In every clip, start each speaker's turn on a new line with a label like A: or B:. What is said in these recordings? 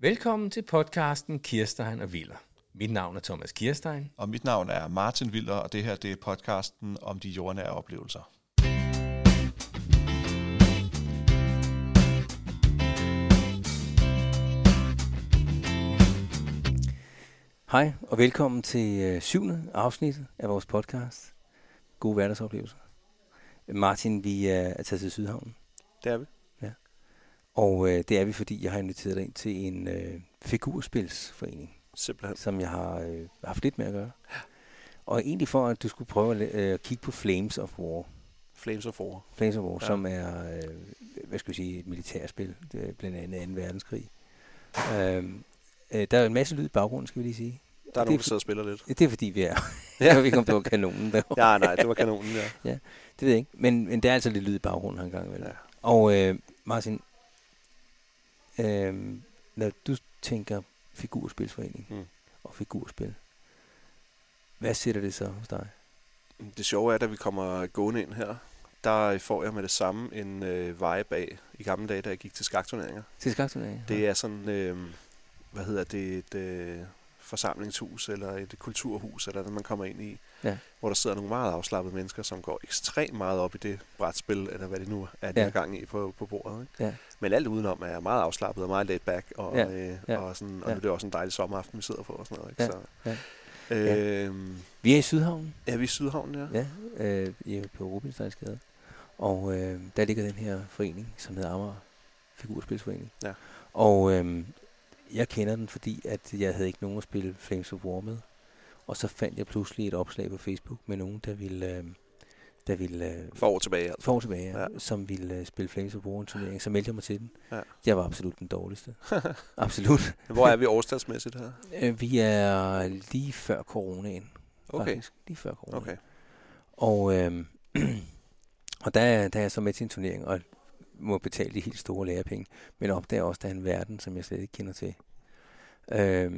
A: Velkommen til podcasten Kirstein og Viller. Mit navn er Thomas Kirstein.
B: Og mit navn er Martin Viller, og det her det er podcasten om de jordnære oplevelser.
C: Hej og velkommen til øh, syvende afsnit af vores podcast. Gode hverdagsoplevelser. Martin, vi øh, er er taget til Sydhavnen,
B: Det er vi.
C: og øh, det er vi, fordi jeg har inviteret dig ind til en øh, figurspilsforening,
B: Simpelthen.
C: som jeg har øh, haft lidt med at gøre. Og egentlig for, at du skulle prøve at la- øh, at kigge på Flames of War.
B: Flames of War.
C: Flames of War,
B: Ja.
C: ja. som er, øh, hvad skal vi sige, et militærspil, det er blandt andet 2. verdenskrig. Øhm, øh, der er en masse lyd i baggrunden, skal vi lige sige.
B: Der er
C: Det er
B: nogen, der
C: fi-
B: sidder og spiller lidt.
C: Det er fordi, vi er. Jeg ved ikke, om det var kanonen der.
B: Ja, nej, det var kanonen, ja.
C: Det ved jeg ikke, men, men der er altså lidt lyd i baggrunden her en gang imellem.
B: Ja.
C: Ja. Og øh, Martin, øh, når du tænker figurspilsforening
B: Mm.
C: mm. og figurspil, hvad sætter det så hos dig?
B: Det sjove er, at da vi kommer gående ind her, der får jeg med det samme en øh, veje bag i gamle dage, da jeg gik til skakturneringer.
C: Til skakturnering?
B: Det er sådan, øh, hvad hedder det, et øh, forsamlingshus eller et kulturhus, eller hvad man kommer ind i,
C: Ja.
B: hvor der sidder nogle meget afslappede mennesker, som går ekstremt meget op i det brætspil, eller hvad det nu er, de
C: Ja.
B: har gang i på, på bordet. Ikke?
C: Ja.
B: Men alt udenom er meget afslappet og meget laid back, og,
C: Ja,
B: øh,
C: ja,
B: og, sådan, og nu
C: ja.
B: er det også en dejlig sommeraften, vi sidder på og sådan noget. Ikke?
C: Ja,
B: Så,
C: ja,
B: Øh,
C: Vi er i Sydhavnen,
B: er vi i Sydhavn, ja?
C: ja, øh, i- på Rubinsteinsgade, og øh, der ligger den her forening, som hedder Amager Figurspilsforening.
B: Ja.
C: Og øh, jeg kender den, fordi at jeg havde ikke nogen at spille Flames of War med. Og så fandt jeg pludselig et opslag på Facebook med nogen, der ville, øh, der ville øh,
B: For år tilbage, altså.
C: for år tilbage,
B: Ja.
C: ja. som ville øh, spille Flames of War i en turnering. Så meldte jeg mig til den.
B: Ja.
C: Jeg var absolut den dårligste. absolut.
B: Hvor er vi årstalsmæssigt her?
C: Øh, Vi er lige før coronaen.
B: Okay,
C: Faktisk. Lige før corona.
B: okay.
C: Og, øh, og der, er- der er jeg så med til en turnering, og må betale de helt store lærepenge, men opdager også, at der er en verden, som jeg slet ikke kender til. Øh,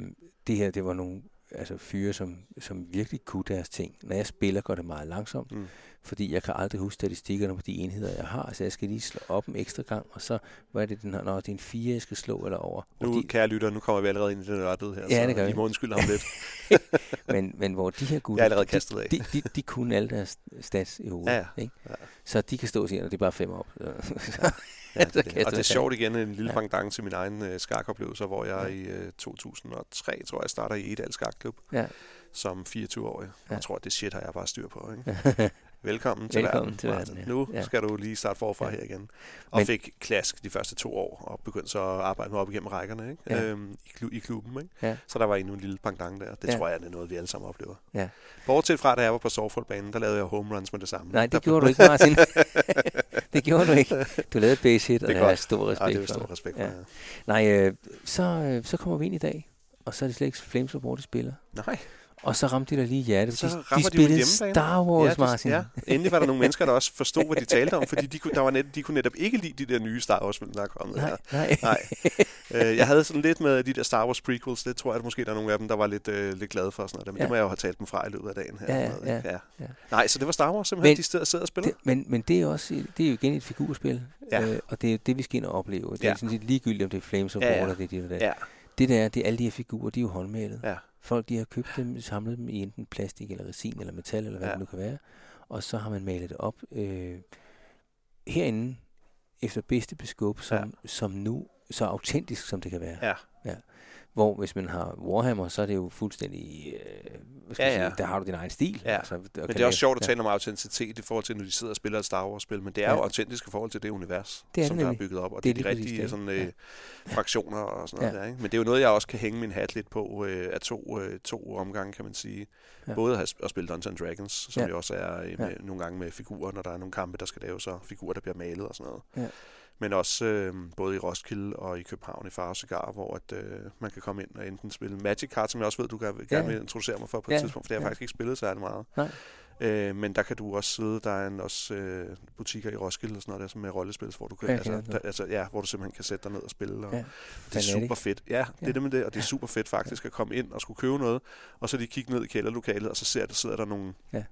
C: det her, det var nogle altså fyre, som, som virkelig kunne deres ting. Når jeg spiller, går det meget langsomt,
B: Mm.
C: fordi jeg kan aldrig huske statistikkerne på de enheder, jeg har, så jeg skal lige slå op en ekstra gang, og så, hvad er det, den her, når det er en 4, jeg skal slå eller over.
B: Nu,
C: Fordi-
B: kære lytter, nu kommer vi allerede ind i den nørdede her,
C: Ja,
B: så
C: det gør
B: I
C: vi.
B: må undskylde ham lidt.
C: men, men hvor de her gutter...
B: Jeg er allerede
C: de-
B: kastet af.
C: De, de, de kunne alle deres stats i hovedet.
B: Ja, ja.
C: Ikke?
B: Ja.
C: Så de kan stå og sige, at det er bare fem op.
B: Ja, det,
C: Så
B: er det.
C: kaster
B: Og det er
C: jeg
B: sjovt igen, en lille
C: Ja.
B: pendant til min egen øh, skakoplevelse, hvor jeg i øh, 2003, tror jeg, starter i Edal Skakklub
C: Ja.
B: som 24-årig. Ja.
C: Ja.
B: Jeg tror, det shit har jeg bare styr på. Ikke? Velkommen til
C: Velkommen
B: verden,
C: til verden,
B: Martin.
C: ja.
B: Nu
C: Ja.
B: skal du lige starte forfra
C: Ja.
B: her igen. Og
C: Men-
B: fik klask de første to år, og begyndte så at arbejde med op igennem rækkerne ikke?
C: Ja.
B: Øhm, i, klu- i klubben. Ikke?
C: Ja.
B: Så der var endnu en lille pendant der. Det
C: Ja.
B: tror jeg, det er noget, vi alle sammen oplever.
C: Ja.
B: Bortset fra, da jeg var på Sorgfoldbanen, der lavede jeg home runs med det samme. Ah,
C: Nej,
B: Der-
C: det gjorde du ikke, Martin. det gjorde du ikke. Du lavede et base hit, og
B: Det er
C: det har jeg
B: godt.
C: stor
B: Ej, det er
C: respekt
B: jo
C: for.
B: stor respekt for.
C: Ja.
B: Ja.
C: Nej, øh, så, øh, så kommer vi ind i dag, og så er det slet ikke Flames of War, de spiller.
B: Nej,
C: Og så ramte de dig lige i hjertet.
B: Så
C: De,
B: rammer de
C: de
B: min
C: spillede
B: hjemmebane.
C: Star Wars,
B: det-
C: Martin.
B: Ja. Endelig var der nogle mennesker, der også forstod, hvad de talte om, fordi de kunne, der var net, de kunne netop ikke lide de der nye Star Wars-film, der er kommet.
C: Nej,
B: her.
C: nej.
B: Nej. Øh, jeg havde sådan lidt med de der Star Wars prequels, det tror jeg, at måske der er nogle af dem, der var lidt, øh, lidt glade for, og sådan noget, men ja.
C: Ja.
B: det må jeg jo have talt dem fra i løbet af dagen. Her,
C: Ja,
B: og sådan noget, ikke?
C: ja.
B: Nej, så det var Star Wars simpelthen, men,
C: Men-
B: de sidder, sidder og spiller.
C: Det, men, men det er også det er jo igen et figurspil,
B: Ja.
C: øh, og det er jo det, vi skal ind og opleve. Det er
B: Ja.
C: sådan set ligegyldigt, om det er Flames of
B: Ja,
C: War,
B: ja.
C: eller det, det, det,
B: ja,
C: det der, det er alle de her figurer, de er jo håndmalet.
B: ja,
C: Folk, de har købt dem, samlet dem i enten plastik eller resin eller metal, eller hvad ja.
B: Ja.
C: det nu kan være. Og så har man malet det op øh, herinde, efter bedste beskub, som, ja. som nu, så autentisk som det kan være.
B: ja.
C: Hvor hvis man har Warhammer, så er det jo fuldstændig, øh, hvad skal
B: Ja,
C: ja, ja.
B: ja.
C: Sige, der har du din egen stil.
B: Ja.
C: Altså, og kan
B: Men det er
C: lave-
B: også sjovt at
C: ja.
B: tale om autenticitet i forhold til, når de sidder og spiller et Star Wars-spil, men det er
C: Ja.
B: jo autentisk i forhold til det univers,
C: Det er det
B: som der er
C: nemlig.
B: bygget op, og
C: Det
B: det
C: er
B: er de
C: lige præcis
B: rigtige
C: det.
B: sådan, øh, fraktioner og sådan noget
C: Ja.
B: der. Ikke? Men det er jo noget, jeg også kan hænge min hat lidt på øh, af to, øh, to omgange, kan man sige.
C: Ja.
B: Både at have sp- at spille Dungeons and Dragons, som
C: Ja.
B: jo også er øh,
C: Ja.
B: med, nogle gange med figurer, når der er nogle kampe, der skal laves, og figurer, der bliver malet og sådan noget.
C: Ja.
B: Men også øh, både i Roskilde og i København i Far og Cigar, hvor at, øh, man kan komme ind og enten spille Magic Card, som jeg også ved, du gerne
C: Ja.
B: gerne vil introducere mig for på et
C: Ja.
B: tidspunkt, for det har jeg
C: Ja.
B: faktisk ikke spillet særlig meget.
C: Nej.
B: Øh, men der kan du også sidde, der er en, også øh, butikker i Roskilde og sådan noget der, som er rollespil, hvor du kan,
C: Ja, jeg
B: altså,
C: kender
B: der,
C: det.
B: altså, ja, hvor du simpelthen kan sætte dig ned og spille. Og
C: Ja,
B: ja, det er super fedt. Ja, det er
C: Ja.
B: det med det, og det er super fedt faktisk at komme ind og skulle købe noget, og så lige kigge ned i kælderlokalet, og så ser, der sidder der nogle,
C: Ja.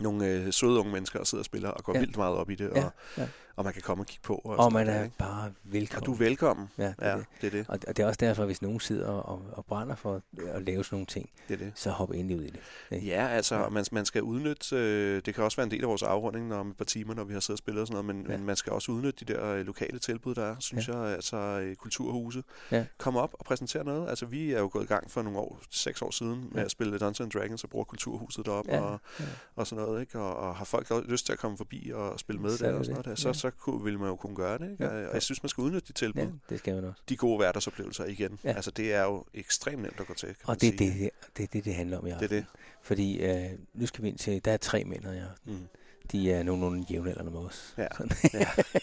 B: nogle øh, søde unge mennesker og sidder og spiller og går ja.
C: Ja.
B: vildt meget op i det. Og,
C: Ja, ja.
B: og og man kan komme og kigge på. Og,
C: Og
B: sådan
C: man
B: noget,
C: er
B: ikke?
C: bare velkommen.
B: og du er velkommen.
C: Ja, det er
B: Ja,
C: det.
B: det er det.
C: Og, og det er også derfor, hvis nogen sidder og, og brænder for at lave sådan nogle ting,
B: det, er det.
C: så hop endelig ud i det. Ikke?
B: Ja, altså,
C: Ja.
B: og Man, man skal udnytte, øh, det kan også være en del af vores afrunding når, om et par timer, når vi har siddet og spillet og sådan noget, men,
C: Ja.
B: ja. men man skal også udnytte de der øh, lokale tilbud, der er, synes ja. jeg, altså øh, kulturhuse.
C: Ja.
B: Kom op og præsenter noget. Altså, vi er jo gået i gang for nogle år, seks år siden, med
C: Ja.
B: at spille Dungeons and Dragons og bruger kulturhuset deroppe
C: Ja,
B: og,
C: ja.
B: og sådan noget, ikke? Og, og har folk også lyst til at komme forbi og spille med
C: Så er
B: der og
C: det
B: sådan
C: det.
B: noget, der, så,
C: Ja.
B: ja. så kunne, ville man jo kunne gøre det, ikke?
C: Ja,
B: Ja.
C: ja.
B: Og jeg synes, man skal udnytte de tilbud.
C: ja,
B: Ja.
C: det skal man også.
B: De gode hverdagsoplevelser igen.
C: Ja.
B: Ja. Altså, det er jo ekstremt nemt at gå til, kan man
C: Og det er
B: sige.
C: det, det, det, er det, det handler om i
B: Det er
C: aften.
B: det.
C: Fordi øh, nu skal vi ind til, der er tre mænd her i aften.
B: Mm.
C: De er nogenlunde jævnaldrende med os.
B: Ja.
C: Sådan. øh,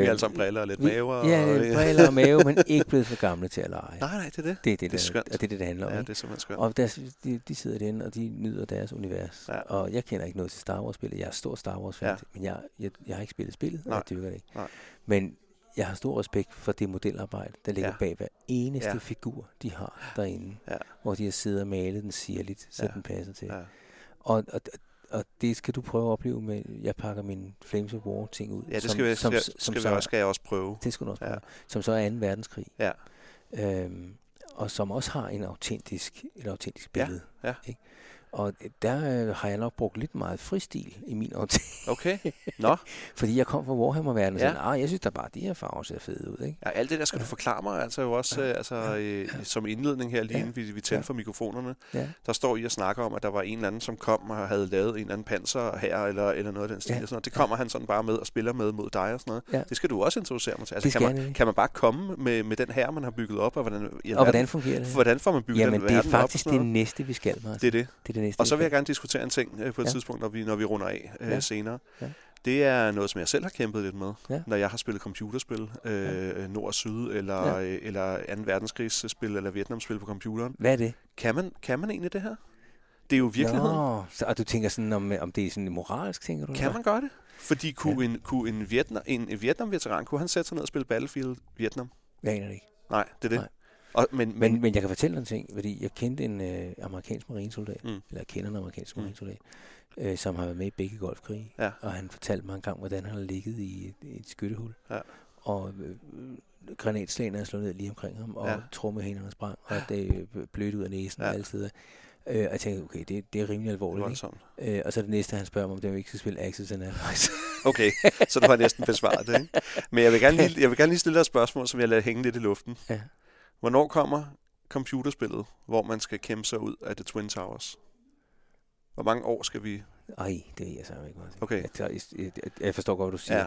B: Vi har alle sammen briller og lidt
C: vi-
B: maver.
C: Ja,
B: og,
C: lidt briller og mave, men ikke blevet for gamle til at lege.
B: Nej, nej, det er det.
C: Det er det,
B: det er
C: der,
B: skønt.
C: og det er det, det handler om.
B: Ja,
C: ikke?
B: det er simpelthen skønt.
C: Og der, de, de sidder derinde, og de nyder deres univers. Ja.
B: Ja.
C: Og jeg kender ikke noget til Star Wars-spillet. Jeg er stor Star Wars-fan, ja.
B: Ja.
C: men jeg, jeg, jeg har ikke spillet spillet, og
B: Nej.
C: jeg dyrker det ikke.
B: Nej.
C: Men jeg har stor respekt for det modelarbejde, der ligger ja.
B: Ja.
C: bag hver eneste ja.
B: Ja.
C: figur, de har derinde.
B: Ja.
C: Hvor de har siddet og malet den sirligt, så ja.
B: Ja.
C: den passer til. Ja.
B: Ja.
C: Og, og, og det skal du prøve at opleve med, jeg pakker min Flames of War ting ud.
B: ja, det skal, vi,
C: som,
B: skal,
C: som, som
B: skal,
C: så,
B: vi også, skal jeg også prøve.
C: Det skal du også
B: Ja.
C: prøve, Som så er 2. verdenskrig.
B: Ja,
C: øhm, og som også har en autentisk, et autentisk
B: Ja,
C: billede.
B: ja.
C: Ikke? Og der øh, har jeg nok brugt lidt meget fristil i min autentik,
B: okay. Nå,
C: fordi jeg kom fra Warhammer-verdenen, og
B: Ja.
C: ja. sådan, "Ah, jeg synes da bare, de her farver ser fede ud. Ikke?
B: ja, alt det der skal du forklare mig. Altså jo også øh, altså, øh, som indledning her, lige
C: Ja.
B: inden vi, vi tændte
C: Ja.
B: for mikrofonerne,
C: Ja.
B: der står I og snakker om, at der var en eller anden, som kom og havde lavet en eller anden panser her, eller, eller noget af den stil.
C: Ja.
B: Ja. Og sådan noget. Det kommer han sådan bare med og spiller med mod dig og sådan noget.
C: Ja.
B: Det skal du også introducere mig til.
C: Det
B: Altså,
C: skal
B: kan,
C: jeg nemlig.
B: man, kan man bare komme med, med den her, man har bygget op, og hvordan, ja,
C: Og hvordan fungerer det?
B: hvordan får man bygget
C: Jamen,
B: den
C: det er
B: verden
C: faktisk
B: op? og sådan
C: det
B: noget?
C: næste, vi skal, Martin.
B: Det er det.
C: det er det næste,
B: Og så vil jeg
C: skal.
B: gerne diskutere en ting øh, på et
C: Ja.
B: ja. tidspunkt, når vi, når vi runder af øh,
C: Ja.
B: ja. senere.
C: Ja.
B: Ja. Det er noget, som jeg selv har kæmpet lidt med,
C: Ja.
B: ja. når jeg har spillet computerspil, øh, ja. Nord og Syd, eller,
C: Ja.
B: ja. eller 2. verdenskrigsspil, eller Vietnamspil på computeren.
C: Hvad er det?
B: Kan man, kan man egentlig det her? Det er jo virkeligheden. Nå.
C: Nå, så, og du tænker sådan, om, øh, om det er sådan moralsk, tænker du?
B: Kan man gøre det? Fordi kunne, ja. en, kunne en, Vietnam, en, en Vietnam-veteran, kunne han sætte sig ned og spille Battlefield Vietnam?
C: Jeg aner det ikke.
B: Nej, det er det.
C: Nej.
B: Nej. Og, men, men,
C: Men, men jeg kan fortælle dig en ting, fordi jeg kendte en øh, amerikansk marinesoldat, mm.
B: Mm.
C: eller kender en amerikansk mm.
B: Mm.
C: marinesoldat, øh, som har været med i begge golfkrige.
B: Ja.
C: Og han fortalte mig engang, hvordan han har ligget i et, et skyttehul.
B: Ja.
C: Og øh, granatslagene er slået ned lige omkring ham, og ja.
B: Ja.
C: trummehænderne sprang, og det øh, blødte ud af næsen ja.
B: Ja.
C: alle steder. Øh, og jeg tænkte, okay, det, det er rimelig
B: det er
C: alvorligt.
B: voldsomt.
C: Ikke? Øh, og så det næste, han spørger mig, om det er, om vi ikke skal spille Axis and Allies.
B: Okay, så du har næsten besvaret det. Ikke? Men jeg vil, gerne lige, jeg vil gerne lige stille dig et spørgsmål, som jeg lader hænge lidt i luften.
C: ja.
B: Hvornår kommer computerspillet, hvor man skal kæmpe sig ud af The Twin Towers? Hvor mange år skal vi...
C: Ej, det ved jeg så ikke. Martin.
B: Okay.
C: Jeg, tager- jeg, jeg, jeg forstår godt, hvad du siger. Ja.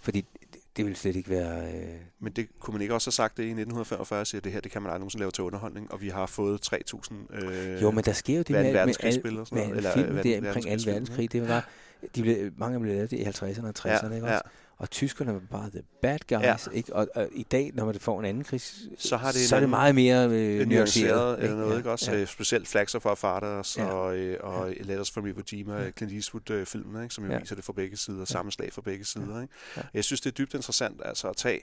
C: Fordi det, det vil slet ikke være... Øh,
B: Men det kunne man ikke også have sagt det i 1945, at det her det kan man aldrig nogensinde lave til underholdning, og vi har fået 3.000... Øh,
C: Jo, men der sker jo det med, al- med,
B: hvad er en
C: al,
B: verdenskrigsspil og sådan
C: med
B: noget?
C: alle
B: Eller,
C: film
B: øh,
C: der
B: verden-
C: omkring 2. verdenskrig. Det var, de blev, mange blev lavet i 50'erne og 60'erne, ikke
B: ja,
C: også? Og tyskerne var bare the bad guys, ja. ikke? Og, og, i dag, når man får en anden krig, så,
B: Så har det en
C: så er det meget
B: anden-
C: mere øh,
B: ja,
C: nuanceret.
B: nuanceret eller
C: ikke?
B: noget, ikke også?
C: Ja.
B: Ja. Specielt Flags of Our Fathers
C: Ja.
B: ja. og, øh, og ja. Letters from Iwo Jima,
C: Ja.
B: ja. Clint Eastwood-filmen, ikke? som jo
C: Ja.
B: ja. viser det fra begge sider, sammenslag fra begge sider. Ikke?
C: Ja.
B: Jeg synes, det er dybt interessant altså, at tage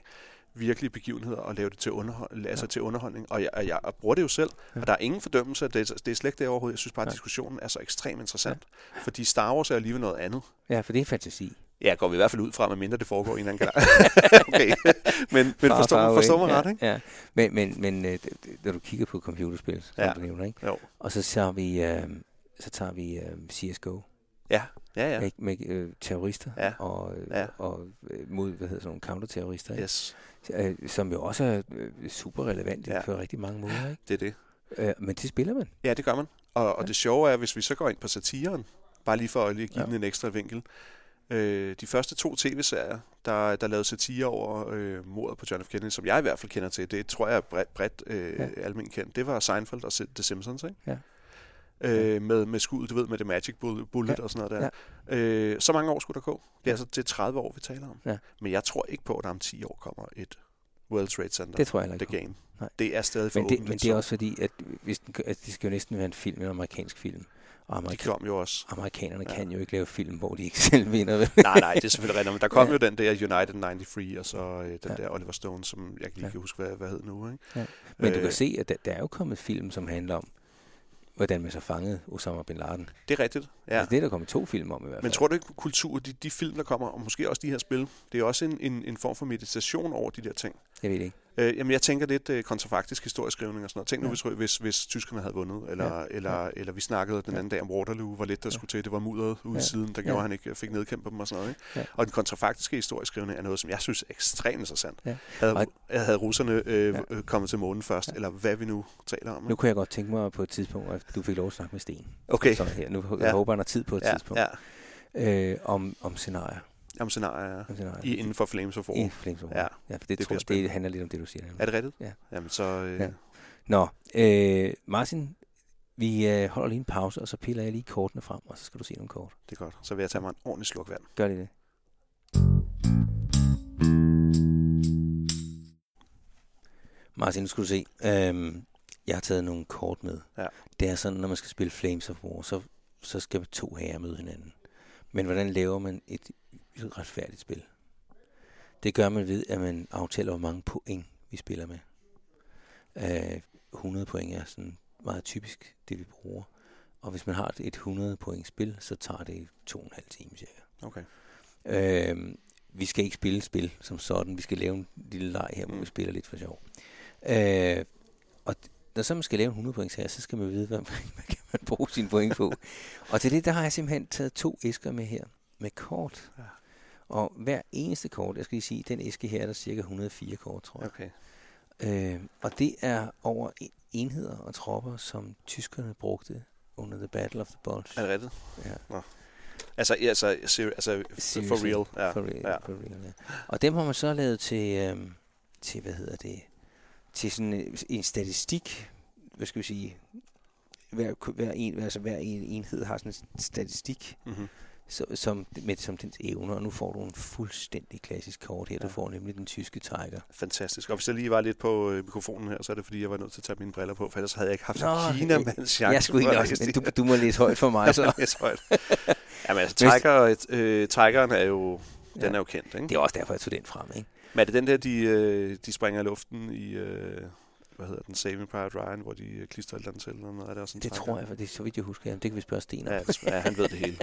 B: virkelige begivenheder og lave det til, underhold, altså
C: Ja.
B: ja. til underholdning. Og jeg, og jeg bruger det jo selv,
C: Ja.
B: og der er ingen fordømmelse af det. Det er slet ikke det overhovedet. Jeg synes bare, at
C: Nej.
B: diskussionen er så ekstremt interessant. Fordi Star Wars er alligevel noget andet.
C: ja, for det er fantasi.
B: Ja, går vi i hvert fald ud fra, medmindre det foregår i en eller anden gang. okay. Men, men
C: Far,
B: forstår,
C: far,
B: man, forstår
C: away.
B: mig
C: ja,
B: ret, ikke?
C: Ja, men, men, men øh, d- d- når du kigger på computerspil, som
B: Ja.
C: du nævner, ikke?
B: Jo.
C: Og så tager vi, øh, så tager vi øh, CSGO
B: Ja, ja, ja.
C: ja. ikke? med øh, terrorister
B: Ja.
C: og, øh,
B: Ja.
C: og øh, mod, hvad hedder sådan nogle counterterrorister, ikke?
B: Yes,
C: øh, som jo også er øh, super relevant
B: Ja.
C: ja. på rigtig mange måder. Ikke?
B: det er det.
C: Øh, men det spiller man.
B: Ja, det gør man. Og, og
C: Ja.
B: det sjove er, hvis vi så går ind på satiren, bare lige for at lige give
C: Ja.
B: ja. den en ekstra vinkel. Øh, de første to tv-serier, der, der lavede satire over øh, mordet på John F. Kennedy, som jeg i hvert fald kender til, det tror jeg er bredt, bredt øh,
C: Ja.
B: ja. almindeligt kendt, det var Seinfeld og The Simpsons, ikke?
C: Ja.
B: Øh, med, med skuddet, du ved, med det magic bull- bullet
C: Ja.
B: ja. og sådan noget der. Ja. Øh, så mange år skulle der gå.
C: Ja.
B: Det er altså til 30 år, vi taler om.
C: Ja.
B: Men jeg tror ikke på, at der om 10 år kommer et World Trade Center.
C: Det tror jeg heller
B: The
C: ikke. på.
B: Game.
C: Nej.
B: Det er stadig for
C: Men det,
B: åbent,
C: men det er også fordi, at hvis den, altså, det skal jo næsten være en film, en amerikansk film. Og
B: så- De
C: amerika-
B: kom jo også.
C: amerikanerne
B: Ja.
C: kan jo ikke lave film, hvor de ikke selv vinder. vel?
B: nej, nej, det er selvfølgelig rigtigt. Men der kom
C: Ja.
B: ja. jo den der United 93, og så øh, den
C: Ja.
B: ja. der Oliver Stone, som jeg kan lige
C: Ja.
B: ja. huske, hvad, hvad hed nu. Ikke?
C: Men du kan
B: Øh.
C: se, at der, der er jo kommet film, som handler om hvordan man så fangede Osama Bin Laden.
B: Det er rigtigt. Ja.
C: Altså, det er der kommet to film om i hvert fald.
B: Men tror du ikke, kultur, de, de film, der kommer, og måske også de her spil, det er også en, en, en form for meditation over de der ting?
C: Jeg ved det ikke.
B: Øh, jamen, jeg tænker lidt øh, kontrafaktisk historieskrivning og sådan noget. Tænk nu, ja. hvis, hvis, hvis tyskerne havde vundet, eller, ja. eller, ja. eller vi snakkede den anden dag om Waterloo, hvor lidt der skulle til. Det var mudderet ude ja. siden, der gjorde ja. han ikke fik nedkæmpet dem og sådan noget. Ikke?
C: Ja.
B: Og den kontrafaktiske historieskrivning er noget, som jeg synes er ekstremt interessant.
C: Ja.
B: Havde,
C: Og-
B: havde russerne øh, ja. kommet til månen først, ja. eller hvad vi nu taler om?
C: Nu
B: ikke?
C: kunne jeg godt tænke mig på et tidspunkt, at du fik lov at snakke med Sten.
B: Okay,
C: Så her, nu jeg
B: Ja.
C: håber, han har tid på et
B: ja,
C: tidspunkt.
B: ja.
C: Øh, om, om scenarier.
B: Jamen, scenarier
C: Om scenarier.
B: i, inden for Flames of War.
C: I Flames of War.
B: Ja.
C: ja for det,
B: Det
C: det, tror,
B: bliver
C: jeg- det handler lidt om det, du siger.
B: Er det rigtigt?
C: Ja.
B: Jamen, så... Øh,
C: Ja. Nå, øh, Martin, vi øh, holder lige en pause, og så piller jeg lige kortene frem, og så skal du se nogle kort.
B: Det er godt. Så vil jeg tage mig en ordentlig sluk vand.
C: Gør lige det. Martin, nu skal du se. Øhm, jeg har taget nogle kort med.
B: Ja.
C: Det er sådan, når man skal spille Flames of War, så, så skal to herrer møde hinanden. Men hvordan laver man et retfærdigt spil? Det gør man ved, at man aftaler, hvor mange point vi spiller med. Øh, 100 point er sådan meget typisk, det vi bruger. Og hvis man har et 100 point spil, så tager det to og en halv time cirka.
B: Okay.
C: Øh, vi skal ikke spille spil som sådan. Vi skal lave en lille leg her, hvor
B: Mm.
C: vi spiller lidt for sjov. Øh, og d- når så man skal lave en 100 points her, så skal man vide, hvad, hvad kan man bruge sine point på. og til det, der har jeg simpelthen taget to æsker med her, med kort.
B: Ja.
C: Og hver eneste kort, jeg skal lige sige, den æske her er der cirka 104 kort, tror jeg.
B: Okay.
C: Øh, og det er over en- enheder og tropper, som tyskerne brugte under The Battle of the Bulge.
B: Er det rigtigt?
C: Ja.
B: Nå. Altså, ja, altså, seri- altså for
C: Seriously.
B: real. Ja.
C: For real,
B: ja.
C: ja. for real, ja. Og dem har man så lavet til, øhm, til hvad hedder det, til sådan en, en statistik, hvad skal vi sige, hver, hver, en, altså hver en enhed har sådan en statistik,
B: Mm-hmm.
C: så, som, med, som dens evner, og nu får du en fuldstændig klassisk kort her. Ja. Du
B: Ja.
C: får nemlig den tyske tiger.
B: Fantastisk. Og hvis jeg lige var lidt på øh, mikrofonen her, så er det fordi, jeg var nødt til at tage mine briller på, for ellers havde jeg ikke haft
C: Nå,
B: Altså, Kina
C: øh,
B: med en chance.
C: Jeg, jeg skulle
B: for
C: ikke
B: at
C: også,
B: læse
C: men
B: det
C: du, altså- du må læse højt for mig. Så.
B: her. Jeg tror, at- Jamen altså, tiger, øh, tigeren er jo, den
C: Ja.
B: er jo kendt, ikke?
C: Det er også derfor, jeg tog den frem. Ikke?
B: Men er det den der, de, øh, de springer i luften i, øh, hvad hedder den, Saving Private Ryan, hvor de øh, klistrer et eller andet til, eller noget? Er det også en
C: Det
B: tiger?
C: tror jeg, for det er så vidt jeg husker. Jamen, det kan vi spørge Sten om.
B: Ja, det- ja, han ved det hele.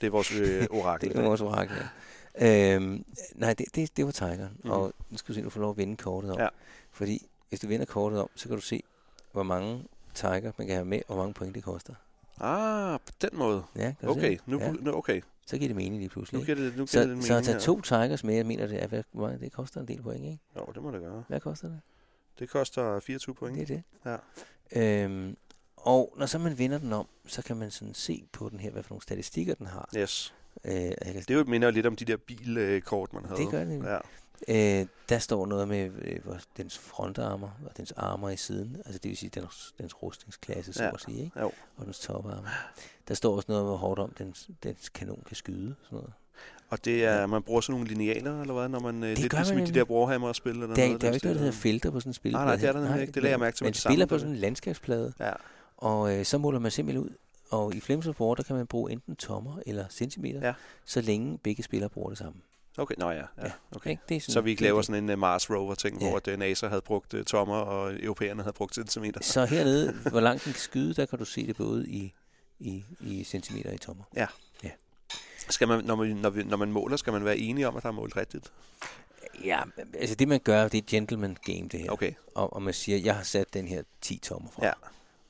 B: Det er vores øh, orakel.
C: Det er vores orakel, ja. øhm, Nej, det, det, det var tigeren.
B: Mhm.
C: Mm. Og nu skal du se, at du får lov at vinde kortet om.
B: Ja.
C: Fordi hvis du vinder kortet om, så kan du se, hvor mange tiger man kan have med, og hvor mange point det koster.
B: Ah, på den måde.
C: Ja, kan du se
B: Okay,
C: det?
B: nu,
C: Ja.
B: nu, okay.
C: Så giver det mening lige pludselig.
B: nu
C: ikke?
B: giver det, nu giver
C: Så,
B: det mening
C: så at tage
B: her.
C: to tigers med, jeg mener, det, er, hvad, hvor meget, det koster en del point, ikke?
B: Jo, det må det gøre.
C: Hvad koster det?
B: Det koster 24 point.
C: Det er det.
B: Ja.
C: Øhm, og når så man vinder den om, så kan man sådan se på den her, hvad for nogle statistikker den har.
B: Yes.
C: Øh, jeg kan,
B: Det er jo minder jo lidt om de der bilkort, man havde.
C: det gør det.
B: Ja,
C: Øh, der står noget med øh, hvor dens frontarmer og dens armer i siden, altså det vil sige dens, dens rustningsklasse, så
B: Ja,
C: ja. at sige, ikke?
B: jo.
C: og dens toparmer. Der står også noget, hvor hårdt om dens, dens kanon kan skyde. Sådan noget.
B: Og det er,
C: Ja.
B: man bruger sådan nogle linealer, eller hvad, når man... Det
C: gør
B: lidt
C: man
B: ligesom i de
C: nemlig.
B: der Warhammer-spil, eller
C: Der, er-
B: noget.
C: der er
B: den
C: jo ikke noget, der hedder
B: stil.
C: felter på sådan en spilplade.
B: Nej, nej, det er der nemlig ikke. Det lagde jeg mærke til med
C: Man
B: det samme,
C: spiller på
B: da
C: sådan en landskabsplade,
B: Ja,
C: og øh, så måler man simpelthen ud. Og i Flames of War, der kan man bruge enten tommer eller centimeter,
B: Ja.
C: ja. så længe begge spillere bruger det samme.
B: okay. Nå ja, ja.
C: Ja.
B: okay.
C: Ikke? Det er
B: Så vi ikke
C: det er
B: laver
C: det.
B: sådan en øh, Mars Rover-ting,
C: Ja.
B: hvor at, øh, NASA havde brugt øh, tommer, og europæerne havde brugt centimeter.
C: Så hernede, hvor langt den kan skyde, der kan du se det både i, i, i centimeter og i tommer.
B: Skal man, når, man, når, vi, når man måler, skal man være enige om, at der er målt rigtigt?
C: Ja, altså det man gør, det er et gentleman game det her. Okay.
B: Okay,
C: Og, og man siger, jeg har sat den her 10 tommer fra.
B: Ja.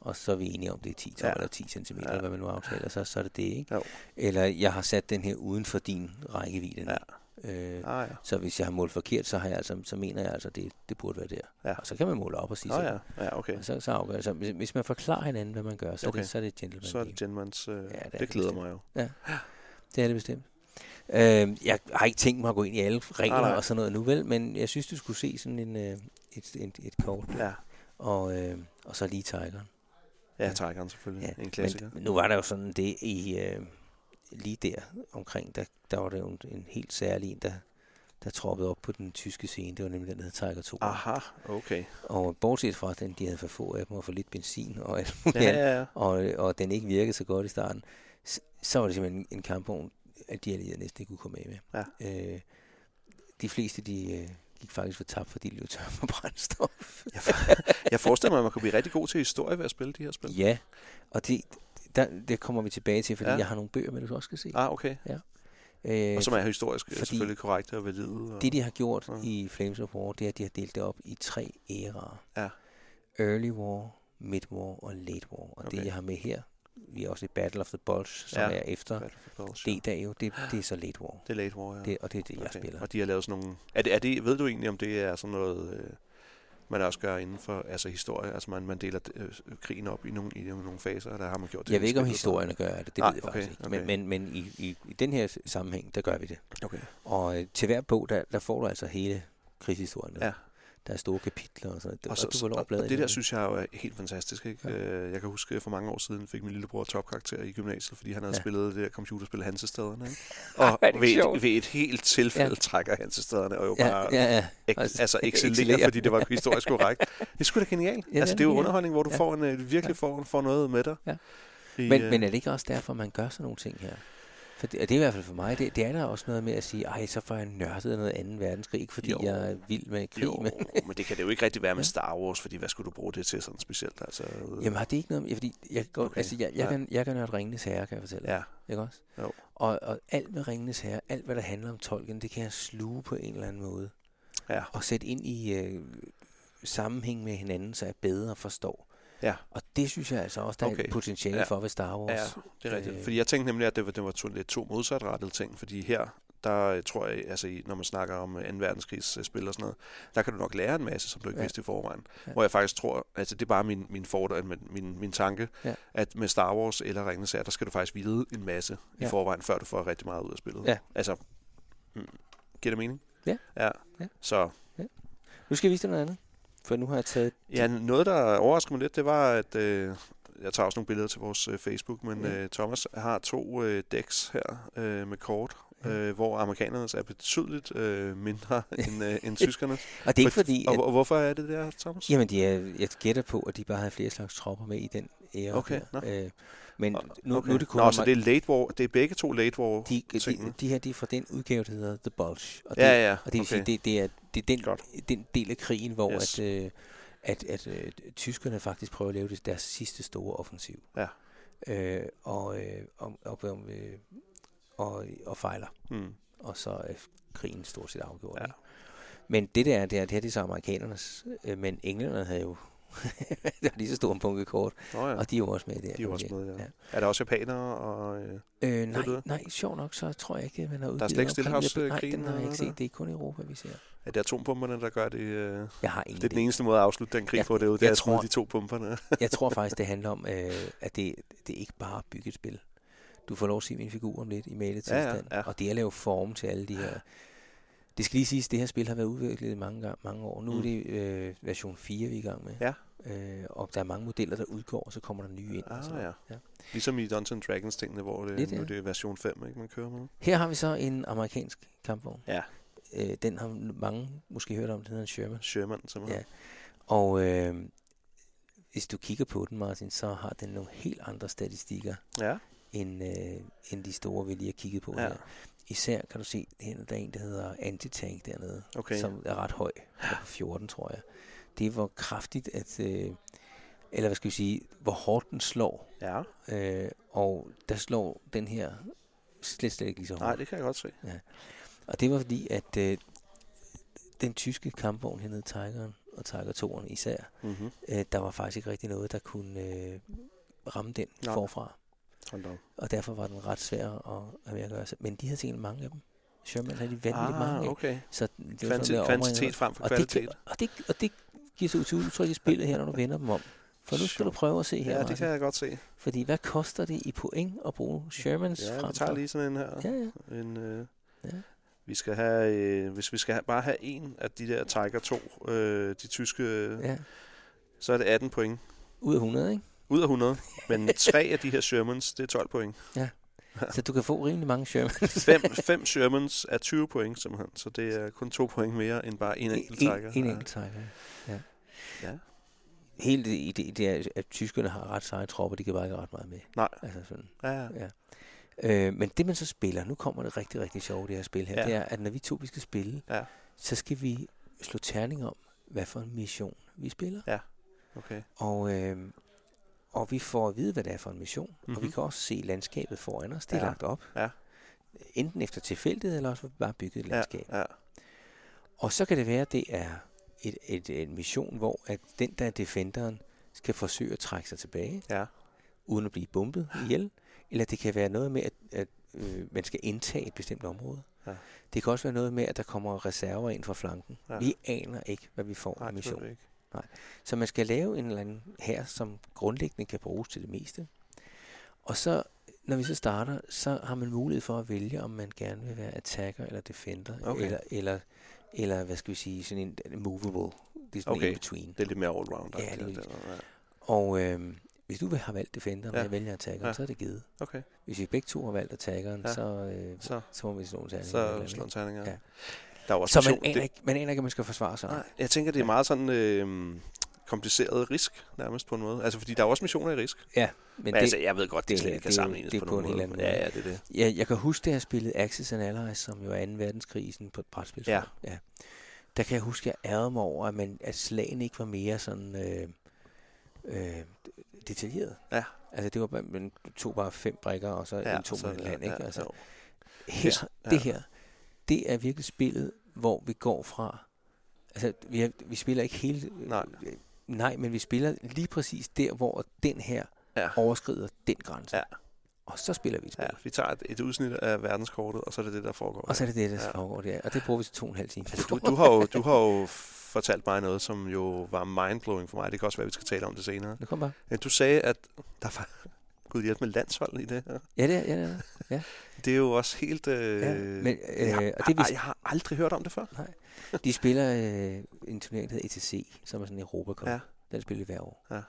C: Og så er vi enige om, det er 10 tommer
B: Ja.
C: ja. eller 10 cm,
B: Ja.
C: ja. hvad man nu aftaler, så, så er det det, ikke?
B: Jo.
C: Eller jeg har sat den her uden for din rækkevidde. Ja. Øh,
B: ah ja.
C: så hvis jeg har målt forkert, så, har jeg altså, så mener jeg altså, det, det burde være der.
B: Ja.
C: Og så kan man måle op og sige,
B: Nå
C: sådan.
B: ja, ja, okay.
C: Og så, så afgør jeg. Så hvis, hvis man forklarer hinanden, hvad man gør, så, er,
B: Okay.
C: det, så er det et gentleman
B: Så er
C: game.
B: det Genmans... Øh,
C: det er
B: det, det
C: det
B: glæder
C: bestemt.
B: mig jo.
C: Det er det bestemt. Øh, jeg har ikke tænkt mig at gå ind i alle regler
B: Nej,
C: ah,
B: nej.
C: og sådan noget nu, vel? Men jeg synes, du skulle se sådan en, øh, et, et, et kort.
B: Ja,
C: Og, øh, og så lige Tigeren.
B: ja
C: Ja.
B: Tigeren selvfølgelig. Ja. Mm, En klassiker.
C: men, men nu var der jo sådan det i... Øh, lige der omkring, der, der var der jo en, en helt særlig en, der, der troppede op på den tyske scene. Det var nemlig den, der hed Tiger 2.
B: Aha, okay.
C: Og bortset fra den, de havde for få af dem og for lidt benzin og alt muligt
B: Ja,
C: andet,
B: ja, ja.
C: og, og den ikke virkede så godt i starten, s- så var det simpelthen en kampvogn, at de allierede næsten ikke kunne komme af med.
B: Ja.
C: Øh, de fleste, de, øh, gik faktisk for tabt, fordi de løb tør for brændstof.
B: Jeg, jeg forestiller mig, at man kunne blive rigtig god til historie ved at spille de her spil.
C: ja, og det, der, det kommer vi tilbage til, fordi
B: Ja.
C: ja. jeg har nogle bøger, men du også skal se.
B: Ah, okay.
C: Øh,
B: Og som er historisk Fordi
C: fordi-
B: selvfølgelig korrekte og valide. Og...
C: Det, de har gjort
B: Ja.
C: ja. i Flames of War, det er, at de har delt det op i tre æraer.
B: Ja.
C: Early War, Mid War og Late War. Og okay.
B: Okay.
C: det, jeg har med her, vi er også i Battle of the Bulge, som
B: Ja.
C: ja. er efter
B: det,
C: D-dag jo, det, det er så Late War.
B: det er late war, ja.
C: Det, og det er det, jeg spiller.
B: Og de har lavet sådan nogle... Er det, er det, ved du egentlig, om det er sådan noget, øh, man også gør inden for altså historie? Altså man, man deler øh, krigen op i nogle, i nogle faser, eller har man gjort det?
C: Jeg ved
B: i
C: ikke, om
B: spillet?
C: historierne gør det, det
B: Nej,
C: ved jeg
B: okay,
C: faktisk ikke.
B: okay.
C: Men, men, men i, i, i den her sammenhæng, der gør vi det.
B: Okay.
C: Og øh, til hver bog, der, der får du altså hele krigshistorien med.
B: Ja.
C: Der er store kapitler og sådan noget.
B: Og,
C: Og,
B: så,
C: du får lov
B: og,
C: at bladre
B: og
C: i
B: det der
C: dem.
B: synes jeg jo er helt fantastisk. Ikke?
C: Ja.
B: Øh, Jeg kan huske, at for mange år siden fik min lillebror topkarakter i gymnasiet, fordi han havde
C: Ja.
B: spillet det der computerspil Hansestaderne. Ikke?
C: Ej,
B: Og
C: hvor er det
B: ved et,
C: sjovt.
B: ved et helt tilfælde ja.
C: Ja.
B: trækker Hansestaderne og jo
C: ja,
B: bare
C: ja, ja.
B: Ex- altså excellere,
C: Excellerer.
B: fordi det var historisk korrekt. Det er sgu da genialt.
C: det
B: Ja,
C: er
B: altså, det er jo
C: genialt.
B: underholdning, hvor du ja.
C: Ja.
B: får en, øh, virkelig får, får noget med dig.
C: Ja.
B: I,
C: Men,
B: øh,
C: men er det ikke også derfor, man gør sådan nogle ting her? For det, det er i hvert fald for mig, det, det er der også noget med at sige, ej, så får jeg nørdet noget anden verdenskrig, ikke fordi
B: Jo.
C: jo. jeg er vild med krig.
B: jo,
C: Men,
B: men det kan det jo ikke rigtig være med
C: Ja.
B: Star Wars, fordi hvad skulle du bruge det til sådan specielt? Altså, øh,
C: jamen har det ikke noget med, fordi jeg kan, godt,
B: Okay.
C: okay. altså, jeg, jeg,
B: Ja.
C: kan, jeg kan nørde Ringenes Herre, kan jeg fortælle.
B: ja,
C: Ikke også?
B: Jo.
C: Og, og alt med Ringenes Herre, alt hvad der handler om tolken, det kan jeg sluge på en eller anden måde.
B: ja,
C: Og sætte ind i øh, sammenhæng med hinanden, så jeg bedre forstår.
B: Ja.
C: Og det synes jeg altså også, der okay. er
B: Okay.
C: et potentiale
B: Ja.
C: ja. for ved Star Wars.
B: ja, det er rigtigt.
C: Øh.
B: Fordi jeg tænkte nemlig, at det var, det var to, lidt to modsatrettede ting, fordi her der øh, tror jeg, altså i- når man snakker om øh, 2. verdenskrigs øh, spil og sådan noget, der kan du nok lære en masse, som du ikke ja.
C: Ja.
B: vidste i forvejen. Ja.
C: Ja.
B: Hvor jeg faktisk tror, altså det er bare min, min fordel, min, min, min tanke, ja.
C: Ja.
B: at med Star Wars eller Ringens Herre, der skal du faktisk vide en masse ja.
C: Ja.
B: i forvejen, før du får rigtig meget ud af spillet.
C: Ja.
B: Altså, mm, giver det mening?
C: Ja.
B: ja.
C: Ja.
B: Så
C: Nu skal jeg vise dig noget andet, for nu har jeg taget
B: Ja, noget, der overraskede mig lidt, det var, at øh, jeg tager også nogle billeder til vores øh, Facebook, men
C: Ja.
B: øh, Thomas har to øh, decks her øh, med kort, øh, hvor amerikanernes er betydeligt øh, mindre end, øh, end tyskernes.
C: Og det er ikke fordi,
B: og,
C: at,
B: hvor- og hvorfor er det der, Thomas?
C: jamen de er, jeg gætter på, at de bare havde flere slags tropper med i den æra.
B: Okay, nå.
C: Der. Øh, men
B: Og-
C: nu, okay. nu er det kun...
B: Nå, så det er, late war, det er begge to late war.
C: de,
B: tingene.
C: de, de, her, de er fra den udgave, der hedder The Bulge. Og det,
B: ja, ja,
C: Og det vil
B: okay.
C: sige, det, det er, det er den,
B: Godt.
C: den del af krigen, hvor
B: Yes.
C: yes. at, øh, at, at øh, tyskerne faktisk prøver at lave det, deres sidste store offensiv.
B: Ja.
C: Øh, og, øh, om, op, om, øh, og, og fejler.
B: Mm.
C: og så er krigen stort set afgjort.
B: Ja.
C: Ja. Men det der, det, er, det her det er så amerikanernes, øh, men englænderne havde jo det var lige så stor en bunke kort,
B: Nå ja,
C: og de er jo også med i det her.
B: de er jo også
C: projekt.
B: med, ja.
C: Ja.
B: Er der også japanere og... Øh,
C: Øh,
B: Ved du
C: nej,
B: det?
C: nej, sjov nok, så tror jeg ikke, at man har udgivet
B: slet ikke øh,
C: omkring Japan-
B: Stillehavskrigen
C: Nej, den har
B: eller
C: jeg ikke
B: noget der?
C: set. Det er kun Europa, vi ser.
B: er det atombomberne, der gør det? Øh,
C: Jeg har
B: det er
C: ingen
B: den
C: idé.
B: eneste måde at afslutte den krig
C: Ja,
B: på, det er jo det
C: jeg
B: at smide
C: tror-
B: de to pumperne.
C: Jeg tror faktisk, det handler om, øh, at det, det er ikke bare at bygge et spil. Du får lov at se min figur om lidt i malet
B: Ja, ja,
C: tilstand,
B: ja.
C: og det er at lave form til alle de her... Det skal lige siges, at det her spil har været udviklet i mange, gang, mange år. Nu
B: Mm.
C: er det øh, version 4, vi er i gang med.
B: Ja.
C: Øh, og der er mange modeller, der udgår, og så kommer der nye ind. og sådan noget.
B: Ah, ja. ja.
C: Ja.
B: Ligesom i Dungeons and Dragons tingene, hvor det,
C: Lidt,
B: nu
C: ja.
B: er det version 5, ikke, man kører med.
C: Her har vi så en amerikansk kampvogn.
B: Ja.
C: Øh, den har mange måske hørt om, den hedder en Sherman.
B: Sherman, simpelthen.
C: Ja. Og øh, hvis du kigger på den, Martin, så har den nogle helt andre statistikker
B: Ja.
C: end, øh, end de store, vi lige har kigget på
B: Ja.
C: ja. her. Især kan du se, her, der er en, der hedder Antitank dernede,
B: Okay.
C: som er ret høj, Den er på 14 tror jeg. Det er, hvor kraftigt, at, øh, eller hvad skal vi sige, hvor hårdt den slår.
B: ja.
C: Øh, og der slår den her slet, slet ikke lige så
B: Nej,
C: hårdt.
B: det kan jeg godt se.
C: Og det var fordi, at øh, den tyske kampvogn hernede, Tigeren og Tiger 2'eren især,
B: Mm-hmm.
C: øh, der var faktisk ikke rigtig noget, der kunne øh, ramme den
B: Nej.
C: Nej. forfra.
B: Hold da op.
C: Og derfor var den ret svær at have med at gøre. sig. Men de havde tænkt mange af dem. Sherman havde de vanvittigt mange af.
B: Ah, okay.
C: Så det var
B: Kvanti-
C: sådan,
B: kvantitet
C: kvantitet
B: frem for
C: og det,
B: kvalitet.
C: og, det, og det giver sig ud til udtryk i spillet her, når du vender dem om. For nu skal du
B: Sjovt.
C: prøve at se her,
B: Ja,
C: ja,
B: det kan
C: Martin.
B: jeg godt se.
C: Fordi hvad koster det i point at bruge Shermans
B: Ja,
C: frem
B: vi tager
C: for-
B: lige sådan en her.
C: Ja, ja.
B: En, øh,
C: Ja.
B: Vi skal have, øh, hvis vi skal have, bare have en af de der Tiger 2, øh, de tyske, ja.
C: ja.
B: så er det 18 point.
C: Ud af 100, ikke?
B: Ud af 100. Men tre af de her Shermans, det er 12 point.
C: Så du kan få rimelig mange Shermans.
B: Fem, fem Shermans er 20 point simpelthen, så det er kun to point mere end bare en enkelt Tiger.
C: En,
B: Ja.
C: en enkelt Tiger, ja.
B: Ja.
C: Helt i det, det er, at tyskerne har ret seje tropper, de kan bare ikke ret meget med.
B: Nej.
C: Altså sådan.
B: Ja, ja.
C: Ja. Øh, men det man så spiller, nu kommer det rigtig, rigtig sjovt det her spil her,
B: Ja.
C: ja. det er, at når vi to vi skal spille,
B: Ja.
C: så skal vi slå terning om, hvad for en mission vi spiller.
B: Okay.
C: Og, øh, og vi får at vide, hvad det er for en mission. Mm-hmm. Og vi
B: Mhm.
C: kan også se landskabet foran os. Det er
B: Ja.
C: lagt op.
B: Ja.
C: Enten efter tilfældighed, eller også bare bygget et landskab.
B: Ja, ja.
C: Og så kan det være, at det er et, et, en mission, hvor at den, der er defenderen, skal forsøge at trække sig tilbage,
B: Ja.
C: uden at blive bumpet ihjel. Eller det kan være noget med, at, at øh, man skal indtage et bestemt område.
B: Ja.
C: Det kan også være noget med, at der kommer reserver ind fra flanken.
B: Ja.
C: Ja. Vi aner ikke, hvad vi får
B: Nej,
C: af
B: det ved
C: mission.
B: vi ikke.
C: Så man skal lave en eller anden her, som grundlæggende kan bruges til det meste. Og så, når vi så starter, så har man mulighed for at vælge, om man gerne vil være attacker eller defender,
B: Okay.
C: eller, eller, eller hvad skal vi sige, sådan en en movable, det er sådan
B: Okay.
C: okay. in between.
B: Det er lidt mere allround.
C: Ja, lige
B: det, ja.
C: Og øh, hvis du vil have valgt defenderen,
B: Ja.
C: og jeg vælger attackeren,
B: Ja.
C: så er det givet.
B: Okay,
C: Hvis vi begge to har valgt attackeren,
B: Ja.
C: ja. så, øh,
B: så,
C: så må vi slå en terning. eller et eller
B: så
C: andet,
B: slå en
C: ikke?
B: terning. Ja.
C: Ja.
B: Der er jo også
C: Så man
B: mission-
C: aner, ikke, man aner ikke, at man skal forsvare sig.
B: Nej, jeg tænker, det er meget sådan øh, kompliceret risk, nærmest på en måde. Altså, fordi der er jo også missioner i risk. Men,
C: Men
B: det,
C: det,
B: altså, jeg ved godt, det,
C: det
B: slet
C: er-
B: ikke kan
C: det er jo-
B: sammenlignes
C: det er
B: på,
C: på
B: nogen
C: en helt anden
B: måde.
C: måde.
B: Ja, ja, det er det.
C: Ja, jeg kan huske, da jeg spillede Axis and Allies, som jo er 2. verdenskrigsen på et brætspil.
B: Ja.
C: ja. Der kan jeg huske, at jeg ærede mig over, at, man, at slagene ikke var mere sådan øh, øh, detaljeret.
B: Ja.
C: Altså det var bare, man tog bare fem brikker, og så ja, en to
B: så er
C: med
B: det-
C: land, ikke?
B: ja,
C: Altså,
B: jo.
C: her,
B: ja.
C: det her, det er virkelig spillet, hvor vi går fra... Altså, vi, er, vi spiller ikke hele...
B: Nej.
C: øh, Nej, men vi spiller lige præcis der, hvor den her
B: Ja.
C: overskrider den grænse.
B: Ja.
C: Og så spiller vi et spil.
B: Ja, vi tager et, et udsnit af verdenskortet, og så er det det, der foregår.
C: Og så er det det, der
B: Ja.
C: ja. foregår der. Og det bruger vi til to og en halv time.
B: Altså, du, du, har jo, du har jo fortalt mig noget, som jo var mindblowing for mig. Det kan også være, at vi skal tale om det senere.
C: Nu kom bare.
B: Men Du sagde, at der var... Gud hjælp med landshold i det her.
C: Ja, det er, ja, det er.
B: Det er jo også helt... Øh,
C: Ja, men, øh,
B: jeg,
C: og det
B: har,
C: vil-
B: jeg har aldrig hørt om det før.
C: De spiller øh, en turnering, der hedder ETC, som er sådan en Europacup.
B: Ja.
C: Ja. Den spiller vi hver år.
B: Ja.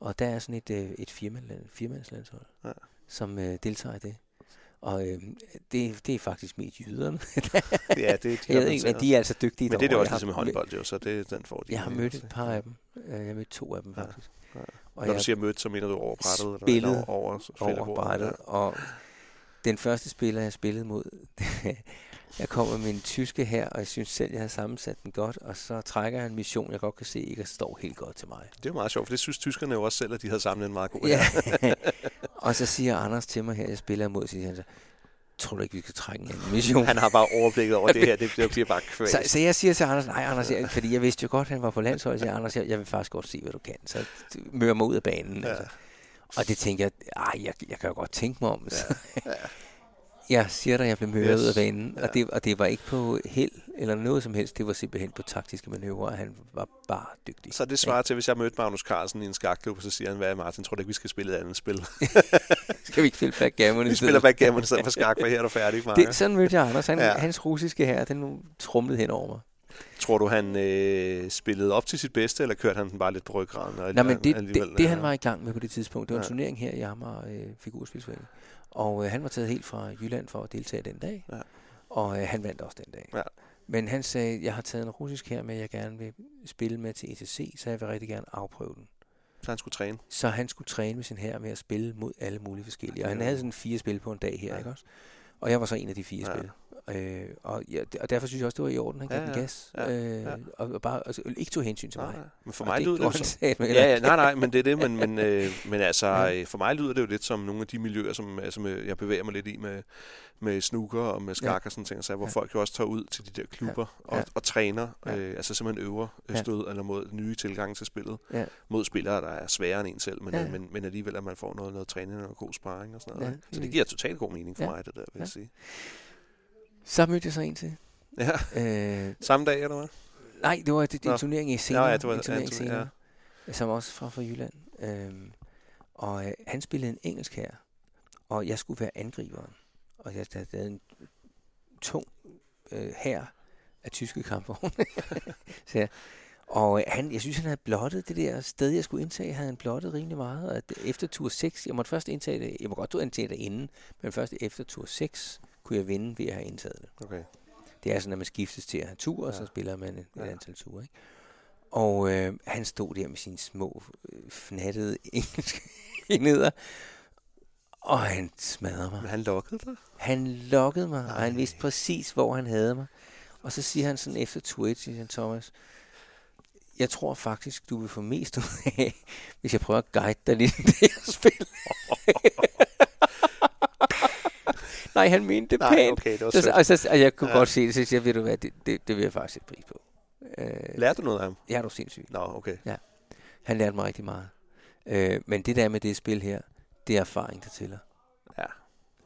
C: Og der er sådan et, øh, et firmaland, firmandslandshold,
B: Ja.
C: ja. som øh, deltager i det. Og øh, det, det er faktisk mest jyderne.
B: Ja, det er de
C: Jeg ved ikke, men de er altså dygtige.
B: Men det er det
C: derovre.
B: også
C: Jeg har-
B: ligesom i håndbold, jo, så det, den får de.
C: Jeg har
B: ikke
C: mødt
B: også,
C: et par af dem. Øh, Jeg mødte to af dem
B: altså, Ja.
C: faktisk.
B: Ja.
C: Og
B: Når
C: jeg
B: du siger mødt, så mener du over brættet? Eller,
C: spillet
B: eller over, over
C: over brættet. Og den første spiller, jeg spillede mod, jeg kom med min tyske her, og jeg synes selv, jeg havde sammensat den godt, og så trækker han en mission, jeg godt kan se, ikke står helt godt til mig.
B: Det er jo meget sjovt, for det synes tyskerne jo også selv, at de havde samlet en meget god
C: Ja. og så siger Anders til mig her, jeg spiller imod, siger han så, tror du ikke, vi skal trække en anden mission?
B: Han har bare overblikket over det her, det, det bliver bare kvæst.
C: Så, så jeg siger til Anders, nej Anders, jeg, fordi jeg vidste jo godt, han var på landsholdet, så jeg, siger, Anders, jeg, jeg vil faktisk godt se, hvad du kan. Så mører mig ud af banen. Ja. Altså. Og det tænker jeg, ej, jeg, jeg kan jo godt tænke mig om. Ja. jeg siger dig, jeg blev mødt
B: Yes.
C: yes. ud af banen,
B: Ja.
C: og, det, og det var ikke på held eller noget som helst, det var simpelthen på taktiske manøvrer, han var bare dygtig.
B: Så det svarer til, hvis jeg mødte Magnus Carlsen i en skakklub, og så siger han, hvad er Martin, tror du ikke, vi skal spille et andet spil?
C: Skal vi ikke spille backgammon? i
B: Vi
C: stedet?
B: spiller backgammon i stedet for skak, for her er du færdig, Mark.
C: Det, sådan mødte jeg Anders, han,
B: Ja.
C: ja. hans russiske her, den trumlede hen over mig.
B: Tror du, han øh, spillede op til sit bedste, eller kørte han den bare lidt på ryggraden? og
C: Nej, men det,
B: alligevel- øh,
C: det, det han var i gang med på det tidspunkt, det var en
B: Ja.
C: turnering her i Amager øh, Figurspilsforening. Og øh, han var taget helt fra Jylland for at deltage den dag.
B: Ja.
C: Og øh, han vandt også den dag.
B: Ja.
C: Men han sagde, jeg har taget en russisk her med, jeg gerne vil spille med til ETC, så jeg vil rigtig gerne afprøve den.
B: Så han skulle træne.
C: Så han skulle træne med sin her med at spille mod alle mulige forskellige. Og han havde sådan fire spil på en dag her,
B: Ja.
C: ja. ikke også? Og jeg var så en af de fire
B: Ja.
C: ja. spil. Øh, og, ja, og derfor synes jeg også, det var i orden, han gav
B: Ja,
C: ja, den
B: ja.
C: gas.
B: Ja,
C: Øh,
B: ja.
C: Og, og bare altså, ikke tog hensyn til
B: Nej,
C: mig.
B: nej. Men for
C: Og
B: mig
C: det
B: lyder det jo
C: gjorde
B: så-
C: han satme heller
B: Ja, ja, nej, nej, men det er det, men, men, øh, men altså, ja. for mig lyder det jo lidt som nogle af de miljøer, som altså, med, jeg bevæger mig lidt i med, med snooker og med skak ja.
C: Ja.
B: og sådan ting, så, hvor
C: Ja.
B: folk jo også tager ud til de der klubber ja.
C: Ja.
B: Og, og træner, ja.
C: Ja.
B: øh, altså simpelthen øver øh,
C: Ja.
B: stød eller mod nye tilgange til spillet,
C: Ja.
B: mod spillere, der er sværere end en selv, men,
C: Ja,
B: ja.
C: ja.
B: men, men alligevel, at man får noget, noget træning og noget god sparring og sådan noget.
C: Ja,
B: ikke? så det
C: præcis.
B: giver totalt god mening for ja.
C: Ja.
B: mig, det der, vil ja.
C: Ja.
B: jeg sige.
C: Så mødte jeg så en til.
B: Ja.
C: Øh,
B: Samme dag, eller hvad?
C: nej, det var det, det
B: Nå.
C: en turnering i senere.
B: ja, det var-
C: en turnering
B: ja,
C: ja,
B: en tur-
C: senere ja. Som også fra, fra Jylland. Øhm, og øh, han spillede en engelsk her. Og jeg skulle være angriberen. Og jeg havde lavet en tung øh, her af tyske kampvogne. Så jeg- og øh, han, jeg synes, han havde blottet det der sted, jeg skulle indtage, havde han blottet rimelig meget. Og at efter tur 6, jeg måtte først indtage det, jeg må godt indtage det inden, men først efter tur 6 kunne jeg vinde ved at have indtaget det.
B: Okay.
C: Det er sådan, at man skiftes til at have tur, og
B: Ja.
C: så spiller man et, et
B: Ja.
C: antal ture. Ikke? Og øh, han stod der med sine små, øh, fnattede engelske enheder, og han smadrede mig.
B: Men han lukkede dig?
C: Han lokkede mig, og
B: Ej.
C: han vidste præcis, hvor han havde mig. Og så siger han sådan efter Twitch, siger han, Thomas, jeg tror faktisk, du vil få mest ud af, hvis jeg prøver at guide dig lidt i det her spil. Nej, han mente det
B: Nej,
C: pænt.
B: okay, det var
C: Så-
B: sødt.
C: og, så, og jeg kunne
B: Ja.
C: ja. godt se det, så jeg ved du hvad, det, det, det vil jeg faktisk sætte pris på. Øh,
B: Lærte du noget af ham?
C: jeg er du sindssyg.
B: Nå, okay.
C: Han lærte mig rigtig meget. Øh, men det der med det spil her, det er erfaring, der tæller.
B: Ja.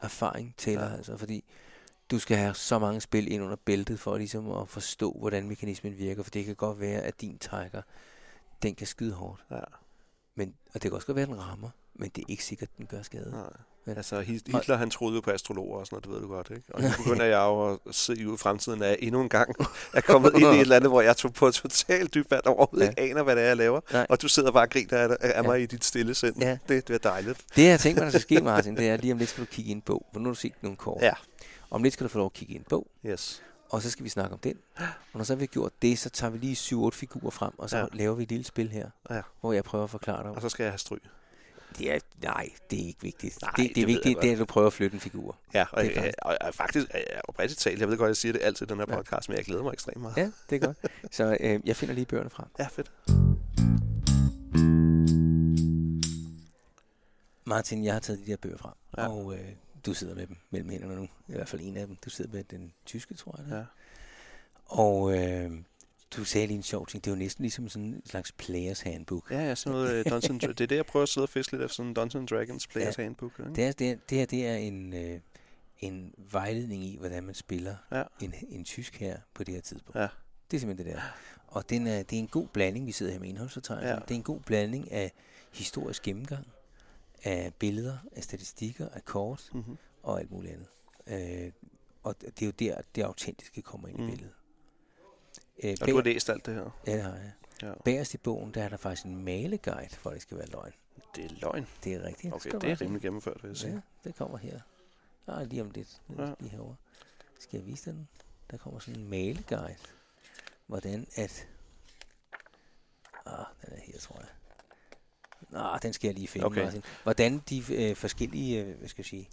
C: Erfaring tæller
B: Ja.
C: ja. altså, fordi du skal have så mange spil ind under bæltet for ligesom at forstå, hvordan mekanismen virker. For det kan godt være, at din tiger, den kan skyde hårdt.
B: Ja.
C: Men, og det kan også godt være, at den rammer, men det er ikke sikkert, at den gør skade. Ja.
B: Nej.
C: Men-
B: Altså, Hit- Hitler, han troede jo på astrologer og sådan noget, det ved du godt, ikke? Og nu begynder jeg jo at se ud i fremtiden, at jeg endnu en gang er kommet ind i et eller andet, hvor jeg tog på et totalt dybt vand og overhovedet
C: Ja.
B: ikke aner, hvad det er, jeg laver.
C: Nej.
B: Og du sidder bare og griner af, af
C: Ja.
B: mig i dit stille sind.
C: Ja.
B: Det, det er dejligt.
C: Det, jeg tænker mig, der skal ske, Martin, det er, lige om lidt skal du kigge i en bog. For nu har du set nogle kort.
B: Ja.
C: Om lidt skal du få lov at kigge i en bog,
B: Yes.
C: og så skal vi snakke om den. Og når så vi har gjort det, så tager vi lige 7-8 figurer frem, og så
B: Ja.
C: ja. laver vi et lille spil her,
B: Ja.
C: hvor jeg prøver at forklare dig.
B: Og så skal jeg have stryg.
C: Det er, nej, det er ikke vigtigt.
B: Nej,
C: det, det,
B: det
C: det
B: ved
C: er
B: jeg
C: vigtigt,
B: godt.
C: det er, at du prøver at flytte en figur.
B: Ja, og,
C: Det er
B: jeg, og, og faktisk, jeg er oprigtigt talt, jeg ved godt, jeg siger det altid i den her
C: Ja.
B: podcast, men jeg glæder mig ekstremt meget.
C: Ja, det er godt. Så øh, jeg finder lige bøgerne frem.
B: Ja, fedt.
C: Martin, jeg har taget de der bøger frem,
B: Ja.
C: ja. og øh, du sidder med dem mellem hænderne nu. I hvert fald en af dem. Du sidder med den tyske, tror jeg. det er.
B: Ja.
C: Og øh, du sagde lige en sjov ting. Det er jo næsten ligesom sådan en slags players handbook.
B: Ja, ja, sådan noget øh, Dungeons Det er det, jeg prøver at sidde og fiske lidt efter, sådan en Dungeons Dragons Players ja. Handbook. Ikke?
C: Det, er, det, er, det her det er en, øh, en vejledning i, hvordan man spiller
B: Ja.
C: en, en tysk her på det her tidspunkt.
B: Ja.
C: Det er simpelthen det der. Og den er, det er en god blanding, vi sidder her med indholdsfortegnelsen.
B: Ja.
C: Ja. Det er en god blanding af historisk gennemgang, af billeder, af statistikker, af kort
B: Mm-hmm.
C: og alt muligt andet. Øh, og det det er jo der, det autentiske kommer ind i
B: Mm.
C: billedet. Øh,
B: Og
C: bag-
B: du har læst alt det her.
C: Ja, det har jeg.
B: Ja.
C: Bagerst i bogen, der er der faktisk en maleguide, for at det skal være løgn.
B: Det er løgn.
C: Det er rigtigt.
B: Okay,
C: Skal
B: det
C: du
B: er rimelig gennemført, vil jeg sige.
C: Ja, det kommer her. Ah, lige om lidt.
B: Ja.
C: Ja. Lige herovre. Skal jeg vise dig den? Der kommer sådan en maleguide. Hvordan at... Ah, den er her, tror jeg. Nå, den skal jeg lige finde,
B: Okay.
C: okay. Martin. Hvordan de øh, forskellige, øh, hvad skal jeg sige,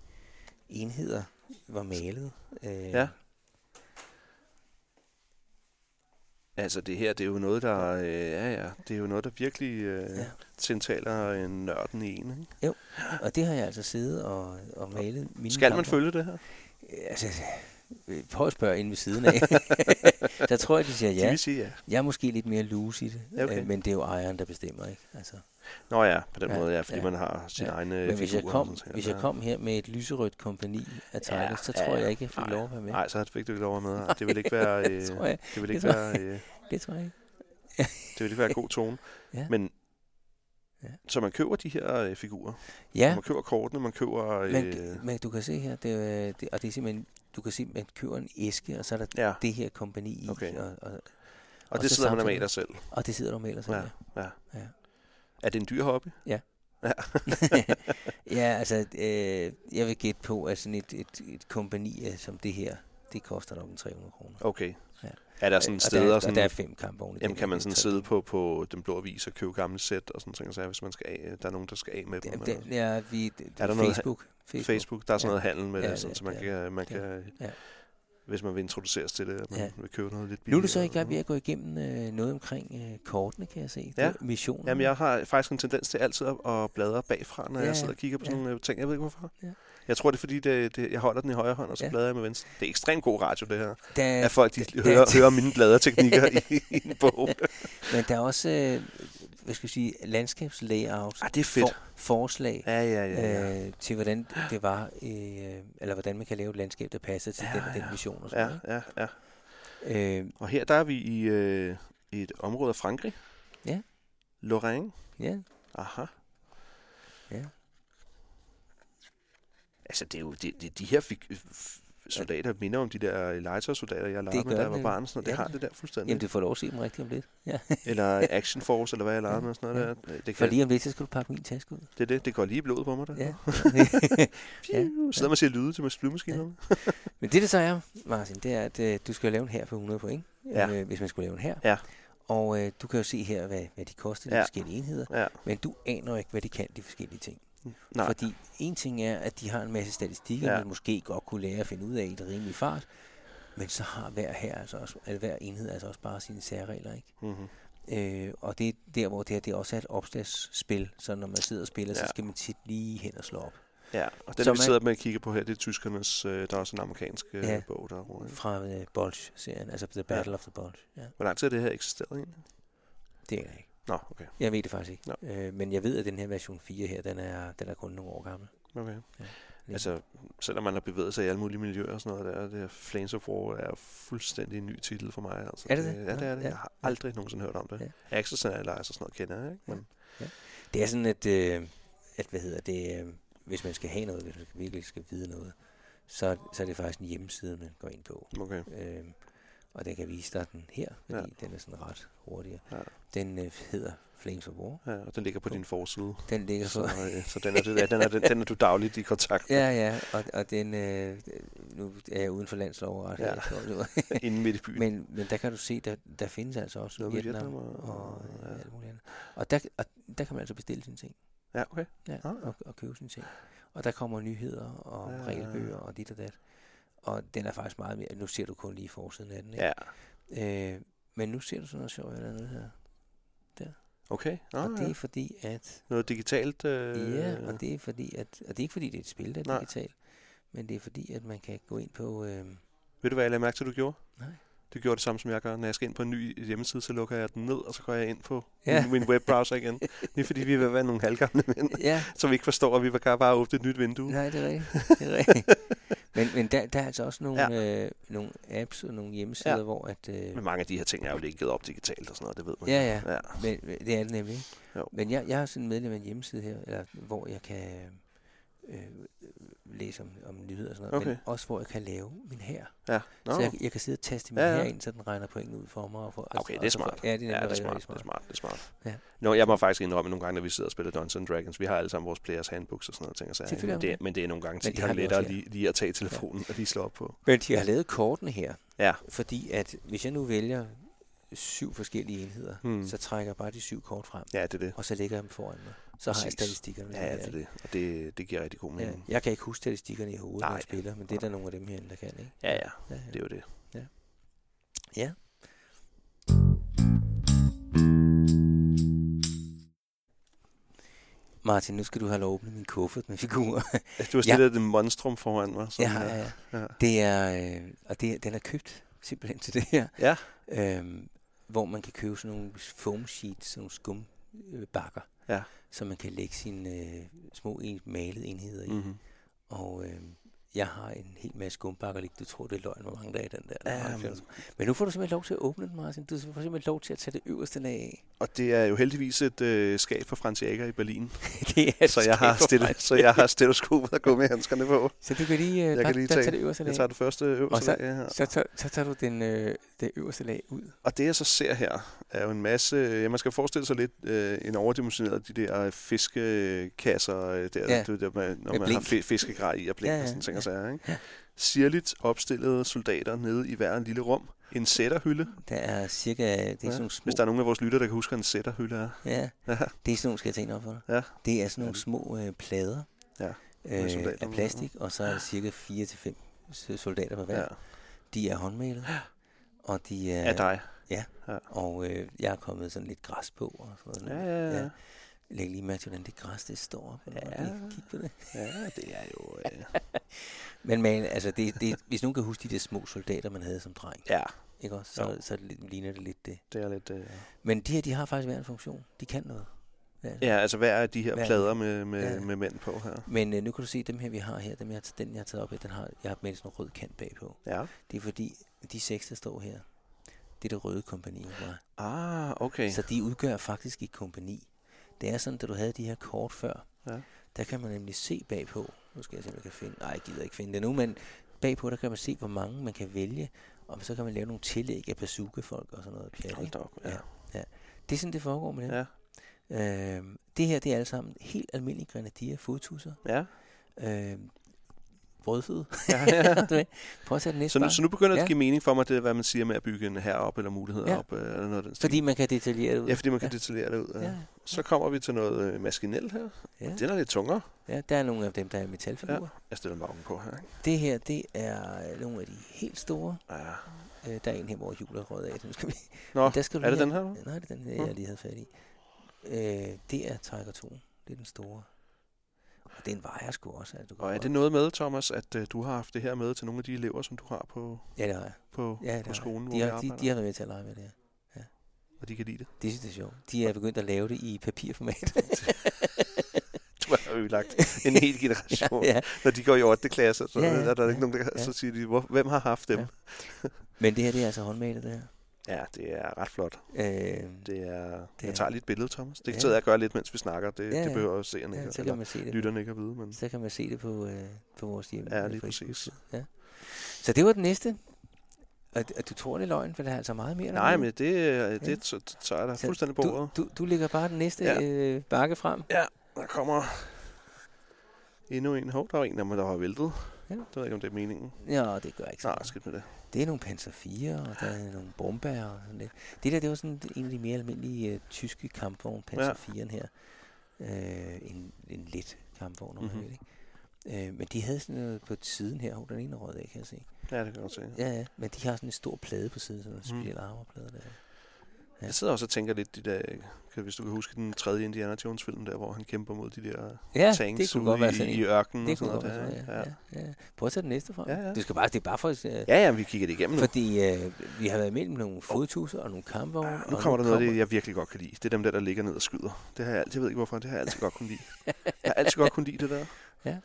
C: enheder var malet. Øh,
B: Ja. Altså det her, det er jo noget, der, øh, ja, ja, det er jo noget, der virkelig øh, ja.
C: Ja.
B: tiltaler en nørden i en. Ikke?
C: Og det har jeg altså siddet og, og malet mine
B: Skal man
C: kamper.
B: følge det her?
C: Øh, Altså, øh, prøv at spørge inde ved siden af. der tror jeg, de siger
B: De
C: ja.
B: vil sige ja.
C: Jeg er måske lidt mere loose i det,
B: Ja, okay.
C: øh, men det er jo ejeren, der bestemmer, ikke? Altså,
B: Nå ja, på den ja,
C: Ja,
B: måde, ja, fordi ja.
C: ja.
B: man har sine ja.
C: Ja.
B: egne
C: men hvis jeg,
B: figurer og
C: kom,
B: sådan ting,
C: hvis
B: ja.
C: jeg kom her med et lyserødt kompani af Tigers,
B: Ja,
C: ja, så
B: ja,
C: tror
B: ja.
C: jeg ikke, jeg fik
B: Nej,
C: lov at være med.
B: Nej, så fik du ikke lov at være med. Ej, Det vil ikke være, øh,
C: det, tror jeg,
B: det vil ikke
C: Det tror
B: være, øh,
C: det tror jeg ikke.
B: det vil ikke være god tone.
C: Ja.
B: Men
C: Ja.
B: så man køber de her øh, figurer.
C: Ja,
B: Man køber kortene, man køber... Øh,
C: men, men du kan se her, det, er- det, og det er simpelthen, du kan se, at man køber en æske, og så er der
B: ja,
C: det her kompani i,
B: Okay.
C: og, og,
B: og, og
C: og
B: det
C: så
B: sidder man og
C: samtidig-
B: maler selv.
C: og det sidder du med ellers.
B: Ja.
C: Ja.
B: Er det en dyr hobby?
C: ja, altså, øh, jeg vil gætte på, at sådan et, et, et kompani øh, som det her, det koster nok en 300 kroner.
B: Okay.
C: Ja.
B: Er der sådan
C: og
B: steder...
C: der, er-
B: sådan,
C: og der er fem kampe oven i
B: Jamen
C: den
B: kan
C: her,
B: man
C: det er
B: sådan
C: tre-
B: sidde på, på den blå avis og købe gamle sæt og sådan ting, så hvis man skal af, der er nogen, der skal af med dem.
C: Det,
B: Det,
C: det, ja, vi, det, det
B: Er
C: er
B: der
C: der
B: noget-
C: Facebook,
B: Facebook.
C: Facebook.
B: Facebook, der er
C: Ja.
B: sådan noget handel med
C: Ja,
B: det, sådan,
C: det-
B: så man
C: det
B: kan, man
C: det
B: kan
C: Ja.
B: hvis man vil introduceres til det, at man
C: Ja.
B: vil købe noget lidt
C: Nu
B: billigere.
C: er du så i
B: eller
C: gang med
B: sådan
C: at gå igennem øh, noget omkring øh, kortene, kan jeg se.
B: Ja.
C: Ja. Missionen.
B: noget. Jamen, jeg har faktisk en tendens til altid at, at bladre bagfra, når ja,
C: Ja,
B: jeg sidder og kigger på sådan
C: ja.
B: nogle øh, ting. Jeg ved ikke, hvorfor. Ja.
C: Ja.
B: Jeg tror, det er, fordi det, det, jeg holder den i højre hånd, og så ja.
C: Ja.
B: bladrer jeg med venstre. Det er ekstremt god radio, det her.
C: Der,
B: Ja, at folk de
C: der-
B: hører,
C: der-
B: hører mine bladreteknikker i, i en bog.
C: Men der er også, øh, hvad skal jeg sige, landskabslayout.
B: Ah, det er fedt.
C: For, forslag
B: Ja, ja, ja. ja.
C: øh, til, hvordan det var, øh, eller hvordan man kan lave et landskab, der passer til
B: Ja,
C: ja, den og
B: ja.
C: den mission. Og sådan,
B: Ja,
C: noget,
B: ja, ja.
C: ikke? Øh,
B: Og her der er vi i, øh, i et område af Frankrig.
C: Ja.
B: Lorraine.
C: ja,
B: Aha.
C: Ja.
B: Altså, det er jo, det, det, de her fik, øh, f- soldater minder om de der legetøjssoldater, jeg legede
C: Det
B: med, da
C: gør
B: jeg var
C: det.
B: barn. Sådan, noget. det
C: Ja,
B: har
C: det-
B: det der fuldstændig.
C: jamen du får lov at se dem rigtigt om lidt. Ja.
B: Eller Action Force, eller hvad jeg legede med. Sådan noget der. Det,
C: For
B: kan,
C: lige om lidt, så skal du pakke min taske ud.
B: det, er det, det går lige i blodet på mig der.
C: Ja.
B: Ja. Sidder man og siger lyde til med flyvemaskinerne?
C: Men det, det så er, Martin, det er, at øh, du skal jo lave en her for 100 point,
B: Ja.
C: øh, hvis man skulle lave en her.
B: Ja.
C: Og øh, du kan jo se her, hvad, hvad de koster, de
B: Ja.
C: ja. forskellige enheder.
B: Ja.
C: Men du aner jo ikke, hvad de kan, de forskellige ting.
B: Nej.
C: Fordi en ting er, at de har en masse statistikker,
B: Ja.
C: ja. man måske godt kunne lære at finde ud af i et rimeligt fart. Men så har hver her, altså også, eller hver enhed altså også bare sine særregler, ikke?
B: Mm-hmm.
C: Øh, og det er der, hvor det her det også er et opslagsspil, så når man sidder og spiller, ja.
B: Ja.
C: så skal man tit lige hen og slå op.
B: Ja, og den,
C: Så
B: vi
C: man-
B: sidder med og kigger på her, det er tyskernes, øh, der er også en amerikansk øh,
C: Ja.
B: ja. bog, der er over.
C: Fra øh, Bulge-serien, altså The Battle ja. of the Bulge. Ja,
B: Hvor lang tid har det her eksisteret egentlig?
C: det er jeg ikke.
B: Nå, okay.
C: Jeg ved det faktisk ikke.
B: Nå.
C: Øh, men jeg ved, at den her version 4 her, den er, den er kun nogle år gammel.
B: okay.
C: Ja.
B: Ja. Altså, selvom man har bevæget sig i alle mulige miljøer og sådan noget, der, det her Flames of War er fuldstændig en ny titel for mig. Altså,
C: Er det det?
B: Ja,
C: Nå,
B: det er det.
C: ja.
B: Jeg har aldrig nogensinde hørt om det.
C: Ja.
B: Ja. Access Analyze og sådan noget kender jeg, ikke? Men,
C: Det er sådan, at, øh, at hvad hedder det, øh, hvis man skal have noget, hvis man skal virkelig skal vide noget, så, så er det faktisk en hjemmeside, man går ind på.
B: okay.
C: Øh, og den kan vise dig den her, fordi ja.
B: Ja.
C: den er sådan ret hurtigere. Ja.
B: Ja.
C: Den øh, hedder Flames of War.
B: Ja, og den ligger på din forside.
C: Den ligger
B: Så,
C: så...
B: øh, så den, er, du- ja, den, er, den, den er du dagligt i kontakt med,
C: Ja, ja, og, og den, øh, nu er jeg uden for landslov ret
B: Ja.
C: ja.
B: ja. inden midt i byen.
C: men, men der kan du se, der, der findes altså også
B: Noget med
C: Vietnam,
B: Vietnam
C: og,
B: og-
C: og ja.
B: ja.
C: alt muligt andet. Og der, og der kan man altså bestille sine ting,
B: Ja, okay.
C: ja,
B: Ah.
C: og, og købe sine ting. Og der kommer nyheder og ja.
B: Ja.
C: regelbøger og dit og dat. Og den er faktisk meget mere, nu ser du kun lige forsiden af den, ikke?
B: Ja,
C: Ja. Øh, men nu ser du sådan noget sjovt eller andet her.
B: okay.
C: Og
B: Ah,
C: det
B: ja.
C: er fordi, at
B: Noget digitalt. Øh,
C: Ja, og det er fordi, at, og det er ikke fordi, det er et spil, der er
B: Nej.
C: digitalt, men det er fordi, at man kan gå ind på... Øh,
B: Ved du, hvad jeg lagde mærke til, du gjorde?
C: Nej.
B: Du gjorde det samme, som jeg gør. Når jeg skal ind på en ny hjemmeside, så lukker jeg den ned, og så går jeg ind på
C: Ja.
B: ja. min, min webbrowser igen. Lige fordi vi vil være nogle halvgamle mænd,
C: ja,
B: som ikke forstår, at vi bare bare åbne et nyt vindue.
C: nej, det er rigtigt. Det er rigtigt. men men der, der er altså også nogle, ja. øh, nogle apps og nogle hjemmesider, ja.
B: Ja.
C: hvor at... Øh,
B: Men mange af de her ting er jo ligget op digitalt og sådan noget, det ved man.
C: Ja, ja.
B: ja.
C: men, men det er det nemlig. ikke?
B: Jo.
C: Men jeg, jeg er sådan medlem af en hjemmeside her, eller, hvor jeg kan øh, øh, læse om, om nyheder og sådan noget, men
B: Okay.
C: også hvor jeg kan lave min her.
B: ja. Nå.
C: Så jeg, jeg kan sidde og taste min
B: Ja,
C: ja,
B: ja.
C: her ind, så den regner point ud for mig. Og for,
B: Okay,
C: og
B: det er
C: så for-
B: smart.
C: Ja, det er,
B: Ja,
C: nemlig
B: det er
C: rigtig,
B: smart,
C: rigtig
B: det er smart, det er smart.
C: Ja.
B: Nå, jeg må faktisk indrømme nogle gange, når vi sidder og spiller Dungeons and Dragons, vi har alle sammen vores players handbooks og sådan noget, ting og sager,
C: Selvfølgelig
B: men,
C: har vi
B: det, men det er nogle gange
C: det har
B: tit
C: vi
B: lettere
C: også, ja.
B: lige, lige at tage telefonen og lige slå op på.
C: Men de har lavet kortene her,
B: Ja.
C: fordi at hvis jeg nu vælger syv forskellige enheder,
B: Hmm.
C: så trækker jeg bare de syv kort frem,
B: Ja, det er det.
C: og så lægger jeg dem foran mig. Så har jeg
B: Præcis.
C: statistikkerne.
B: Ja, det er det. Og det, det giver rigtig god
C: Ja.
B: mening.
C: Jeg kan ikke huske statistikkerne i hovedet, når
B: Nej.
C: jeg spiller, men det er der nogle af dem herinde, der kan, ikke?
B: Ja, ja.
C: ja, ja.
B: Det er jo det.
C: ja. Martin, nu skal du have lov at åbne min kuffert med figurer.
B: Altså, Du har stillet ja. et monstrum foran mig.
C: Ja,
B: sådan her.
C: ja, ja.
B: Ja.
C: Det er, øh, og det, er- den er købt simpelthen til det her.
B: Ja.
C: Øhm, hvor man kan købe sådan nogle foam sheets, sådan nogle skumbakker,
B: Ja.
C: som man kan lægge sine øh, små en, malede enheder i. Mm.
B: Mm-hmm.
C: Og øh, jeg har en hel masse skumbakker liggende. Du tror, det er løgn, hvor mange der er i den der. Der er
B: Ja,
C: mange
B: men-
C: flere. men nu får du simpelthen lov til at åbne den, Martin. Du får simpelthen lov til at tage det øverste lag af.
B: Og det er jo heldigvis et øh, skab for Franz Jæger i Berlin,
C: det er
B: så jeg, har
C: skægt for mig.
B: stille, så jeg har stetoskopet og gummihandskerne på.
C: Så du kan lige, øh,
B: Jeg
C: der,
B: kan lige
C: der
B: tage-
C: tage det øverste lag.
B: Jeg tager det første
C: Og
B: øvelse.
C: så-
B: Så, ja.
C: Så, tager, så tager du den, øh, det øverste lag ud.
B: Og det jeg så ser her, er jo en masse... Ja, man skal forestille sig lidt øh, en overdimensioneret af de der fiskekasser, øh, der,
C: Ja.
B: ja. det, der man, når
C: Med
B: man har
C: blink.
B: fi- fiskegrej i og blink
C: Ja,
B: ja,
C: ja,
B: og sådan ting
C: ja.
B: og sager. Ikke?
C: Ja.
B: Sirligt opstillede soldater nede i hver en lille rum. En sætterhylde.
C: Der er cirka, det er ja, sådan nogle små
B: Hvis der er nogen af vores lytter, der kan huske, hvad en sætterhylde er.
C: Ja,
B: Ja.
C: det er sådan nogle, skal jeg tænke op for dig.
B: Ja.
C: Det er sådan nogle
B: Ja.
C: små øh, plader
B: Ja, med
C: øh,
B: soldater
C: af
B: på.
C: plastik, og så er der cirka 4-5 soldater på hver.
B: Ja.
C: Ja. De er håndmalede, og de er...
B: Af dig.
C: og øh, jeg er kommet sådan lidt græs på, og sådan
B: Ja,
C: noget.
B: ja, ja.
C: Ja. Læg lige mærke til, hvordan det græs, det står op.
B: Ja.
C: Ja. Kig på det.
B: Ja, det er jo... Øh,
C: Men man, altså, det, det, hvis nogen kan huske de der små soldater, man havde som dreng,
B: ja,
C: ikke også? Så,
B: Jo.
C: så ligner det lidt det.
B: det er lidt... Øh,
C: Men de her, de har faktisk hver en funktion. De kan noget. Ja.
B: ja, altså hvad er de her
C: Hvad er
B: plader med, med,
C: Ja.
B: med mænd på her?
C: Men øh, nu kan du se, dem her, vi har her, dem, jeg, har- den, jeg har taget op her, den har, jeg har med sådan en rød kant bagpå.
B: Ja.
C: Det er fordi, de seks, der står her, det er det røde kompani. Var.
B: Ah, okay.
C: Så de udgør faktisk et kompani. Det er sådan, da du havde de her kort før,
B: Ja.
C: der kan man nemlig se bagpå. Nu skal jeg se, om jeg kan finde. Nej, jeg gider ikke finde det nu, men bagpå, der kan man se, hvor mange man kan vælge. Og så kan man lave nogle tillæg af bazookafolk og sådan noget. Pjat,
B: Hold
C: ikke?
B: da op. Ja.
C: det er sådan, det foregår med det.
B: Ja.
C: Ja. Øhm, det her, det er alle sammen helt almindelige grenadier, fodtusser.
B: ja.
C: Øh, brødføde.
B: Ja, ja.
C: Du ved, Prøv at sætte den næste
B: Så nu,
C: bar.
B: så nu begynder det
C: Ja.
B: at give mening for mig, det er, hvad man siger med at bygge en her op eller muligheder
C: Ja.
B: ja. op. øh, Eller noget af den stil.
C: Fordi man kan detaljere det ud.
B: ja, fordi man kan ja. detaljere det ud. Ja.
C: ja.
B: Så kommer vi til noget øh, maskinel her.
C: ja.
B: Den er lidt tungere.
C: ja, der er nogle af dem, der er metalfigurer.
B: Jeg stiller magen på her. Ikke?
C: Det her, det er øh, nogle af de helt store.
B: Ja.
C: Øh, der er en her, hvor hjulet er røget af. Den skal vi...
B: Nå,
C: der skal du
B: er
C: lige
B: det den
C: have-
B: her? nu?
C: Nej, det er den her, jeg lige havde fat i. Øh, det er Tiger 2. Det er den store. Og den vejer sgu også. Altså, du kan
B: Og er
C: godt-
B: det noget med, Thomas, at øh, du har haft det her med til nogle af de elever, som du har på,
C: Ja, det har jeg.
B: på,
C: Ja, det
B: på
C: har
B: skolen,
C: jeg.
B: hvor
C: De har, de,
B: vi arbejder,
C: de har været med til at lege med det her.
B: og de kan lide det?
C: Det synes jeg er sjovt. De er begyndt at lave det i papirformat.
B: Du har ødelagt en hel generation. ja, ja.
C: ja.
B: Når de går i 8. klasse, så
C: Ja,
B: ja,
C: ja,
B: ja, er der
C: ja,
B: ikke nogen, der
C: ja.
B: ja. så siger de, hvor, hvem har haft dem?
C: Ja.
B: Ja.
C: Men det her, det er altså håndmalet, det her.
B: ja, det er ret flot.
C: Øh,
B: Det er,
C: Det
B: det
C: er-
B: jeg tager lige et billede, Thomas. Det
C: Ja.
B: kan sidde jeg og gøre lidt, mens vi snakker. Det,
C: Ja,
B: ja,
C: ja.
B: det behøver jo seerne
C: ja,
B: ikke,
C: så kan
B: eller
C: man se det.
B: lytterne ikke at vide. Men
C: Så kan man se det på, øh, på vores hjemme.
B: ja, lige præcis.
C: Så det var den næste. Og, og du tror, det er løgn, for der er altså meget mere.
B: Nej,
C: dernede.
B: men det, øh,
C: Ja.
B: det t- t- tager jeg
C: Så
B: da fuldstændig på
C: du,
B: ordet.
C: du, du lægger bare den næste ja.
B: Ja.
C: øh, bakke frem.
B: Der kommer endnu en. Hov, der var en af dem, der var væltet.
C: Ja.
B: Ja. Det ved jeg ikke, om det er meningen.
C: Ja, det gør ikke så
B: Nej,
C: meget.
B: skidt med det.
C: Det er nogle Panzer 4, og der er nogle bomber og sådan lidt. Det der, det var sådan en af de mere almindelige øh, tyske kampvogne, Panzer
B: Ja.
C: 4'en her. Øh, en, en let kampvogn, om man
B: Mhm.
C: vil, ikke? Øh, men de havde sådan noget på siden her. Hov, den ene er røget af, kan jeg se.
B: Ja, det kan jeg godt se.
C: Ja, ja, men de har sådan en stor plade på siden, sådan en
B: Mhm.
C: speciel armorplade der. Ja.
B: Jeg sidder også og tænker lidt de der, kan, hvis du kan huske den tredje Indiana Jones film der, hvor han kæmper mod de der
C: Ja,
B: tanks
C: det kunne
B: ude
C: godt være
B: i,
C: sådan en.
B: i ørkenen
C: Det
B: og
C: kunne
B: sådan
C: godt
B: noget.
C: være
B: Der,
C: sådan,
B: ikke?
C: ja,
B: ja.
C: ja, ja. Prøv at tage den næste frem.
B: Ja, ja.
C: Du skal bare, det er bare for, øh,
B: Ja, ja, vi kigger det igennem nu.
C: Fordi øh, vi har været mellem nogle fodtusser og nogle kampvogne.
B: Ah, Nu kommer der noget af det, jeg virkelig godt kan lide. Det er dem der, der ligger ned og skyder. Det har jeg altid, jeg ved ikke hvorfor, det har jeg altid godt kunne lide. Jeg har altid godt kunne lide det der.
C: Ja.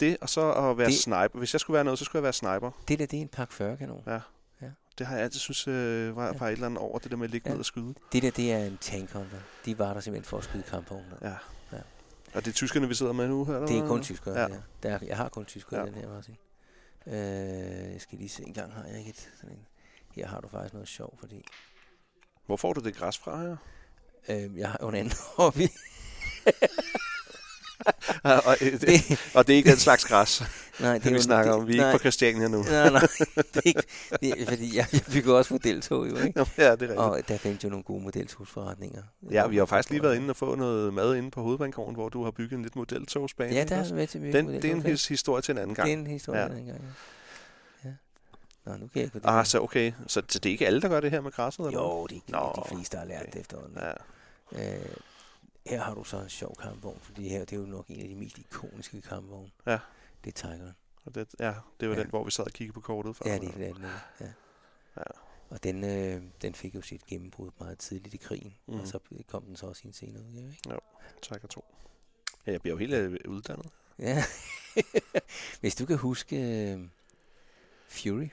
B: Det, og så at være
C: Det-
B: det. sniper. Hvis jeg skulle være noget, så skulle jeg være sniper.
C: Det der, det er en pakke 40 kanon.
B: Det har jeg altid synes øh, var,
C: Ja.
B: var et eller andet over, det der med at ligge
C: Ja.
B: ja. ned og skyde.
C: Det der, det er en tankhunter. De var der simpelthen for at skyde kampvogne. med.
B: Ja. Og det er tyskerne, vi sidder med nu, eller?
C: Det er kun tyskere, ja.
B: Ja.
C: der. der. Jeg har kun tyskere, ja.
B: Ja.
C: den her, Martin. Øh, jeg skal lige se, en gang har jeg ikke et sådan en. Her har du faktisk noget sjov, fordi
B: Hvor får du det græs fra her?
C: øh, jeg har jo en anden hobby.
B: og, øh, det, og det er ikke den slags græs,
C: Nej,
B: det, vi
C: jo-
B: snakker om. Vi er
C: nej,
B: ikke på Christiania nu.
C: Nej, nej, det er ikke, det er, fordi jeg, jeg bygger også modeltog, jo, ikke?
B: Nå, ja, det er rigtigt.
C: Og der findes jo nogle gode modeltogsforretninger.
B: Ja, vi har faktisk lige været inde og få noget mad inde på Hovedbanegården, hvor du har bygget en lidt modeltogsbane.
C: Ja,
B: ikke
C: der har
B: også?
C: jeg været til mye
B: den, det er en
C: modeltog.
B: his- historie til en anden gang.
C: Det er en historie, ja.
B: Ja.
C: dengang, ja. ja. Nå, nu kan jeg ikke på det.
B: Ah, så okay. Så, så det er ikke alle, der gør det her med græsset? Eller? hvad?
C: Jo, det er Nå,
B: Nå,
C: de fleste, der har lært
B: okay.
C: det efterhånden.
B: Ja.
C: Ja. Øh, her har du så en sjov kampvogn, for det her det er jo nok en af de mest ikoniske kampvogne.
B: Ja.
C: Det er Tigeren.
B: Og det, ja, det var
C: Ja.
B: ja. den, hvor vi sad og kiggede på kortet før.
C: Ja, det er det. andet, Ja.
B: Ja.
C: Og den, øh, den fik jo sit gennembrud meget tidligt i krigen, mm.
B: Mhm.
C: og så kom den så også i en senere udgave, ikke?
B: Tak og to. Ja, jeg bliver jo helt øh, uddannet.
C: Ja. Hvis du kan huske øh, Fury.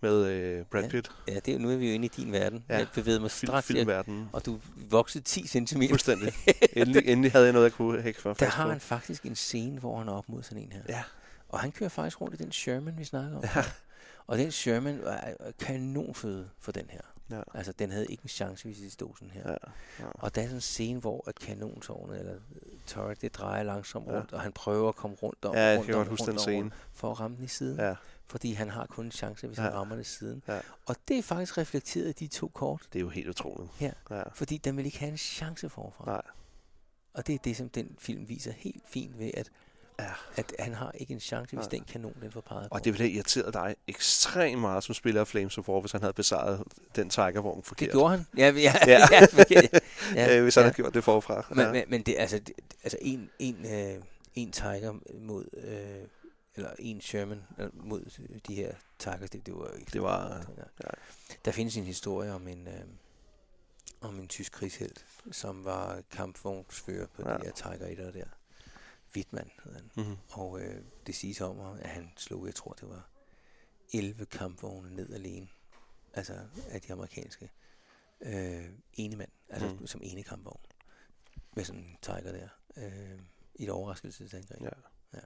B: Med øh, Brad
C: Ja.
B: Pitt,
C: Ja, det er, jo- nu er vi jo inde i din verden.
B: Ja.
C: Jeg bevæger mig
B: film,
C: straks. jeg,
B: filmverdenen.
C: og du voksede 10 cm.
B: Fuldstændig. Endelig, endelig havde jeg noget, jeg kunne hække for.
C: Der har han faktisk en scene, hvor han er op mod sådan en her.
B: Ja.
C: Og han kører faktisk rundt i den Sherman, vi snakker om.
B: Ja.
C: Og den Sherman var var kanonføde for den her.
B: Ja.
C: Altså, den havde ikke en chance, hvis de stod sådan her.
B: Ja. ja.
C: Og der er sådan en scene, hvor at kanontårnet, eller øh, turret, det drejer langsomt
B: Ja.
C: rundt, og han prøver at komme rundt om,
B: Ja, jeg
C: rundt
B: kan
C: om,
B: godt huske
C: rundt
B: den
C: om,
B: scene.
C: rundt, for at ramme den i siden.
B: Ja,
C: Fordi han har kun en chance, hvis han
B: Ja.
C: rammer det i siden.
B: Ja.
C: Og det er faktisk reflekteret i de to kort,
B: det er jo helt utroligt.
C: Ja.
B: ja.
C: fordi den vil ikke have en chance forfra.
B: Nej.
C: Og det er det, som den film viser helt fint ved, at, ja.
B: Ja.
C: at han har ikke en chance, hvis
B: Nej.
C: den kanon, den får peget
B: Og
C: på.
B: det ville have irriteret dig ekstremt meget som spiller af Flames of War, hvis han havde besejret den Tigervogn forkert.
C: det gjorde han. Ja, ja, ja.
B: Ja.
C: ja, forkert. ja,
B: øh, hvis han havde gjort det forfra.
C: Men,
B: ja.
C: men, men det, altså, det, altså en, en, øh, en tiger mod, øh, eller en Sherman øh, mod de her tigers, det, det var jo ikke...
B: Det var-
C: ja. Der findes en historie om en, øh, om en tysk krigshelt, som var kampvognsfører på ja.
B: Ja.
C: de her tiger etter der. Wittmann hed han.
B: Mm-hmm.
C: Og øh, det siges om ham, at han slog, jeg tror det var 11 kampvogne ned alene. Altså af de amerikanske. Øh, ene mand, altså mm.
B: Mm.
C: som ene kampvogn. Med sådan en tiger der. Øh, I et overraskelsesangreb.
B: Ja.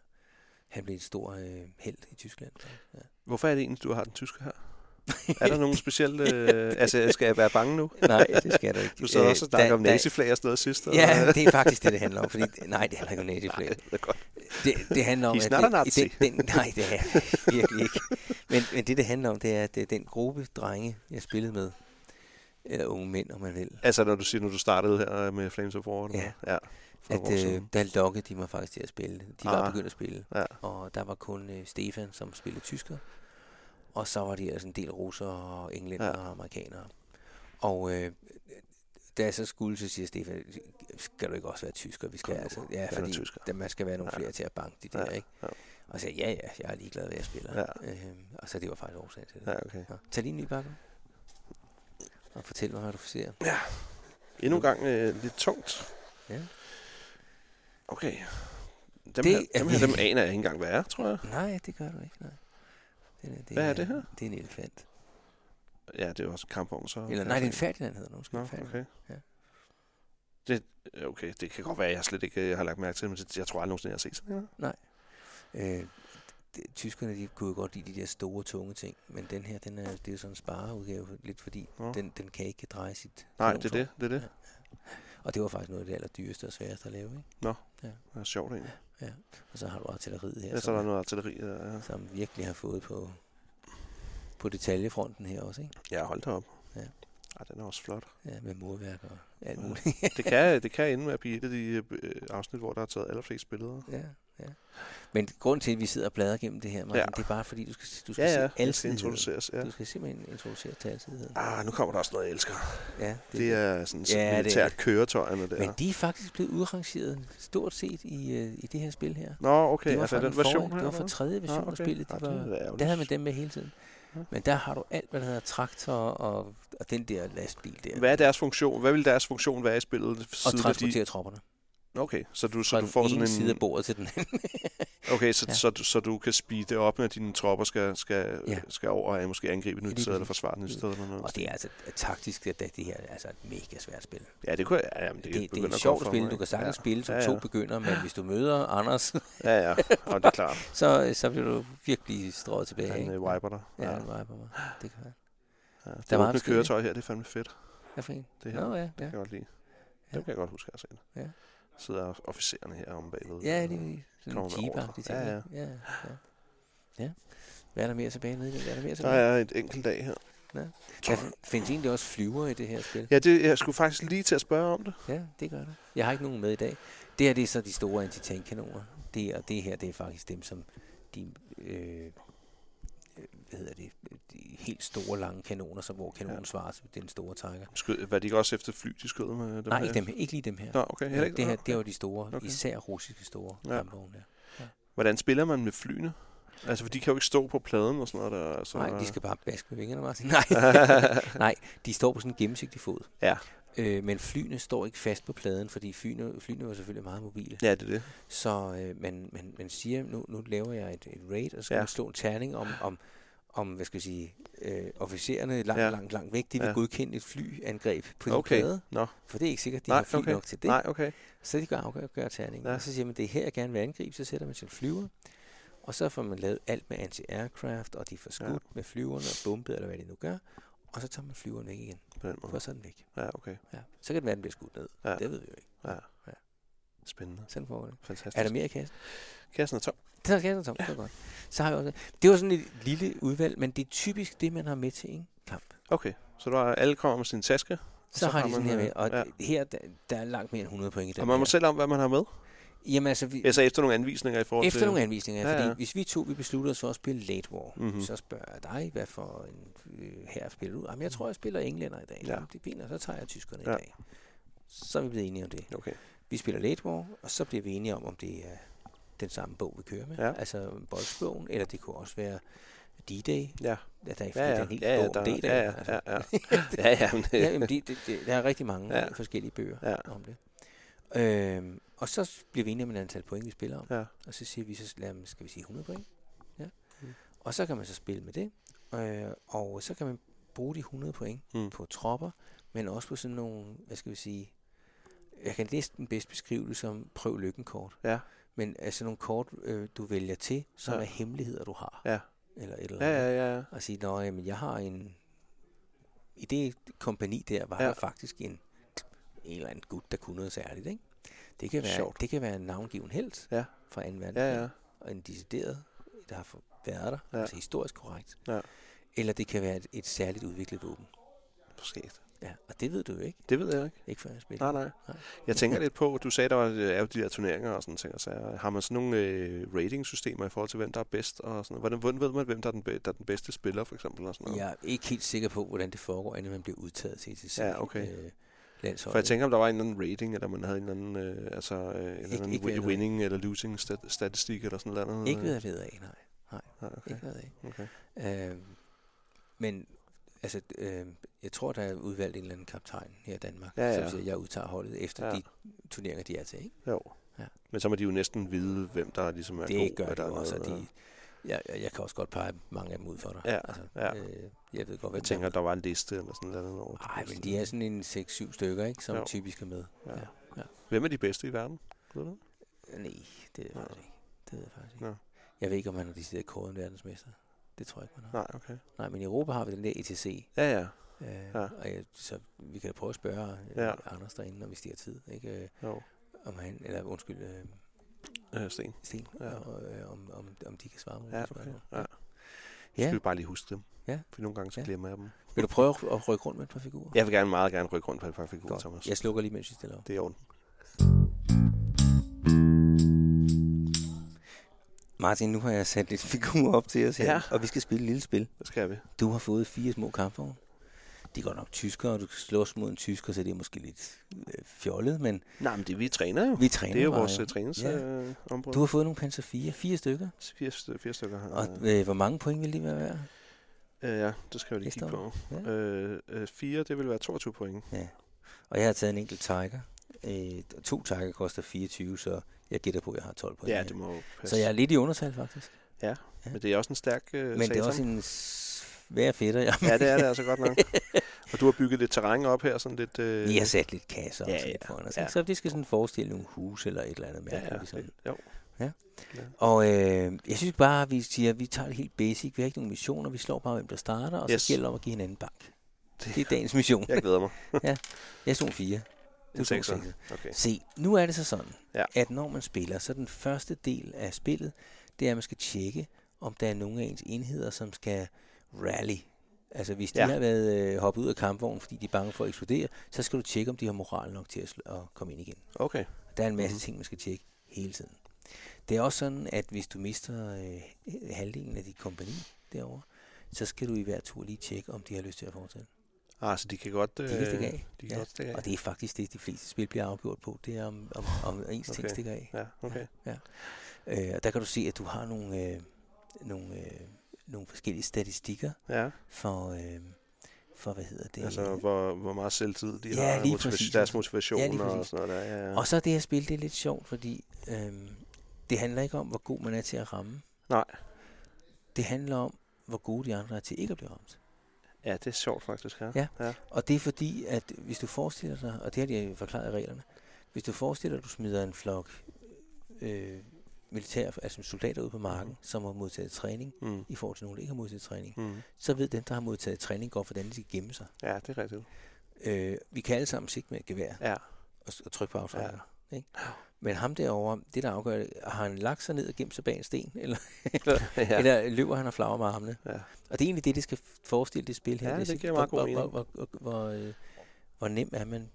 C: Han blev en stor øh, held i Tyskland. Ja.
B: Hvorfor er det egentlig, du har den tyske her? Er der nogen specielle... Øh, altså, skal jeg være bange nu?
C: Nej, det skal der ikke.
B: Du sad
C: Øh,
B: også og snakkede
C: der-
B: om
C: der-
B: naziflag og sådan noget sidst. og-
C: Ja, det er faktisk det, det handler om. Fordi, nej, det handler ikke om naziflag.
B: det er godt.
C: Det, det handler om,
B: He's
C: at
B: not a
C: det,
B: Nazi.
C: det, den, nej, det er jeg virkelig ikke. Men, men det, det handler om, det er, at det er den gruppe drenge, jeg spillede med, eller unge mænd, om man vil,
B: Altså, når du siger, når du startede her øh, med Flames of War? eller
C: Ja.
B: hvad? ja. For nogle år
C: at øh,
B: siden.
C: der lokkede de mig faktisk til at spille. De var
B: Ah.
C: begyndt at spille,
B: Ja.
C: og der var kun øh, Stefan, som spillede tysker, og så var de altså en del russer og englænder
B: Ja.
C: og amerikanere. Og øh, da jeg så skulle, så siger Stefan, skal du ikke også være tysker? Vi skal
B: Kom nu,
C: altså,
B: jeg
C: ja,
B: er
C: fordi
B: tysker."
C: der, man skal være nogle
B: Ja.
C: flere til at banke de der, ikke?
B: ja.
C: Og så sagde jeg, ja, ja, jeg er ligeglad, hvad jeg spiller.
B: Ja.
C: Øhm, og så det var faktisk årsagen til det.
B: ja, okay.
C: Nå, Tag lige en ny bakke. Og fortæl mig, hvad du ser.
B: Endnu en gang øh, lidt tungt.
C: Ja.
B: Okay. Dem,
C: Det
B: det her,
C: er
B: dem, her, dem
C: virkelig-
B: aner jeg ikke engang, hvad er, tror jeg.
C: Nej, det gør du ikke. Nej. Det, det,
B: Hvad er det her?
C: Det er en elefant.
B: Ja, det er jo også en kampvogn, så...
C: Eller nej, det er en Ferdinand, hedder den. Måske
B: Nå,
C: Ferdinand. Ja.
B: okay. Det, øh, okay, det kan godt være, at jeg slet ikke øh, har lagt mærke til det, men det- jeg tror aldrig nogensinde, jeg har set sådan noget.
C: Øh, det, tyskerne de kunne jo godt lide de der store, tunge ting. Men den her, den er, det er jo sådan en spareudgave lidt, fordi
B: Nå.
C: den, den kan ikke dreje sit
B: Nej, det
C: kanontor.
B: er det, det er det.
C: Og det var faktisk noget af det allerdyreste og sværeste at lave. Ikke?
B: Det er sjovt egentlig.
C: Og så har du artilleriet her,
B: Ja, så er der
C: som,
B: noget artilleri. der er-
C: som virkelig har fået på, på detaljefronten her også. Ikke?
B: Ja, hold da op.
C: Ja.
B: Ej, den er også flot.
C: Ja, med murværk og alt
B: Ja.
C: muligt.
B: Det kan, det kan ende med at blive et af de øh, afsnit, hvor der er taget allerflest billeder.
C: Ja, ja. Men grund til, at vi sidder og bladrer gennem det her, Martin,
B: Ja.
C: ja. det er bare fordi, du skal, du skal
B: Ja, ja,
C: se
B: det skal
C: alsidigheden.
B: introduceres. Ja.
C: Du skal simpelthen introducere til alsidigheden.
B: Ah, nu kommer der også noget, jeg elsker.
C: Ja, det,
B: Det er sådan
C: Ja, det
B: ja,
C: er
B: militære
C: det.
B: køretøjerne der.
C: Men de er faktisk blevet udrangeret stort set i, øh, i det her spil her.
B: Nå, okay.
C: det var
B: altså
C: fra
B: den
C: den forrige-
B: version her.
C: Det var fra
B: eller
C: tredje
B: hvad?
C: version
B: Nå,
C: af spillet.
B: Ej,
C: Det var,
B: det, er ærgerligt.
C: der havde man dem med hele tiden.
B: Ja.
C: Men der har du alt, hvad der hedder traktor og, og den der lastbil der.
B: Hvad er deres funktion? Hvad vil deres funktion være i spillet?
C: og
B: siden at
C: transportere tropperne.
B: De... Okay, så du, så
C: Fra
B: du får
C: den
B: sådan
C: ene
B: en...
C: side af bordet til den anden.
B: Okay, så, ja.
C: Ja.
B: så, du- så du kan speede det op, når dine tropper skal, skal, ja.
C: Ja.
B: skal over og måske angribe et nyt
C: Lige
B: sted eller
C: præcis.
B: forsvare et nyt
C: Lige-
B: sted. Eller noget.
C: Og det er altså taktisk, at det det her er altså et mega svært spil.
B: Ja, det kunne jeg... Ja, jamen,
C: Det, det, det
B: begynder
C: er
B: at
C: et
B: komme
C: sjovt
B: for
C: spil,
B: mig,
C: du kan sagtens
B: ja.
C: spille som
B: ja, ja.
C: to begynder, men hvis du møder Anders,
B: Ja, ja, og det er klart.
C: så, så bliver du virkelig strået tilbage.
B: Han
C: ikke?
B: øh, wiper dig.
C: Ja,
B: Ja,
C: han viber mig. Det kan jeg.
B: ja. Det
C: Der var
B: åbne
C: en skid, ikke?
B: køretøj her, det er fandme fedt.
C: Hvad for en?
B: Det her,
C: Nå ja,
B: det
C: ja.
B: kan jeg godt lide.
C: Ja.
B: Dem kan jeg godt huske, at jeg har set.
C: Ja.
B: Sidder officererne her om bagved.
C: Ja, det er sådan
B: Kommer
C: en
B: med ordre.
C: jeep-agtig ting.
B: Ja,
C: Ja, ja. ja. ja. Hvad er der mere tilbage med det? Hvad er der mere
B: Der
C: tilbage?
B: er et enkelt dag her.
C: Der fin- findes egentlig også flyver i det her spil.
B: Ja, det, jeg skulle faktisk lige til at spørge om det.
C: Ja, det gør der. Jeg har ikke nogen med i dag. Det her, det er så de store antitankkanoner. Det, og det her, det er faktisk dem, som de... Øh, øh, hvad hedder det? De helt store, lange kanoner, som, hvor kanonen
B: Ja.
C: ja. svarer til den store tanker.
B: Skød, var de ikke også efter fly, de skød med dem
C: Nej,
B: her?
C: ikke, dem, her- ikke lige dem her.
B: Nå, okay. Heller ikke?
C: det her,
B: Nå,
C: det var de store,
B: Okay.
C: okay. især russiske store
B: Ja.
C: ja. kampvogne der.
B: Hvordan spiller man med flyene? Altså, for de kan jo ikke stå på pladen og sådan noget. Der, altså,
C: Nej, de skal bare baske med vingerne, Martin. Nej. Nej, de står på sådan en gennemsigtig fod.
B: Ja.
C: Øh, men flyene står ikke fast på pladen, fordi flyene, flyene var selvfølgelig meget mobile.
B: Ja, det er det.
C: Så øh, man, man, man siger, nu, nu laver jeg et, et raid, og så skal
B: Ja.
C: ja. man slå en terning om, om, om hvad skal jeg sige, øh, officererne langt,
B: Ja.
C: ja. langt, langt væk, de vil
B: Ja.
C: ja. godkende et flyangreb på din
B: Okay.
C: plade,
B: Nå.
C: for det er ikke sikkert, de
B: Nej,
C: Nej, har fly
B: okay.
C: okay. nok til det.
B: Nej, okay.
C: Så de kan afgøre gøre terningen.
B: Ja.
C: Ja. Og så siger man, det er her, jeg gerne vil angribe, så sætter man sin flyver. Og så får man lavet alt med anti-aircraft, og de får skudt
B: Ja.
C: ja. med flyverne og bombet, eller hvad de nu gør. Og så tager man flyveren væk igen.
B: På den
C: For
B: måde.
C: så er den væk.
B: Ja, okay.
C: Ja. Så kan det være, den bliver skudt ned.
B: Ja.
C: Ja. Det ved vi jo ikke.
B: Spændende.
C: Sådan foregår det.
B: Fantastisk.
C: Er der mere i kassen?
B: Kassen er tom.
C: Det er kassen, Tom. Det er godt. Så har jeg også... Det var sådan et lille udvalg, men det er typisk det, man har med til en kamp.
B: Okay, så der er, alle kommer med sin taske,
C: Så, så har de sådan her
B: man, øh,
C: med, og
B: ja.
C: ja. her, der, der er langt mere end 100 point i den
B: og man
C: her.
B: må selv om, hvad man har med.
C: Jamen altså, vi,
B: Altså efter nogle anvisninger i forhold
C: Efter
B: til... Mhm.
C: nogle anvisninger,
B: Ja,
C: ja, fordi
B: ja.
C: hvis vi to vi beslutter os for at spille Late War,
B: Mhm.
C: mm-hmm. så spørger jeg dig, hvad for en øh, her spiller du? Jamen, jeg tror, jeg spiller englænder i dag.
B: Ja.
C: Ja. Jamen, det er fint, og så tager jeg tyskerne
B: Ja.
C: ja. i dag. Så er vi blevet enige om det.
B: Okay,
C: Vi spiller Late War, og så bliver vi enige om, om det er den samme bog, vi kører med.
B: Ja.
C: Ja. Altså boldsbogen, eller det kunne også være D-Day.
B: ja.
C: Ja, der er ikke
B: Ja,
C: ja,
B: ja.
C: en hel
B: Ja, ja,
C: bog om
B: der-
C: D-Day.
B: ja, ja,
C: altså.
B: ja, ja. Ja, ja, men det-
C: ja, jamen, det, det, det, der er rigtig mange
B: Ja.
C: ja. forskellige bøger
B: Ja.
C: ja. om det. Øhm, og så bliver vi enige om et antal point, vi spiller om.
B: Ja.
C: Og så siger vi, så lad, os- skal vi sige 100 point. Ja.
B: Mm.
C: Og så kan man så spille med det. Øh, og så kan man bruge de 100 point
B: Mm.
C: mm. på tropper, men også på sådan nogle, hvad skal vi sige, jeg kan næsten bedst beskrive det som prøv lykkenkort.
B: Ja.
C: Men altså nogle kort, øh, du vælger til, som
B: Ja.
C: ja. er hemmeligheder, du har.
B: Ja.
C: Eller et eller
B: Ja,
C: andet
B: ja, ja, ja.
C: og sige, nå, jamen, jeg har en... I det kompani der var
B: Ja.
C: ja. der faktisk en, en eller anden gut, der kunne noget særligt, ikke? Det kan være,
B: Sjovt.
C: det kan være en navngiven held.
B: Ja.
C: fra 2. verdenskrig,
B: Ja, ja.
C: og en decideret, der har for- været der,
B: Ja.
C: ja. altså historisk korrekt.
B: Ja.
C: Eller det kan være et, et særligt udviklet våben.
B: Præcis.
C: Ja, og det ved du jo ikke.
B: Det ved jeg ikke.
C: Ikke før jeg spiller.
B: Nej, nej. Jeg tænker lidt på, at du sagde, der var, øh, er jo de der turneringer og sådan ting. og sager. har man sådan nogle øh, ratingsystemer i forhold til, hvem der er bedst? Og sådan noget? Hvordan, hvordan ved man, hvem der er, den be- der er den bedste spiller, for eksempel? Og sådan noget?
C: Jeg er ikke helt sikker på, hvordan det foregår, inden man bliver udtaget til ETC.
B: Ja, okay.
C: Øh,
B: For jeg
C: landsholdet.
B: tænker, om der var en eller anden rating, eller man havde en eller anden, øh, altså, øh, en eller anden
C: ikke ved jeg.
B: winning eller losing stat- statistik, eller sådan noget.
C: Ikke ved jeg ved af, nej.
B: Nej, okay.
C: Ikke ved af.
B: okay.
C: Øh, men altså, øh, jeg tror, der er udvalgt en eller anden kaptajn her i Danmark,
B: Ja, ja.
C: som siger, jeg udtager holdet efter
B: Ja.
C: ja. de turneringer, de er til. Ikke?
B: Jo.
C: Ja.
B: Men så må de jo næsten vide, hvem der ligesom er god.
C: Det gør
B: eller
C: det jo også, og
B: noget,
C: de, jeg, jeg, jeg kan også godt pege mange af dem ud for dig.
B: Ja,
C: altså,
B: ja.
C: Øh, jeg ved godt, hvad
B: Jeg tænker, der var en liste eller sådan noget. Over de
C: Nej,
B: bedste.
C: men de er sådan en 6-7 stykker, ikke, som
B: Jo.
C: jo. typisk er med.
B: Ja.
C: Ja. Ja.
B: Hvem er de bedste i verden? Ved du? det?
C: Nej, det er jeg faktisk ikke. Det ved jeg faktisk ikke.
B: Nå.
C: Jeg ved ikke, om han har decideret kåret en verdensmester. Det tror jeg ikke, man har.
B: Nej, okay.
C: Nej, men i Europa har vi den der ETC.
B: Ja, ja.
C: Øh,
B: Ja.
C: ja. og jeg, så vi kan da prøve at spørge øh,
B: Ja.
C: Anders derinde, når vi stiger tid, ikke? Øh,
B: Jo.
C: om han, eller undskyld, øh,
B: Øh, Sten.
C: Sten,
B: Ja.
C: ja. og, øh, om, om, om de kan svare på
B: Ja,
C: de
B: okay.
C: spørgsmål.
B: Ja.
C: Ja.
B: Skal vi bare lige huske dem?
C: Ja.
B: For nogle gange så
C: Ja.
B: glemmer jeg dem.
C: Vil du prøve at, at rykke rundt med et par figurer?
B: Jeg vil gerne meget gerne rykke rundt på et par figurer, Thomas.
C: Godt. Jeg slukker lige, mens vi stiller op.
B: Det er i orden.
C: Martin, nu har jeg sat lidt figurer op til os her,
B: Ja.
C: ja. og vi skal spille et lille spil.
B: Hvad skal vi?
C: Du har fået fire små kampvogne. De er godt nok tyskere, og du skal slås mod en tysker, så det er måske lidt øh, fjollet, men
B: Nej, men det vi træner jo.
C: vi træner
B: Det er jo
C: bare,
B: vores uh, træningsområde. Ja. Uh,
C: Du har fået nogle Panzer 4, fire stykker,
B: Fire, st- fire stykker her.
C: og øh, hvor mange point vil de være værd?
B: øh, ja, det skal jeg lige
C: Næste
B: kigge på.
C: år.
B: Ja. Øh, øh, fire, det vil være 22 point.
C: Og jeg har taget en enkelt tiger. Øh, to tiger koster 24, så jeg gætter på, at jeg har 12 point.
B: Ja,
C: her.
B: det må jo passe. Øh,
C: så jeg er lidt i undertal, faktisk.
B: Men det er også en stærk øh,
C: Men det er også en svær fætter. Jeg,
B: Ja, det er det altså godt nok. Og du har bygget lidt terræn op her, sådan lidt... Øh...
C: jeg har sat lidt kasser
B: Ja,
C: og sådan lidt
B: ja,
C: foran os.
B: ja.
C: Ja. Så det skal sådan forestille nogle huse eller et eller andet
B: Ja,
C: mærkeligt. ligesom
B: ja,
C: Ja, sådan.
B: det- jo.
C: Og øh, jeg synes bare, at vi siger, at vi tager det helt basic. Vi har ikke nogen missioner. Vi slår bare, hvem der starter, og
B: Yes.
C: så gælder det om at give hinanden bank. Det er dagens mission.
B: Jeg glæder mig.
C: Jeg slog en 4.
B: En
C: Du slog en
B: sekser.
C: 6.
B: Okay.
C: Se, nu er det så sådan,
B: Ja.
C: ja. at når man spiller, så den første del af spillet, det er, at man skal tjekke, om der er nogle af ens enheder, som skal rally. Altså hvis de
B: Ja.
C: ja. har været øh, hoppet ud af kampvognen, fordi de er bange for at eksplodere, så skal du tjekke, om de har moral nok til at, sl- at komme ind igen.
B: Okay.
C: Der er en
B: Mhm.
C: masse ting, man skal tjekke hele tiden. Det er også sådan, at hvis du mister øh, halvdelen af dit kompani derovre, så skal du i hver tur lige tjekke, om de har lyst til at fortsætte.
B: Ah, så de kan godt... Øh,
C: De kan stikke af.
B: De kan
C: Ja.
B: godt stikke af.
C: Og det er faktisk det, de fleste spil bliver afgjort på. Det er, om, om, om ens okay. ting
B: Okay.
C: stikker af.
B: Ja, okay.
C: Øh, og der kan du se, at du har nogle, øh, nogle, øh, nogle forskellige statistikker
B: Ja,
C: for, øh, for hvad hedder det?
B: altså hvor, hvor meget selvtid de
C: Ja,
B: har,
C: lige
B: motiva-
C: præcis.
B: deres motivation
C: Ja, lige
B: og
C: præcis.
B: sådan noget der. Ja, ja.
C: Og så er det her spil, det er lidt sjovt, fordi øh, det handler ikke om, hvor god man er til at ramme.
B: Nej.
C: Det handler om, hvor gode de andre er til ikke at blive ramt.
B: ja, det er sjovt faktisk, ja.
C: Ja.
B: ja.
C: Og det er fordi, at hvis du forestiller dig, og det har de forklaret i reglerne, hvis du forestiller dig, at du smider en flok øh, militær, altså soldater ud på marken,
B: Mhm.
C: som har modtaget træning,
B: Mm.
C: i forhold til nogen, der ikke har modtaget træning,
B: Mm.
C: så ved dem, der har modtaget træning, godt, hvordan de skal gemme sig.
B: Ja, det er rigtigt.
C: Øh, vi kan alle sammen sigte med et gevær
B: Ja,
C: og, s- og trykke på afslaget. Ja. Ikke? Men ham derovre, det der afgør, det, har han lagt sig ned og gemt sig bag en sten, eller, ja.
B: ja.
C: eller løber han og flager med armene?
B: Ja.
C: Og det er egentlig det, det skal f- forestille det spil her.
B: Ja,
C: er
B: det
C: sådan,
B: giver meget
C: hvor,
B: god
C: hvor, hvor, hvor, hvor, øh, hvor nem er man,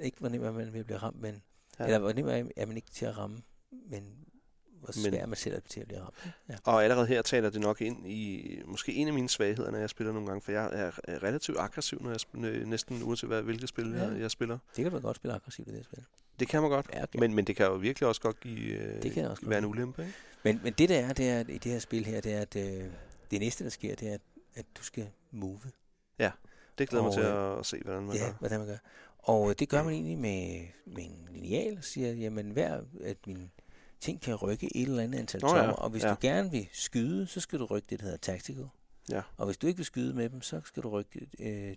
C: ikke hvor nem er man ved at blive ramt, men,
B: Ja.
C: ja. eller hvor nem er, er man ikke til at ramme, men hvor
B: Men-
C: svær er man selv er til at blive ramt.
B: Og allerede her taler det nok ind i måske en af mine svagheder, når jeg spiller nogle gange, for jeg er er relativt aggressiv, når jeg sp- øh, næsten uanset hvad, hvilket spil
C: Ja.
B: jeg, jeg spiller.
C: Det kan man godt spille aggressivt i det her spil.
B: Det kan man godt,
C: Ja, okay.
B: men, men det kan jo virkelig også godt give, øh,
C: Det kan også
B: være en
C: godt.
B: ulempe. Ikke?
C: Men, men det der er, det er at i det her spil her, det er, at øh, det næste, der sker, det er, at, at du skal move.
B: Det glæder mig
C: Og,
B: til
C: øh,
B: at, at se, hvordan man
C: ja,
B: gør.
C: hvordan man gør. Og øh, det gør man egentlig med, med en lineal og siger, jamen hver, at min ting kan rykke et eller andet antal
B: Nå
C: oh,
B: ja,
C: tommer, og hvis
B: ja.
C: du gerne vil skyde, så skal du rykke det, der hedder tactical.
B: Ja.
C: Og hvis du ikke vil skyde med dem, så skal du rykke øh,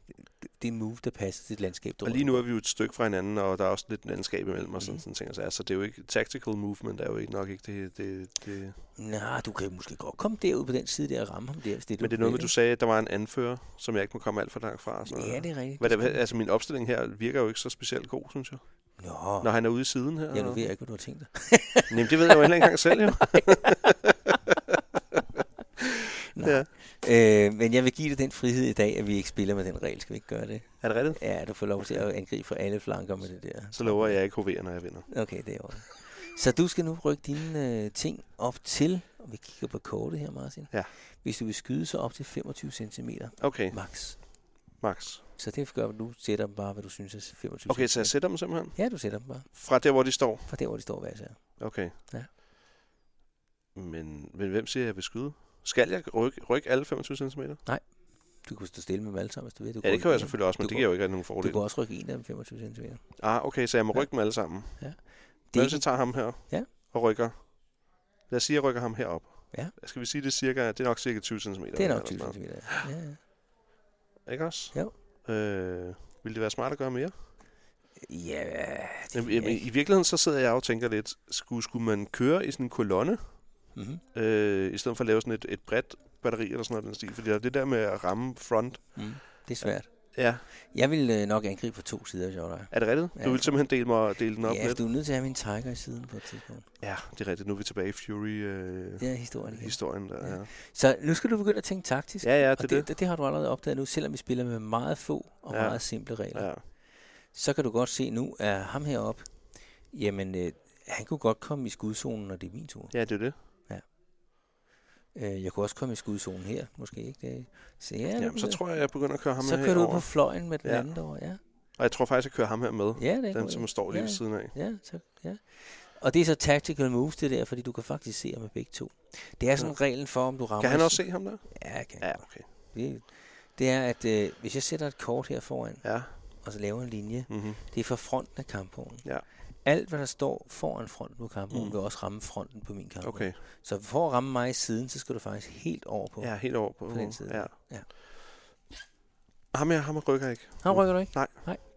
C: det move, der passer til det landskab, du
B: Og lige nu
C: rykker.
B: er vi jo et stykke fra hinanden, og der er også lidt landskab imellem og sådan,
C: Mhm.
B: sådan ting. Så altså, det er jo ikke tactical movement, er jo ikke nok ikke det... det, det.
C: Nå, du kan måske godt komme derud på den side der og ramme ham der, hvis det er
B: Men det er noget med, du sagde, at der var en anfører, som jeg ikke må komme alt for langt fra. og Sådan noget.
C: Ja, det er rigtigt.
B: Hvad der, altså, min opstilling her virker jo ikke så specielt god, synes jeg.
C: Nå,
B: når han er ude i siden her.
C: ja, nu ved jeg ikke, hvad du har tænkt dig.
B: Jamen, det ved jeg jo heller ikke engang selv, jo.
C: Nej.
B: Ja.
C: Øh, men jeg vil give dig den frihed i dag, at vi ikke spiller med den regel. Skal vi ikke gøre det?
B: Er det rigtigt?
C: Ja, du får lov til at angribe fra alle flanker med det der.
B: Så lover jeg, at jeg ikke hoverer, når jeg vinder.
C: Okay, det er ordentligt. Så du skal nu rykke dine øh, ting op til, og vi kigger på kortet her, Martin.
B: Ja.
C: Hvis du vil skyde så op til 25 cm
B: Okay,
C: max.
B: Max.
C: Så det gør, at du sætter dem bare, hvad du synes er 25
B: Okay, så jeg
C: sætter
B: sætter dem simpelthen
C: Ja, du sætter dem bare.
B: fra der, hvor de står.
C: Fra der, hvor de står hver især.
B: Okay.
C: Ja.
B: Men, men hvem siger, at jeg vil skyde? Skal jeg rykke, rykke alle 25 cm?
C: Du kan stå stille med dem alle sammen, hvis du vil. Du
B: Ja, det
C: rykke
B: kan jeg
C: en-
B: selvfølgelig også, men
C: Du
B: det
C: går-
B: giver jo ikke rigtig nogen
C: Du
B: fordel.
C: kan også rykke en af dem 25 cm. Det er
B: Ah, okay, så jeg må
C: Ja.
B: rykke dem alle sammen. Hvad hvis
C: ikke
B: jeg tager ham her
C: Ja.
B: og rykker? Lad os sige, at jeg rykker ham herop.
C: Ja.
B: Skal vi sige, at det er, cirka, det er nok cirka 20 cm?
C: Det er nok 20 cm. Ja. ja.
B: Ikke også?
C: Jo.
B: Øh, ville det være smart at gøre mere?
C: Ja, det
B: Jamen,
C: ved jeg
B: jamen, I
C: ikke.
B: virkeligheden så sidder jeg og tænker lidt, skulle, skulle man køre i sådan en kolonne,
C: Mhm.
B: øh, i stedet for at lave sådan et, et bredt batteri eller sådan noget i den stil? Fordi der er det der med at ramme front,
C: Mm. Det er svært.
B: ja,
C: Jeg vil øh, nok angribe fra to sider, hvis jeg var dig.
B: er det rigtigt?
C: Ja.
B: Du vil simpelthen dele, mig, dele den op
C: Ja, altså,
B: lidt?
C: du er nødt til at have min tiger i siden på et tidspunkt.
B: Ja, det er rigtigt. Nu er vi tilbage i Fury-historien. Øh,
C: Ja, historien igen.
B: historien der,
C: Ja.
B: ja.
C: Så nu skal du begynde at tænke taktisk.
B: ja, ja, det er
C: og
B: det.
C: det, det. det har du allerede opdaget nu, selvom vi spiller med meget få og
B: Ja.
C: ja. meget simple regler. Ja.
B: Ja.
C: Så kan du godt se nu, at ham heroppe, jamen, øh, han kunne godt komme i skudzonen, når det er min tur.
B: ja, det er det.
C: Øh, jeg kunne også komme i skudzonen her, måske ikke. Det, så ja,
B: Jamen, så tror jeg, jeg begynder at køre ham
C: så
B: her
C: kører du ud
B: herover.
C: på fløjen med den
B: Ja.
C: ja. anden derovre, ja.
B: Og jeg tror faktisk, jeg kører ham her med.
C: Ja, det er
B: Den,
C: godt.
B: som står lige
C: Ja,
B: ved siden af.
C: Ja, så, ja. Og det er så tactical moves, det der, fordi du kan faktisk se ham med begge to. Det er sådan
B: Ja.
C: reglen for, om du rammer...
B: Mm. Kan han også se ham der?
C: Ja, kan han
B: Ja,
C: godt.
B: okay.
C: Det, det er, at øh, hvis jeg sætter et kort her foran,
B: Ja.
C: og så laver en linje,
B: Mm-hmm.
C: det er fra fronten af kampvognen.
B: Ja.
C: Alt, hvad der står foran fronten på kampvognen,
B: Mm.
C: mm. vil også ramme fronten på min kampvogn.
B: Okay.
C: Så for at ramme mig i siden, så skal du faktisk helt over på.
B: Ja, helt over på,
C: På den side.
B: Ja.
C: Ja.
B: Ham her, ham her rykker jeg ikke.
C: Han rykker du ikke.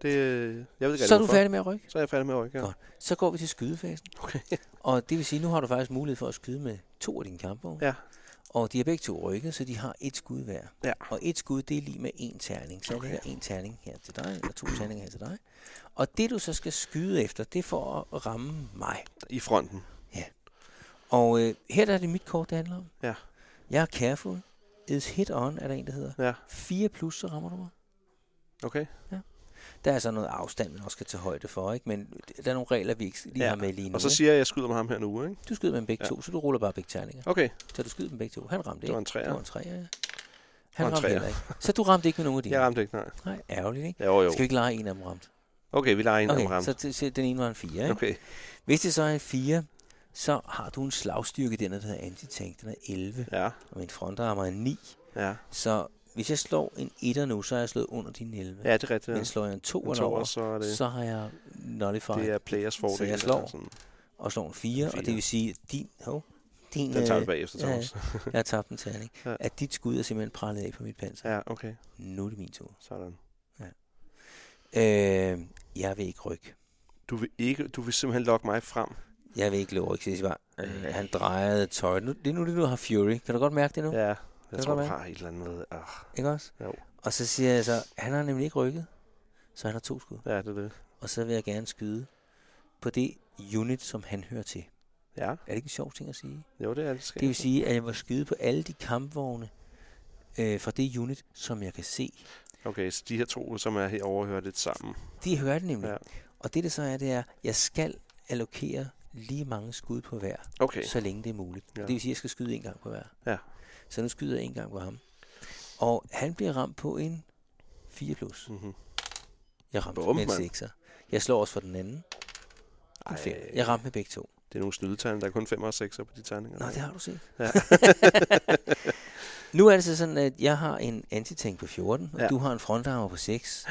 B: Det, øh, jeg ved ikke,
C: Så er du
B: hvorfor.
C: færdig med at rykke.
B: Så er jeg færdig med at rykke. Ja.
C: Godt. Så går vi til skydefasen.
B: Okay.
C: Og det vil sige, nu har du faktisk mulighed for at skyde med to af dine kampvogne.
B: Ja.
C: Og de har begge to rykket, så de har et skud hver.
B: Ja.
C: Og et skud, det er lige med en terning. Så okay. ligger en terning her til dig, og to terninger her til dig. Og det, du så skal skyde efter, det er for at ramme mig.
B: I fronten.
C: Og øh, her der er det mit kort, det handler om.
B: Ja.
C: Jeg er careful. Is hit on, er der en, der hedder.
B: Ja.
C: 4 plus, så rammer du mig.
B: Okay.
C: Der er så noget afstand, man også skal tage højde for, ikke? Men der er nogle regler, vi ikke lige
B: Ja,
C: ja. har med lige nu.
B: Og så
C: ikke?
B: siger jeg, at jeg skyder med ham her nu, ikke?
C: Du skyder med dem begge
B: Ja.
C: ja. to, så du ruller bare begge terninger.
B: Okay.
C: Så du skyder dem begge to. Han ramte
B: Det var
C: ikke.
B: en træer.
C: Det var en træer, ja.
B: Og
C: Han
B: en
C: ramte
B: treer.
C: heller ikke. Så du ramte ikke med nogen af dine?
B: Jeg ramte ikke, nej.
C: Nej, ærgerligt, ikke?
B: Ja, Jo, jo.
C: Skal vi ikke lege en af dem ramt?
B: Okay, vi leger en okay,
C: Okay,
B: ramt.
C: så, t- så den ene var en 4, ikke?
B: Okay.
C: Hvis det så er en 4, så har du en slagstyrke, den der hedder antitank, den er 11,
B: Ja,
C: og min frontarmer er 9.
B: ja.
C: Så hvis jeg slår en 1 nu, så er jeg slået under din 11.
B: Ja, det er rigtigt.
C: Men slår jeg en 2
B: En toer,
C: over,
B: så er det,
C: så har jeg
B: det
C: nullified
B: er players fordel.
C: jeg
B: eller
C: slår.
B: sådan.
C: og slår en 4,
B: fire.
C: og det vil sige, at din... Hov, din
B: Den tager vi
C: øh,
B: bagefter,
C: ja,
B: Thomas.
C: jeg har tabt en terning.
B: Ja.
C: Ja. At dit skud er simpelthen prallet af på mit panser.
B: Ja, okay.
C: Nu er det min tur.
B: Sådan.
C: Øh, jeg vil ikke rykke.
B: Du vil, ikke, du vil simpelthen lokke mig frem.
C: Jeg vil ikke løbe rykke. Så jeg siger bare, øh, han drejede tøjet. Nu, det er nu, det du har Fury. Kan du godt mærke det nu? Ja.
B: Ja, jeg
C: du
B: tror,
C: godt
B: du
C: være?
B: har et eller andet med. Ah,
C: Ikke også?
B: Jo.
C: Og så siger jeg så, han har nemlig ikke rykket. Så han har to skud.
B: ja, det er det.
C: Og så vil jeg gerne skyde på det unit, som han hører til.
B: Ja,
C: Er det ikke en sjov ting at sige?
B: jo, det er det. Skal
C: Det vil sige, at jeg må skyde på alle de kampvogne øh, fra det unit, som jeg kan se.
B: Okay, så de her to, som er herovre, hører lidt sammen.
C: De hører det nemlig.
B: Ja.
C: Ja. Og det det så er, det er, at jeg skal allokere lige mange skud på hver,
B: Okay,
C: så længe det er muligt.
B: Ja.
C: Ja. Det vil sige, at jeg skal skyde en gang på hver.
B: Ja.
C: Så nu skyder jeg en gang på ham. Og han bliver ramt på en 4+. Plus.
B: Mhm.
C: Jeg ramte
B: Bum,
C: med en
B: mand.
C: 6'er. Jeg slår også for den anden.
B: Ej.
C: En fem. Jeg ramte med begge to.
B: det er nogle snydetegninger. Der er kun 5 og 6 på de tegninger.
C: Nå,
B: der.
C: det har du set.
B: Ja.
C: Ja. nu er det så sådan, at jeg har en antitank på 14, og
B: Ja.
C: ja. du har en frontarmer på 6.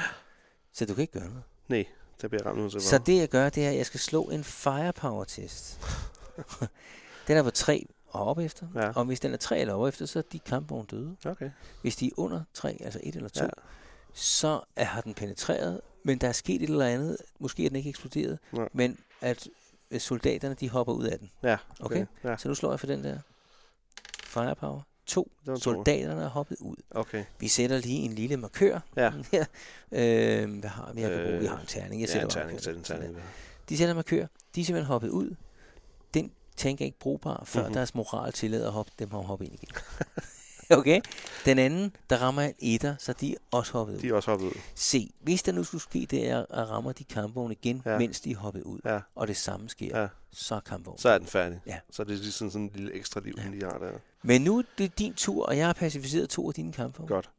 C: Så du kan ikke gøre noget.
B: Nej, der bliver jeg ramt nu. Så,
C: Så det jeg gør, det er, at jeg skal slå en firepower test. den er på 3 og op efter.
B: Ja.
C: Ja. Og hvis den er 3 eller op efter, så er de kampvogne døde.
B: Okay,
C: Hvis de er under 3, altså 1 eller 2,
B: Ja.
C: ja. så er, har den penetreret, men der er sket et eller andet. Måske er den ikke eksploderet,
B: Nej.
C: men at øh, soldaterne de hopper ud af den.
B: ja.
C: Okay.
B: Ja.
C: Så nu slår jeg for den der firepower. to.
B: Det var en toer.
C: Soldaterne er hoppet ud.
B: Okay.
C: Vi sætter lige en lille markør.
B: Ja.
C: her. øh, hvad har vi? Jeg kan bruge,
B: Øh,
C: vi har en terning. Jeg
B: Jeg
C: sætter
B: ja, en
C: bare
B: terning
C: markør.
B: til den terning.
C: De sætter markør. De er simpelthen hoppet ud. Den tænker ikke brugbar, før
B: Mhm.
C: mm-hmm. deres moral tillader at hoppe, dem har hoppet ind igen. okay? Den anden, der rammer en etter, så de er også hoppet ud.
B: De er også hoppet ud.
C: Se, hvis der nu skulle ske det, er, at rammer de kampvogne igen,
B: Ja.
C: ja. mens de er hoppet ud,
B: Ja.
C: og det samme sker,
B: Ja.
C: ja. så er kampvognen.
B: Så er den færdig.
C: Ja.
B: Så er det lige sådan, sådan en lille ekstra liv, den lige har der.
C: Men nu er det din tur, og jeg har pacificeret to af dine kampvogne.
B: Godt.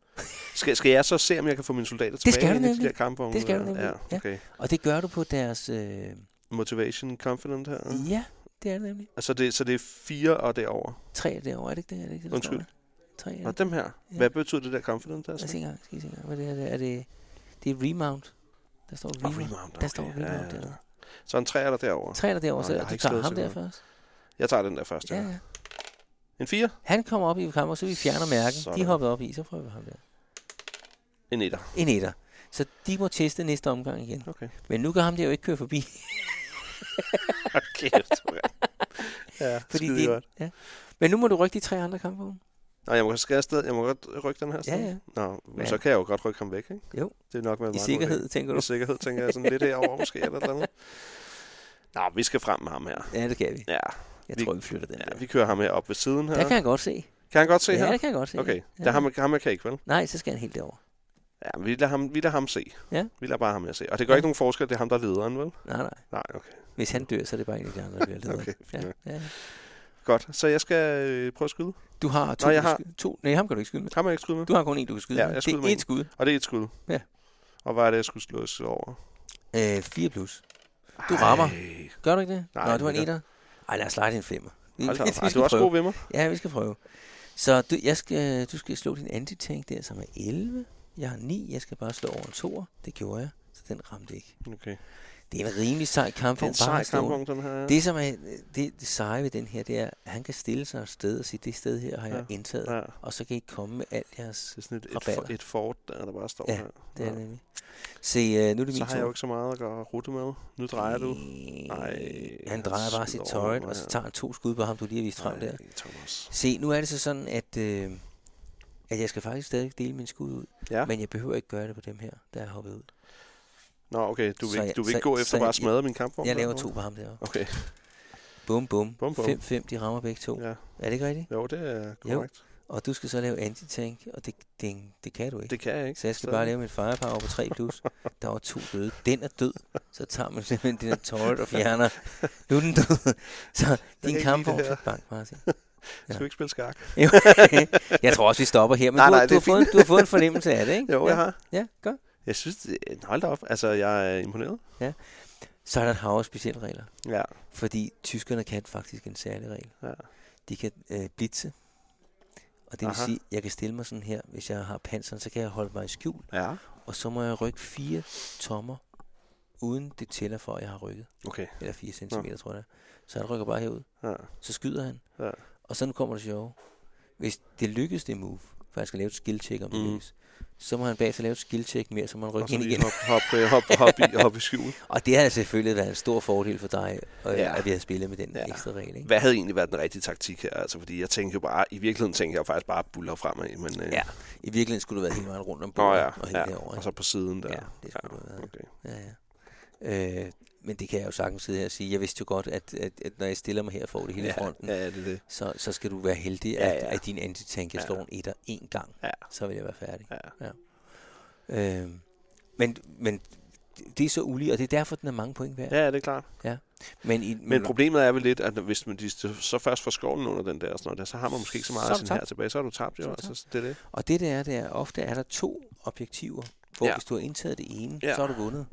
B: Skal, skal jeg så se, om jeg kan få mine soldater
C: skal
B: tilbage
C: du
B: ind i de
C: nemlig.
B: der kampvogne?
C: Det skal
B: der?
C: du nemlig. Ja.
B: Ja, okay.
C: Og det gør du på deres... Øh...
B: Motivation confident her.
C: Ja, det er det nemlig.
B: Altså det, så det er fire og derover.
C: Tre er derovre, er det ikke det? Er det ikke det der
B: Undskyld.
C: står? Tre er
B: Og
C: det.
B: dem her.
C: Ja.
B: Hvad betyder det der confident der?
C: Lad os
B: Så?
C: se engang, skal vi se engang. Hvad det er, det er det, det er remount. Der står
B: Og
C: remount.
B: remount.
C: Der står
B: okay.
C: remount
B: Ja, ja, ja.
C: dernede.
B: Så en træer der derovre.
C: Tre er der derovre,
B: Nå,
C: så
B: jeg har
C: du
B: ikke
C: tager
B: slået
C: ham
B: til
C: der
B: noget.
C: først.
B: Jeg tager den der først.
C: Ja,
B: Ja.
C: ja.
B: En fire.
C: Han kommer op i kamp, og så vi fjerner mærken.
B: Sådan.
C: De hopper op i, så prøver vi ham der.
B: En etter.
C: En etter. Så de må teste næste omgang igen.
B: Okay.
C: Men nu kan ham der jo ikke køre forbi,
B: Kæft, mand. ja,
C: fordi
B: skide
C: det er...
B: godt.
C: Ja. Men nu må du rykke de tre andre kampvogne.
B: Nå, jeg må, skal jeg, stadig, jeg må godt rykke den her sted?
C: ja.
B: Nå, men
C: Ja.
B: så kan jeg jo godt rykke ham væk, ikke?
C: Jo.
B: Det Altså, er nok været en
C: I
B: meget god idé.
C: sikkerhed, tænker du?
B: I sikkerhed, tænker jeg sådan lidt herovre måske, eller et eller andet. Nå, vi skal frem med ham her.
C: Ja, det kan vi.
B: Ja,
C: Jeg
B: Vi-
C: tror, vi flytter den
B: ja
C: der.
B: vi kører ham her op ved siden her.
C: Der kan jeg godt se.
B: Kan han godt se
C: Ja,
B: her?
C: det kan jeg godt se.
B: Okay,
C: Ja.
B: der ham, ham her kan ikke, vel?
C: Nej, så skal han helt derover.
B: Ja, vi lader ham, vi lader ham se.
C: Ja.
B: Vi lader bare ham her se. Og det gør
C: Ja.
B: ikke nogen forskel, det er ham, der er lederen, vel?
C: Nej, nej.
B: Nej, okay.
C: Hvis han dør, så er det bare en af de andre, der bliver leder.
B: Okay,
C: ja,
B: fint nok.
C: ja.
B: Godt, så jeg skal øh, prøve at skyde.
C: Du har to,
B: Nå, jeg
C: du
B: har-
C: sky- to. Nej, ham kan du ikke skyde med.
B: Ham har jeg ikke skudt med.
C: Du har kun en, du kan skyde
B: Ja,
C: med.
B: jeg
C: Det
B: skyder med
C: er
B: en.
C: et skud.
B: Og det er et skud.
C: Ja.
B: Og hvad er det, jeg skulle slås over?
C: Øh, 4 plus. Du rammer.
B: Ej,
C: Gør du ikke det?
B: Nej,
C: Nå, du har en
B: det
C: etter. Ej, lad os lege det en femmer. Vi,
B: hold da
C: vi
B: op. Ej, du
C: skal
B: er også
C: prøve.
B: god ved mig.
C: Ja, vi skal prøve. Så du, jeg skal, øh, du skal slå din antitank der, som er 11. Jeg har 9. Jeg skal bare slå over en 2. Det gjorde jeg, så den ramte ikke.
B: Okay.
C: Det er en rimelig sej kamp.
B: Det er en sej kampvogn, den her. ja.
C: Det, som er det, det seje ved den her, det er, at han kan stille sig et sted og sige, det sted her har jeg indtaget.
B: Ja.
C: Og så kan I komme med alt jeres...
B: Det er sådan et, et,
C: Rabatter.
B: for- et fort, der, der bare står
C: Ja,
B: her.
C: Det er det nemlig. Se, øh, nu er det min
B: Så har
C: tur.
B: jeg jo ikke så meget at gøre rute med. Nu drejer du. Ej,
C: Nej, han
B: han
C: drejer bare sit
B: skyder over
C: tøj,
B: mig,
C: og så
B: ja.
C: tager han to skud på ham, du lige har vist frem der.
B: Ej, Thomas.
C: Se, nu er det så sådan, at, øh, at jeg skal faktisk stadig dele min skud ud,
B: Ja.
C: men jeg behøver ikke gøre det på dem her, der er hoppet ud.
B: Nå, okay. Du vil,
C: Så
B: ikke,
C: jeg-
B: du vil ikke
C: så-
B: gå efter
C: så
B: bare at
C: jeg-
B: smadre min kampvogn?
C: Jeg
B: der,
C: laver
B: eller
C: to på ham derovre.
B: hvad? Okay.
C: Bum, bum.
B: Bum, bum.
C: 5-5, de rammer begge to.
B: Ja.
C: Er det ikke rigtigt?
B: Jo, det er
C: Jo.
B: korrekt.
C: Og du skal så lave antitank, og det, det, det kan du ikke.
B: Det kan jeg ikke.
C: Så jeg skal
B: Så-
C: bare lave mit firepower på 3+. Plus. Der var to døde. Den er død. Så tager man simpelthen den her turret og fjerner. Nu er den død. Så
B: kan ikke
C: din
B: lide
C: kampvogn
B: det her.
C: fik bank, Martin.
B: Skal vi ikke spille skak?
C: Jo. jeg tror også, vi stopper her. Men
B: Nej,
C: nej, du,
B: nej,
C: nej,
B: det
C: du,
B: er
C: har fået, du har fået en fornemmelse af det, ikke?
B: Jo,
C: ja.
B: jeg har.
C: Ja, godt.
B: Jeg synes, det, hold da op. Altså, jeg er imponeret.
C: Så er der et hav af specielle regler.
B: Ja.
C: Fordi tyskerne kan faktisk en særlig regel.
B: Ja.
C: De kan øh, blitse. Og det vil
B: Aha.
C: sige, at jeg kan stille mig sådan her. Hvis jeg har panseren, så kan jeg holde mig i skjul.
B: Ja.
C: Og så må jeg rykke 4 tommer, uden det tæller for, at jeg har rykket.
B: Okay.
C: Eller 4 cm, tror jeg. det er. Så han rykker bare herud.
B: Ja.
C: Så skyder han.
B: Ja.
C: Og sådan kommer det sjove. Hvis det lykkes, det move, for han skal lave et skill check, om det
B: Mm.
C: lykkes, så må han bagefter lave et skill check mere, så må han
B: Og
C: rykke
B: så
C: ind
B: lige
C: igen.
B: hop, hop, øh, hop, hop, i, hop i skjul.
C: Og det har selvfølgelig været en stor fordel for dig, øh,
B: Ja.
C: ja. at vi har spillet med den
B: Ja.
C: ja. ekstra regel. Ikke?
B: Hvad havde egentlig været den rigtige taktik her? Altså, fordi jeg tænker jo bare, i virkeligheden tænker jeg faktisk bare buller fremad, men øh,
C: Ja. I virkeligheden skulle du have været hele vejen rundt om
B: Nå
C: bordet
B: ja,
C: og helt
B: ja.
C: derovre.
B: og
C: ikke?
B: så på siden der.
C: ja, det skulle du have været.
B: Okay.
C: Ja, ja. Øh, men det kan jeg jo sagtens sidde her og sige. Jeg vidste jo godt, at, at, at når jeg stiller mig her og får det hele
B: ja,
C: ja, fronten,
B: Ja, det er det.
C: så, så skal du være heldig,
B: Ja,
C: at,
B: ja.
C: at din antitank jeg
B: Ja.
C: slår en etter én gang.
B: Ja.
C: Så vil jeg være færdig.
B: Ja.
C: Øh, men, men det er så ulig, og det er derfor, den er mange point værd.
B: Ja, det er klart.
C: Men, i,
B: Men problemet er vel lidt, at hvis man de så først får skovlen under den der, og sådan noget, der, så har man måske ikke så meget
C: Så
B: af
C: er du
B: sin
C: tabt.
B: her tilbage. Så er du tabt jo,
C: Så er du
B: altså. så Det er det.
C: Og det der er, det er, ofte er der to objektiver, hvor
B: Ja.
C: ja. hvis du har indtaget det ene,
B: Ja.
C: ja. så har du vundet.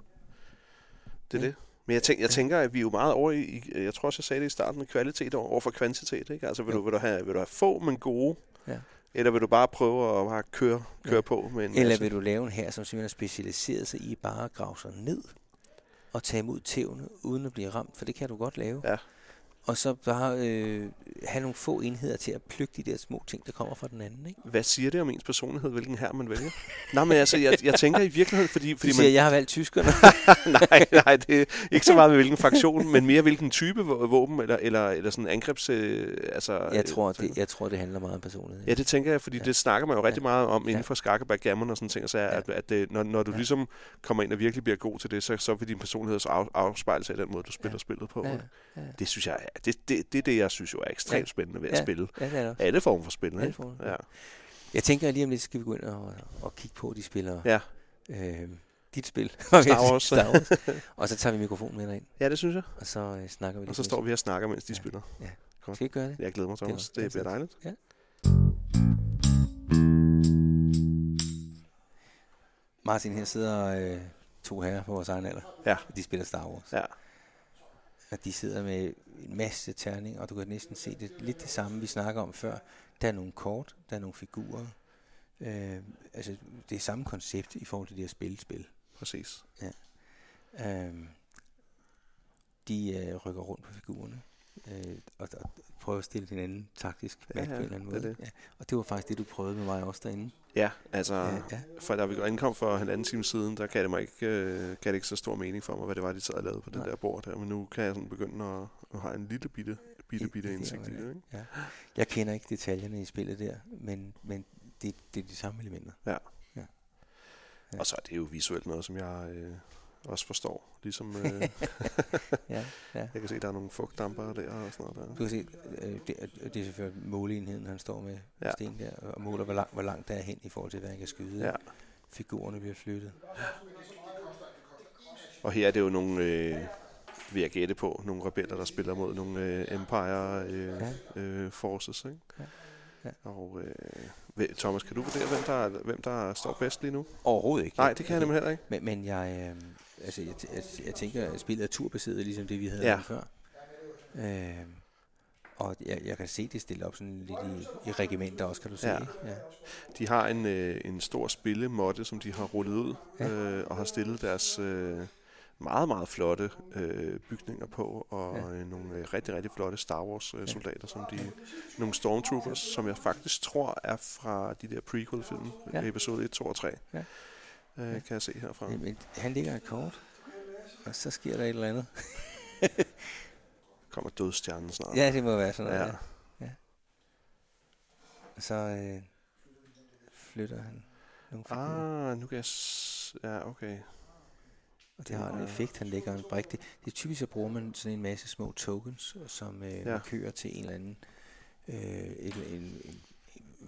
B: det, er det. Men jeg, tænker, jeg tænker, at vi er jo meget over i- i, jeg tror også, jeg sagde det i starten, med kvalitet over for kvantitet. Ikke? Altså, vil
C: Jo.
B: du, vil, du have, vil du have få, men gode?
C: Ja.
B: Eller vil du bare prøve at bare køre, køre
C: Ja.
B: på med en altså,
C: Eller
B: masse?
C: vil du lave en her, som simpelthen er specialiseret sig i bare at grave sig ned og tage imod tævne, uden at blive ramt, for det kan du godt lave.
B: Ja.
C: og så bare øh, have nogle få enheder til at plukke de der små ting, der kommer fra den anden. Ikke?
B: Hvad siger det om ens personlighed, hvilken her man vælger? Nej, men altså, jeg, jeg tænker i virkeligheden, fordi... fordi
C: Du siger,
B: man,
C: jeg har valgt tyskerne.
B: nej, nej, det er ikke så meget med hvilken fraktion, men mere hvilken type vå- våben, eller, eller, eller sådan angrebs... Øh, altså,
C: jeg, tror,
B: øh,
C: det, jeg tror, det handler meget om personlighed.
B: Ja, det tænker jeg, fordi ja. det snakker man jo rigtig meget om inden
C: Ja.
B: for skak og backgammon og sådan ting, så at, at det, når, når du ja. ligesom kommer ind og virkelig bliver god til det, så, så vil din personlighed også af, afspejle sig i den måde, du spiller ja. spillet på.
C: Ja,
B: Ja. Det synes jeg, er- det, det, det er det, jeg synes jo er ekstremt spændende ved at
C: Ja.
B: spille.
C: Ja, det er det også.
B: Alle former for spil,
C: Alle
B: ikke?
C: former, ja.
B: Ja.
C: Jeg tænker at lige om lidt, skal vi gå ind og, og kigge på de spillere.
B: Ja.
C: Øh, dit spil.
B: Star Wars.
C: Star Wars. Og så tager vi mikrofonen med derind,
B: ja, det synes jeg.
C: og så øh, snakker vi
B: Og så står vi og snakker, mens de
C: Ja.
B: spiller.
C: Skal vi ikke gøre det?
B: Jeg glæder mig, Thomas.
C: Det er-
B: Det bliver dejligt.
C: Martin, her sidder øh, to herrer på vores egen alder.
B: Ja.
C: De spiller Star Wars.
B: Ja.
C: Og de sidder med en masse terning, og du kan næsten se det lidt det samme, vi snakker om før. Der er nogle kort, der er nogle figurer. Øh, altså, det er samme koncept i forhold til det her spillespil.
B: Præcis.
C: Øh, de øh, rykker rundt på figurerne, øh, og, og prøver at stille hinanden taktisk
B: Ja,
C: ja, på
B: ja,
C: en eller anden
B: det er
C: måde. Ja. Og det var faktisk det, du prøvede med mig også derinde.
B: Ja, altså,
C: Ja, ja.
B: for da vi ankom for halvanden time siden, der gav det mig ikke, øh, gav det ikke så stor mening for mig, hvad det var, de sad og lavede på det
C: Nej.
B: der bord der. Men nu kan jeg sådan begynde at, at have en lille bitte, bitte,
C: I- idé
B: bitte
C: om,
B: indsigt i
C: hvad
B: det.
C: det
B: Ikke?
C: Jeg kender ikke detaljerne i spillet der, men, men det, det er de samme elementer. Ja.
B: Og så er det jo visuelt noget, som jeg øh, også forstår. Ligesom øh,
C: Ja, ja.
B: jeg kan se, der er nogle fugtdamper der og sådan noget
C: Du kan
B: der.
C: se, øh, det, er- det er selvfølgelig måleenheden, han står med ja.
B: Ja.
C: sten der, og måler, hvor langt, hvor langt der er hen i forhold til, hvad han kan skyde.
B: Ja.
C: Figurerne bliver flyttet.
B: Og her er det jo nogle, øh, vil jeg gætte på, nogle rebeller, der spiller mod nogle øh, Empire øh,
C: Ja.
B: øh, Forces. Ikke?
C: Ja. Ja.
B: Og øh, ved- Thomas, kan du vurdere, hvem der, hvem der står bedst lige nu?
C: Overhovedet ikke.
B: Nej, det kan jeg nemlig heller ikke.
C: Men, men jeg, øh, altså, jeg, t- jeg, jeg tænker, at spillet er turbaseret, ligesom det, vi havde
B: Ja.
C: ja. før. Øh, og jeg, jeg kan se det stille op sådan lidt i, i regimenter også, kan du se.
B: Ja.
C: ikke? Ja.
B: De har en, øh, en stor spillemåtte, som de har rullet ud
C: Ja.
B: øh, og har stillet deres øh, meget, meget flotte øh, bygninger på, og
C: Ja.
B: ja. øh, nogle øh, rigtig, rigtig flotte Star Wars-soldater, øh, ja. som de nogle Stormtroopers, som jeg faktisk tror er fra de der prequel-film,
C: Ja.
B: ja. episode 1, 2 og 3,
C: Ja.
B: ja. øh,
C: Ja.
B: kan jeg se herfra.
C: Jamen, han ligger et kort, og så sker der et eller andet.
B: Kommer dødstjernen snart.
C: Ja, det må være sådan noget.
B: Ja.
C: Ja. ja. Og så øh, flytter han nogle figurer, ah,
B: Ah, nu kan jeg... S- ja, okay.
C: og det har en
B: ja.
C: effekt, han lægger en brik. Det, det er typisk, så bruger man sådan en masse små tokens, som øh, ja. kører til en eller anden... Øh, en, en, en,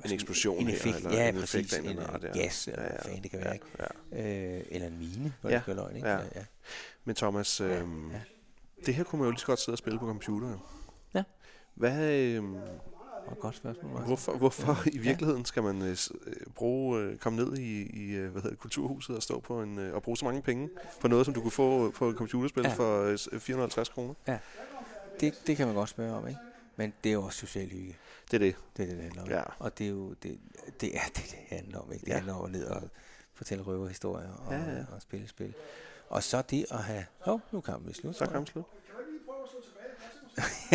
B: En eksplosion
C: en
B: her,
C: effekt,
B: eller
C: ja,
B: en effekt
C: præcis,
B: af en
C: en,
B: eller
C: en
B: anden art, ja.
C: gas, eller ja, ja, hvad fanden det kan være, ikke?
B: Ja.
C: Øh, eller en mine, hvor ja,
B: Ja,
C: det ikke er løgn, ikke?
B: ja.
C: ja.
B: Men Thomas, øh, ja.
C: ja.
B: det her kunne man jo lige så godt sidde og spille på computer, jo.
C: Ja.
B: Hvad, øh,
C: Og godt spørgsmål, Martin.
B: Hvorfor, hvorfor i virkeligheden skal man øh, s- øh, bruge, øh, komme ned i, i øh, hvad hedder det, kulturhuset og stå på en, øh, og bruge så mange penge på noget, som du kunne få på et computerspil
C: Ja.
B: ja. for øh, s- 450 kroner?
C: Det, det kan man godt spørge om, ikke? Men det er jo også social hygge.
B: Det er det.
C: Det er det, det handler om.
B: Ja.
C: Og det er jo det, det, er det, det handler om. Ikke? Det ja.
B: Ja.
C: handler om at ned og fortælle røverhistorier og, ja,
B: Ja,
C: ja.
B: ja.
C: og spille spil. Og så det at have... Hov, nu kan vi slut.
B: Så
C: tror
B: kan man
C: jeg.
B: slutte.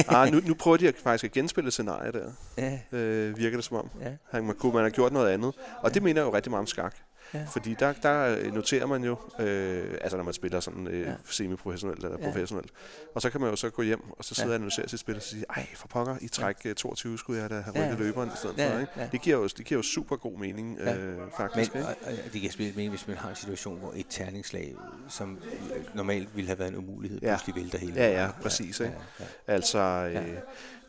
B: ah, nu, nu prøver de at, faktisk at genspille scenariet der,
C: Ja,
B: øh, virker det som om.
C: ja,
B: Han, man, kunne man have gjort noget andet. Og det mener jeg jo rigtig meget om skak.
C: Ja.
B: Ja. Fordi der, der øh, noterer man jo, øh, altså når man spiller sådan øh,
C: Ja.
B: ja. semi-professionelt eller
C: Ja.
B: professionelt. Og så kan man jo så gå hjem, og så sidde
C: Ja.
B: ja. og analysere sit spil og sige, ej for pokker, i træk øh, 22 skulle jeg da have
C: Ja.
B: rykket løberen i stedet
C: Ja,
B: for. Ikke?
C: ja.
B: Det, giver jo, det giver jo super god mening,
C: Ja.
B: ja. øh, faktisk.
C: men
B: Men,
C: og,
B: ikke?
C: og det kan spille mening, hvis man har en situation, hvor et terningsslag, som øh, normalt ville have været en umulighed,
B: Ja.
C: pludselig vælter hele
B: Ja, ja,
C: verden.
B: præcis, ikke?
C: ja.
B: Altså, øh,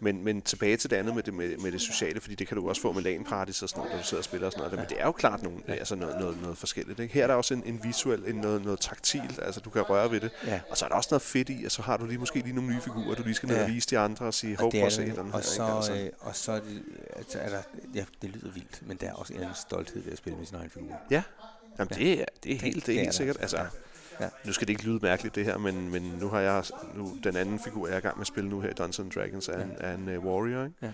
B: men, men tilbage til det andet med det, med, med det sociale, fordi det kan du også få med LAN-parties og sådan noget, når du sidder og spiller og sådan noget. Ja. Men det er jo klart nogle, altså noget, noget, noget forskelligt. Ikke? Her er der også en, en visuel, en, noget, noget taktilt, altså du kan røre ved det.
C: Ja.
B: Og så er der også noget fedt i, at så har du lige måske lige nogle nye figurer, du lige skal ned
C: Ja.
B: og vise de andre og sige, hov,
C: det
B: prøv
C: er
B: at se
C: der,
B: den her.
C: og,
B: ikke? altså.
C: så, øh, og så er det, altså, er der, ja, det lyder vildt, men der er også en eller anden stolthed ved at spille med sin egen figur.
B: Ja, Jamen, det, er, det er helt, det
C: det
B: er
C: er
B: helt
C: der.
B: sikkert. Altså,
C: Ja.
B: ja. Nu skal det ikke lyde mærkeligt det her, men, men nu har jeg nu, den anden figur, jeg er i gang med at spille nu her i Dungeons and Dragons, er en, er en uh, warrior. Ikke?
C: Ja.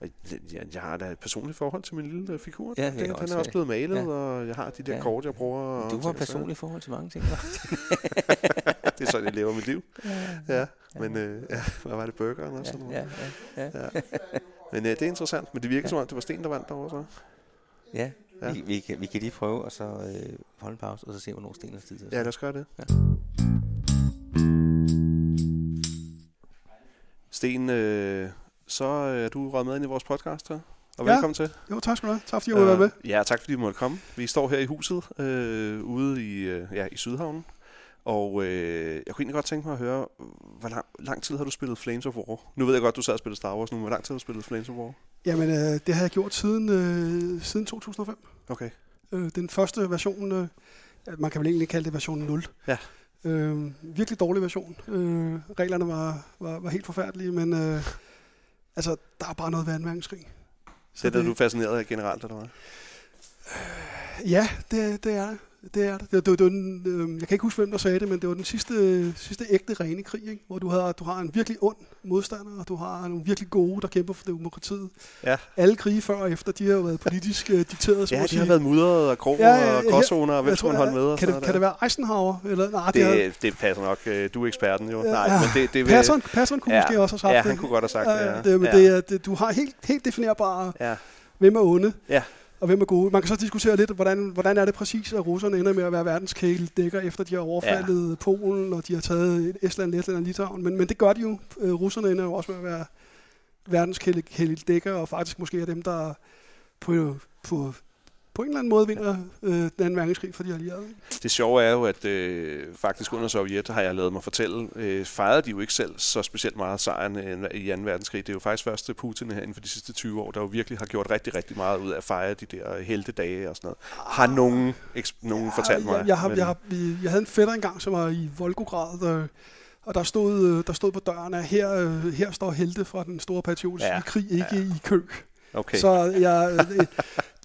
B: Og jeg- jeg, jeg har da et personligt forhold til min lille øh, figur.
C: Ja, det kan
B: den,
C: jeg
B: den
C: også
B: er også
C: se.
B: blevet malet,
C: Ja.
B: og jeg har de der
C: Ja.
B: kort, jeg bruger. og
C: Du
B: ting
C: har
B: og sager.
C: personligt forhold til mange ting, hva'?
B: det er sådan, jeg lever mit liv. Ja, men øh, ja, hvad var det, burgeren og sådan noget?
C: ja, ja, ja.
B: Ja. Men øh, det er interessant, men det virker som om, det var Sten, der vandt derovre så.
C: ja.
B: Ja.
C: ja. Vi, vi, kan, vi kan lige prøve, og så øh, holde en pause, og så se, hvornår Sten har tid til. at
B: Ja, lad os gøre det.
C: Ja.
B: Sten, øh, så øh, er du røget med ind i vores podcast her. Og
D: Ja.
B: velkommen til. Øh,
D: Jo, tak skal du have. Tak fordi jeg måtte være med.
B: Ja, tak fordi du måtte komme. Vi står her i huset øh, ude i, øh, ja, i Sydhavnen. Og øh, jeg kunne egentlig godt tænke mig at høre, hvor lang, lang tid har du spillet Flames of War? Nu ved jeg godt, du sad og spillede Star Wars nu, men hvor lang tid har du spillet Flames of War?
D: Jamen, øh, det har jeg gjort siden, øh, siden 2005.
B: Okay.
D: Øh, den første version, øh, ja, man kan vel egentlig kalde det version 0.
B: Ja.
D: Øh, virkelig dårlig version. Øh, reglerne var, var, var helt forfærdelige, men øh, altså, der er bare noget ved anden verdenskrig.
B: Så det er det, du er fascineret af generelt, eller hvad?
D: Ja, det, det er det. Det er det. det, det, det var den, øh, jeg kan ikke huske, hvem der sagde det, men det var den sidste, sidste ægte rene krig, ikke? hvor du har, du har en virkelig ond modstander, og du har nogle virkelig gode, der kæmper for demokratiet.
B: Ja.
D: Alle krige før og efter, de har jo været politisk øh, dikteret, så
B: Ja,
D: at
B: det har
D: sige.
B: været mudret og kroger
D: Ja, ja, ja,
B: og
D: ja.
B: gråzoner, og hvem
D: Jeg
B: skal
D: tror,
B: man holde med? Og sådan
D: Kan det,
B: noget
D: kan det
B: der.
D: være Eisenhower? Eller, nej, det, det er,
B: det, det passer nok. Øh, Du er eksperten jo. Nej,
D: Ja.
B: men det, det vil-
D: Passeren, passeren kunne
B: Ja,
D: måske også have sagt
B: ja,
D: det. Øh,
B: han kunne godt have sagt det, ja.
D: det, men
B: Ja.
D: det, er- det, du har helt, helt definerbare,
B: Ja,
D: hvem er onde,
B: Ja.
D: og hvem er gode. Man kan så diskutere lidt, hvordan, hvordan er det præcis, at russerne ender med at være verdenskæledækker, efter de har overfaldet ja. Polen, og de har taget Estland, Letland og Litauen. Men, men det gør de jo. Øh, Russerne ender jo også med at være verdenskæledækker, og faktisk måske er dem, der på, på, på en eller anden måde vinder øh, den anden verdenskrig for de allierede. ikke?
B: det sjove er jo, at øh, faktisk under Sovjet har jeg lavet mig fortælle, øh, fejrede de jo ikke selv så specielt meget sejren øh, i 2. verdenskrig. Det er jo faktisk først Putin her inden for de sidste 20 år, der jo virkelig har gjort rigtig, rigtig meget ud af at fejre de der heltedage og sådan noget. Har nogen, eks- nogen ja, fortalt mig?
D: Jeg, jeg, har,
B: men-
D: jeg, har, vi- jeg havde en fætter engang, som var i Volgograd, øh, og der stod, øh, der stod på døren, at her, øh, her står helte fra den store patriotiske
B: Ja,
D: ja, krig, ikke ja. i kø.
B: okay.
D: Okay. Så jeg, øh, det,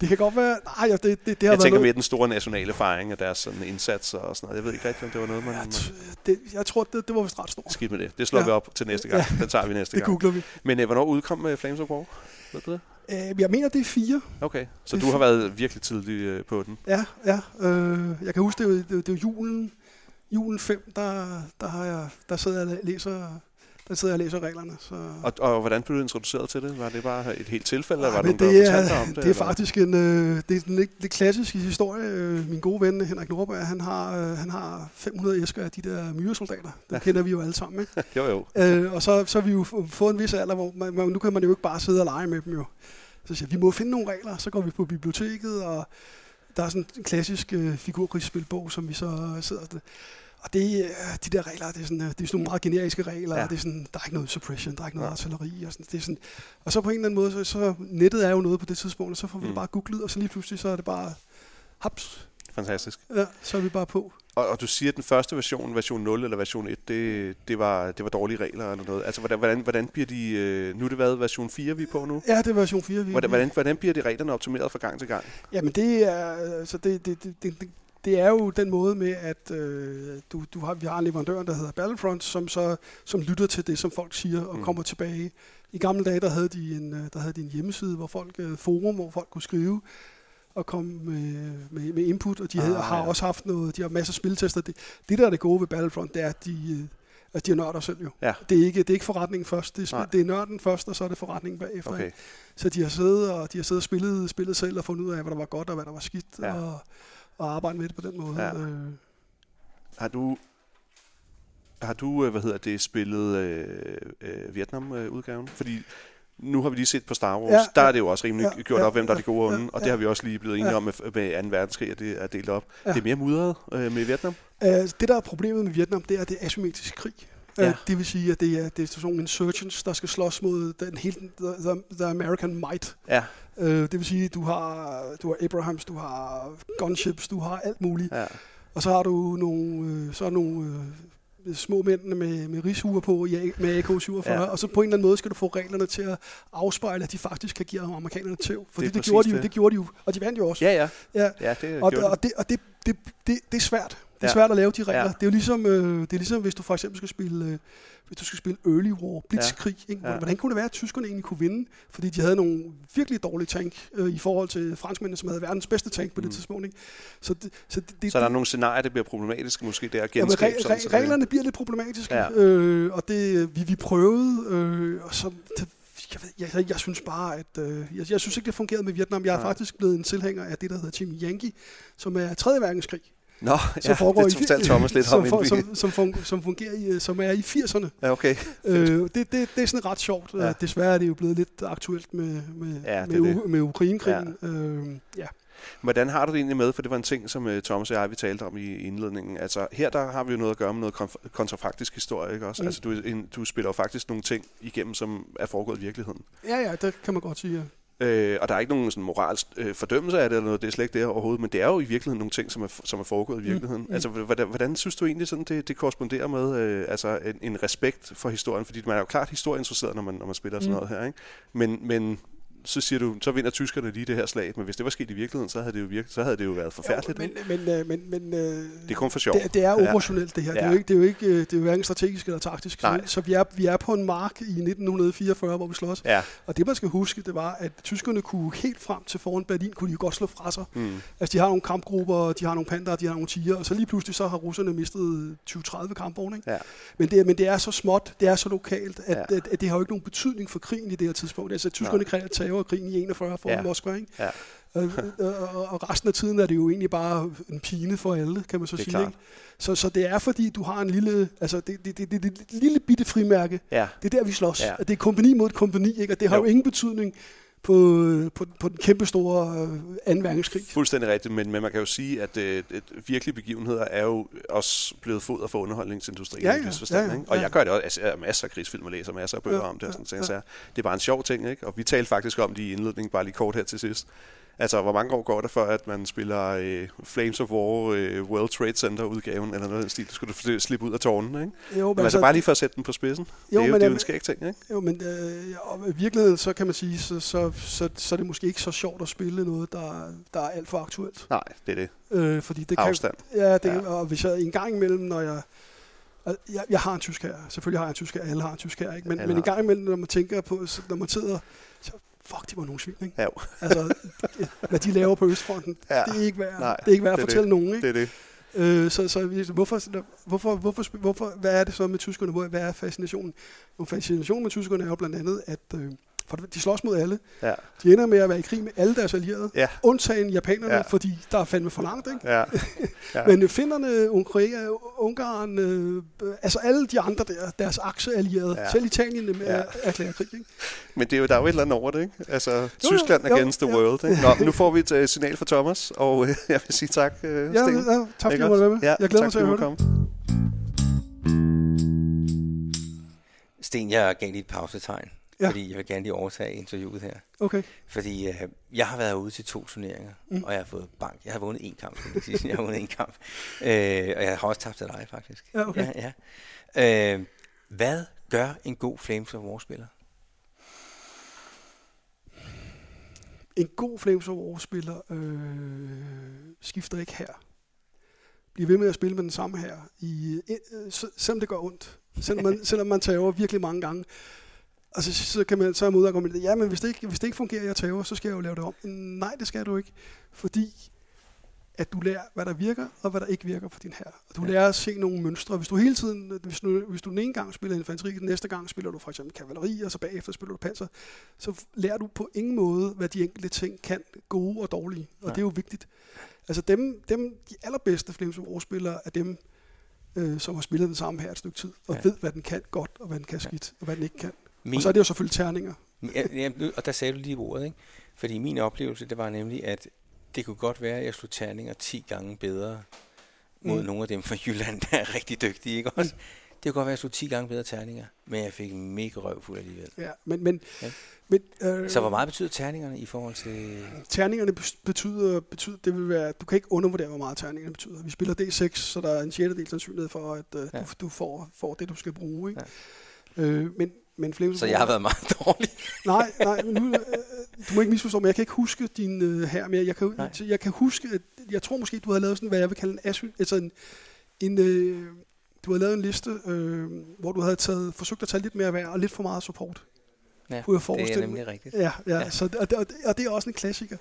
D: det kan godt være... Nej, det, det, det har
B: jeg
D: været
B: tænker
D: noget,
B: mere den store nationale fejring af deres sådan, indsatser og sådan noget. Jeg ved ikke rigtig, om det var noget, man...
D: jeg, t- det, jeg tror, det, det var vist ret stort.
B: Skidt med det. Det slår ja. vi
D: Ja.
B: op til næste gang. Ja. Den tager vi næste
D: Det
B: gang.
D: googler vi.
B: Men øh, hvornår udkom øh, Flames of War? Ved du det?
D: Øh, jeg mener, det er fire.
B: Okay, så
D: Det
B: du
D: er
B: har været virkelig tidlig øh, på den.
D: Ja, ja. Øh, jeg kan huske, det er, jo- det, er jo- det er jo julen. Julen 5, der, der, har jeg, der sidder jeg og læser, der sidder jeg og læser reglerne. Så.
B: Og, og hvordan blev du introduceret til det? Var det bare et helt tilfælde, eller var
D: Ej,
B: det
D: Ah, men
B: nogen, der
D: er-
B: fortalte dig om det?
D: Det er faktisk en, øh, det er sådan lidt, lidt klassisk historie. Øh, Min gode ven Henrik Nordberg, han har, øh, han har 500 æsker af de der myresoldater. Dem kender vi jo alle sammen. Ikke?
B: Eller? Jo, jo.
D: Øh, og så, så har vi jo f- fået en vis alder, hvor man, man, nu kan man jo ikke bare sidde og lege med dem jo. Så siger jeg, vi må finde nogle regler, så går vi på biblioteket, og der er sådan en klassisk øh, figurkrigsspilbog, som vi så sidder og... Og det, øh, de der regler, det er, sådan, øh, det er sådan nogle meget generiske regler,
B: Ja.
D: ja. og det er sådan, der er ikke noget suppression, der er ikke noget
B: Nej.
D: artilleri, og, sådan, det er sådan, og så på en eller anden måde, så, så nettet er jo noget på det tidspunkt, og så får vi
B: Mm.
D: det bare googlet, og så lige pludselig, så er det bare, haps,
B: Fantastisk.
D: ja, så er vi bare på.
B: Og, og du siger, at den første version, version 0 eller version 1, det, det, var, det var dårlige regler eller noget. Altså, hvordan, hvordan, hvordan bliver de... Øh, nu er det været version 4, vi er på nu.
D: Ja, det er version 4. Vi,
B: Hvordan,
D: vi-
B: hvordan, hvordan bliver de reglerne optimeret fra gang til gang?
D: Jamen det er, altså det, det, det, det, det- det er jo den måde med, at øh, du, du har, vi har en leverandør, der hedder Battlefront, som så som lytter til det, som folk siger, og
B: Mm.
D: mm. kommer tilbage. I gamle dage, der havde de en, øh, der havde de en hjemmeside, hvor folk, øh, forum, hvor folk kunne skrive og komme med, med, med input, og de havde,
B: Ah,
D: ah, har
B: ja.
D: også haft noget, de har masser af spiltester. Det, det der er det gode ved Battlefront, det er, at de, øh, at de er nørder selv jo.
B: Ja.
D: Det, er ikke, det er ikke forretningen først, det er,
B: Nej.
D: spil, det er nørden først, og så er det forretningen bagefter.
B: Okay.
D: Så de har siddet og, de har siddet og spillet, spillet selv og fundet ud af, hvad der var godt og hvad der var skidt,
B: Ja.
D: ja. og, og arbejdet med det på den måde.
B: Ja.
D: Ja. Øh,
B: Har du... Har du, øh, hvad hedder det, spillet øh, øh, Vietnam-udgaven? Fordi nu har vi lige set på Star Wars, ja,
D: Ja,
B: der
D: ja.
B: er det jo også rimelig ja,
D: Ja,
B: gjort
D: ja,
B: op, hvem der er
D: ja,
B: det gode og
D: ja,
B: onde, og det
D: ja.
B: har vi også lige blevet enige
D: Ja.
B: om med, med 2. verdenskrig, at det er delt op. Ja.
D: Ja.
B: Det er mere mudret øh, med Vietnam.
D: altså, det, der er problemet med Vietnam, det er, at det er asymmetrisk krig.
B: Ja.
D: Ja. Det vil sige, at det er, det er sådan nogle insurgents, der skal slås mod den hele, the, the, the American might.
B: Ja,
D: Øh, det vil sige, du har, du har Abrahams, du har gunships, du har alt muligt.
B: ja.
D: Og så har du nogle, øh, så er der nogle øh, små mænd med, med rishuer på i A- med AK-47,
B: Ja.
D: ja. og så på en eller anden måde skal du få reglerne til at afspejle, at de faktisk kan give amerikanerne tæv. Fordi
B: Det er
D: det, det,
B: præcis
D: gjorde de jo,
B: det.
D: det gjorde de jo, og de vandt jo også.
B: Ja, ja.
D: ja.
B: ja det
D: Og,
B: gjorde
D: og, det, og det, det, det, det er svært. Det er
B: Ja.
D: svært at lave de regler.
B: Ja.
D: Ja. Det er jo ligesom, øh, det er ligesom, hvis du for eksempel skal spille, øh, hvis du skal spille Early War, Blitzkrig. Ja. Ikke?
B: Ja.
D: Hvordan kunne det være, at tyskerne egentlig kunne vinde? Fordi de havde nogle virkelig dårlige tank øh, i forhold til franskmændene, som havde verdens bedste tank på det tidspunkt. Ikke? Så, det, så, det, det,
B: Mm. Så er der nogle scenarier, der bliver problematiske måske, der at
D: Ja, men
B: genskabe
D: re-
B: sådan,
D: re-
B: så det-
D: reglerne bliver lidt problematiske,
B: Ja.
D: ja. øh, og det, vi, vi prøvede, øh, og så, det, jeg, ved, jeg, jeg, jeg synes bare, at øh, jeg, jeg synes ikke, det fungerede med Vietnam. Jeg er
B: Nej.
D: faktisk blevet en tilhænger af det, der hedder Team Yankee, som er 3. verdenskrig,
B: Nå,
D: som
B: ja, det fortalte Thomas lidt om,
D: som,
B: inden
D: for,
B: vi...
D: som, som, fun, som fungerer, i, øh, som er i 80'erne.
B: Ja, okay.
D: Øh, det, det, det er sådan ret sjovt.
B: Ja.
D: Ja. Desværre er det jo blevet lidt aktuelt med, med,
B: Ja, det
D: med,
B: er
D: U- med Ukrainekrigen. Ja. Øh, ja.
B: Hvordan har du det egentlig med, for det var en ting, som øh, Thomas og jeg, vi talte om i i indledningen. Altså, her der har vi jo noget at gøre med noget konf- kontrafaktisk historie, ikke også? Mm.
D: Mm.
B: Altså, du, en, du spiller jo faktisk nogle ting igennem, som er foregået i virkeligheden.
D: ja, ja, det kan man godt sige. ja.
B: Øh, og der er ikke nogen sådan, moralsk øh, fordømmelse af det eller noget, det er slet ikke det overhovedet, men det er jo i virkeligheden nogle ting, som er, som er foregået i virkeligheden. Mm,
D: mm.
B: Altså, hvordan, hvordan synes du egentlig, sådan, det, det korresponderer med øh, altså, en, en respekt for historien? Fordi man er jo klart historieinteresseret, når man, når man spiller sådan
D: Mm.
B: noget her, ikke? Men, men så siger du, så vinder tyskerne lige det her slag, men hvis det var sket i virkeligheden, så havde det jo, virke, så havde det jo været forfærdeligt. Jo,
D: Jo, men, men, øh, men, men, øh,
B: det er kun for sjov.
D: Det, det er
B: Ja.
D: operationelt, det her. Det er
B: Ja.
D: jo ikke, det er jo ikke, øh, det er jo hverken strategisk eller taktisk. Så,
B: Nej.
D: så vi, er, vi er på en mark i 1944, hvor vi slås.
B: Ja.
D: Og det, man skal huske, det var, at tyskerne kunne helt frem til foran Berlin, kunne de jo godt slå fra sig.
B: Mm.
D: Altså, de har nogle kampgrupper, de har nogle panter, de har nogle tiger, og så lige pludselig så har russerne mistet 20-30 kampvogne. ikke?
B: Ja.
D: Men, det, er- men det er så småt, det er så lokalt, at,
B: Ja.
D: ja. at, at det har jo ikke nogen betydning for krigen i det her tidspunkt. Altså, tyskerne ja. tager krigen i 41 foran
B: Ja.
D: ja. Moskva, ikke?
B: Ja.
D: Og, Øh, og, og resten af tiden er det jo egentlig bare en pine for alle, kan man så
B: Det er
D: sige.
B: klart.
D: Ikke? Så, så det er fordi, du har en lille, altså det, det, det, det, det lille bitte frimærke.
B: Ja.
D: Det er der, vi slås.
B: Ja.
D: Ja. Det er kompani mod et kompani, ikke? og det har
B: Jo.
D: jo, jo ingen betydning på, på, på den kæmpe store øh, 2. verdenskrig.
B: Fuldstændig rigtigt, men, men man kan jo sige, at, øh, at virkelige begivenheder er jo også blevet foder for underholdningsindustrien
D: Ja,
B: ja,
D: ja,
B: ja, ja,
D: ja,
B: ja.
D: ja.
B: Ikke? Og jeg gør det også. Altså, jeg har masser af krigsfilm og læser masser af bøger ja,
D: Ja,
B: om det. Og
D: ja,
B: sådan, ja,
D: ja.
B: ja. Det er bare en sjov ting, ikke? og vi talte faktisk om det i indledningen, bare lige kort her til sidst. Altså, hvor mange år går der før, at man spiller øh, Flames of War øh, World Trade Center-udgaven, eller noget af den stil, der skulle du slippe ud af tårnen, ikke?
D: Jo,
B: Men altså, bare lige for at sætte den på spidsen. Jo, det er jo,
D: men,
B: det er jo
D: øh,
B: en skæg ting, ikke?
D: Jo, men øh, og i virkeligheden, så kan man sige, så, så, så, så er det måske ikke så sjovt at spille noget, der, der er alt for aktuelt.
B: Nej, det er det.
D: Øh, fordi det kan,
B: Afstand.
D: Ja, det,
B: Ja.
D: ja. og hvis jeg en gang imellem, når jeg... al- Jeg, jeg har en tysk her. Selvfølgelig har jeg en tysk her. Alle har en tysk her, ikke? Men,
B: Alle har.
D: men en gang imellem, når man tænker på, så- når man sidder, så fuck, de var nogle svin, ikke?
B: Ja, jo.
D: Altså, hvad de laver på Østfronten,
B: Ja.
D: ja. det er ikke værd,
B: Nej,
D: det er ikke værd at
B: det er
D: fortælle
B: det.
D: nogen,
B: det
D: ikke?
B: er det.
D: Øh, så, så vi- hvorfor, hvorfor, hvorfor, sp- hvorfor, hvad er det så med tyskerne? Hvor- Hvad er fascinationen? Jo, fascinationen med tyskerne er jo blandt andet, at øh, for det- de slås mod alle.
B: Ja,
D: De ender med at være i krig med alle deres allierede,
B: ja,
D: undtagen japanerne,
B: Ja.
D: ja. fordi der er fandme for langt, ikke?
B: ja. Ja.
D: Men øh, finnerne, Ukraine, Ungarn, øh, øh, altså alle de andre der, deres akseallierede,
B: Ja.
D: ja. selv Italien øh,
B: Ja.
D: er erklærer krig. Ikke?
B: Men det er jo, der er jo et eller andet over det, ikke? Altså, jo,
D: jo,
B: Tyskland
D: jo,
B: against the
D: ja.
B: world, ikke? Nå, men nu får vi et uh, signal fra Thomas, og uh, jeg vil sige tak, uh, Sten.
D: Ja, ja, tak fordi
B: Ikke
D: du måtte
B: også?
D: være med.
B: Ja,
D: jeg glæder
B: tak,
D: mig til
B: fordi
D: at høre
B: du
D: det.
B: måtte komme.
C: Sten, jeg gav lige et pausetegn,
D: Ja.
C: ja. fordi jeg vil gerne lige overtage interviewet her.
D: Okay.
C: Fordi øh, jeg har været ude til to turneringer, mm.
D: Mm.
C: og jeg har fået bank. Jeg har vundet en kamp, skal jeg lige sige. jeg har vundet en kamp. Øh, og jeg har også tabt til dig, faktisk.
D: Ja, okay.
C: Ja, ja. Øh, hvad gør en god Flames of War-spiller?
D: En god Flames of War-spiller øh, skifter ikke her. Bliver ved med at spille med den samme her, i, øh, s- selvom det gør ondt. Selvom man, selvom man tager virkelig mange gange. Altså, så så kan man så er modargumentet, ja, men hvis det, ikke, hvis det ikke fungerer, jeg tager, så skal jeg jo lave det om. Nej, det skal du ikke, fordi at du lærer, hvad der virker, og hvad der ikke virker på din her. Og du
C: Ja.
D: lærer at se nogle mønstre. Hvis du hele tiden, hvis du, hvis du den ene gang spiller infanteri, den næste gang spiller du for eksempel kavaleri, og så bagefter spiller du panser, så f- lærer du på ingen måde, hvad de enkelte ting kan, gode og dårlige. Og
C: Nej.
D: det er jo vigtigt. Altså dem, dem de allerbedste Flames of War-spillere er dem, øh, som har spillet den samme her et stykke tid, og
C: Ja.
D: ja. ved, hvad den kan godt, og hvad den kan skidt, og hvad den ikke kan.
C: Min,
D: Og så er det jo selvfølgelig terninger.
C: ja, ja, nu- og der sagde du lige ordet, ikke? Fordi min oplevelse, det var nemlig, at det kunne godt være, at jeg slog terninger 10 gange bedre mod
D: Mm.
C: nogle af dem fra Jylland, der er rigtig dygtige, ikke også? Det kunne godt være, at jeg slog 10 gange bedre terninger, men jeg fik mega røvfuld alligevel.
D: Ja, men, men,
C: Ja.
D: ja. men øh,
C: Så hvor meget betyder terningerne i forhold til...
D: Terningerne bes- betyder, betyder, det vil være, du kan ikke undervurdere, hvor meget terningerne betyder. Vi spiller D6, så der er en sjettedel sandsynlighed for, at øh,
C: Ja.
D: du, du får, får det, du skal bruge. Ikke? Ja. Øh, men, men Flames
C: Så jeg har været meget dårlig.
D: Nej, nej, men nu, øh, du må ikke misforstå mig. Jeg kan ikke huske din øh, her mere. Jeg kan,
C: Nej.
D: jeg kan huske, at jeg tror måske, du havde lavet sådan, hvad jeg vil kalde en, asy, altså en, en, øh, du havde lavet en liste, øh, hvor du havde taget, forsøgt at tage lidt mere værd og lidt for meget support.
C: Ja,
D: Kunne jeg
C: det
D: forestille
C: er
D: mig.
C: nemlig rigtigt.
D: Ja, ja,
C: Ja.
D: ja. Så, og, det, og, det, og det er også en klassiker.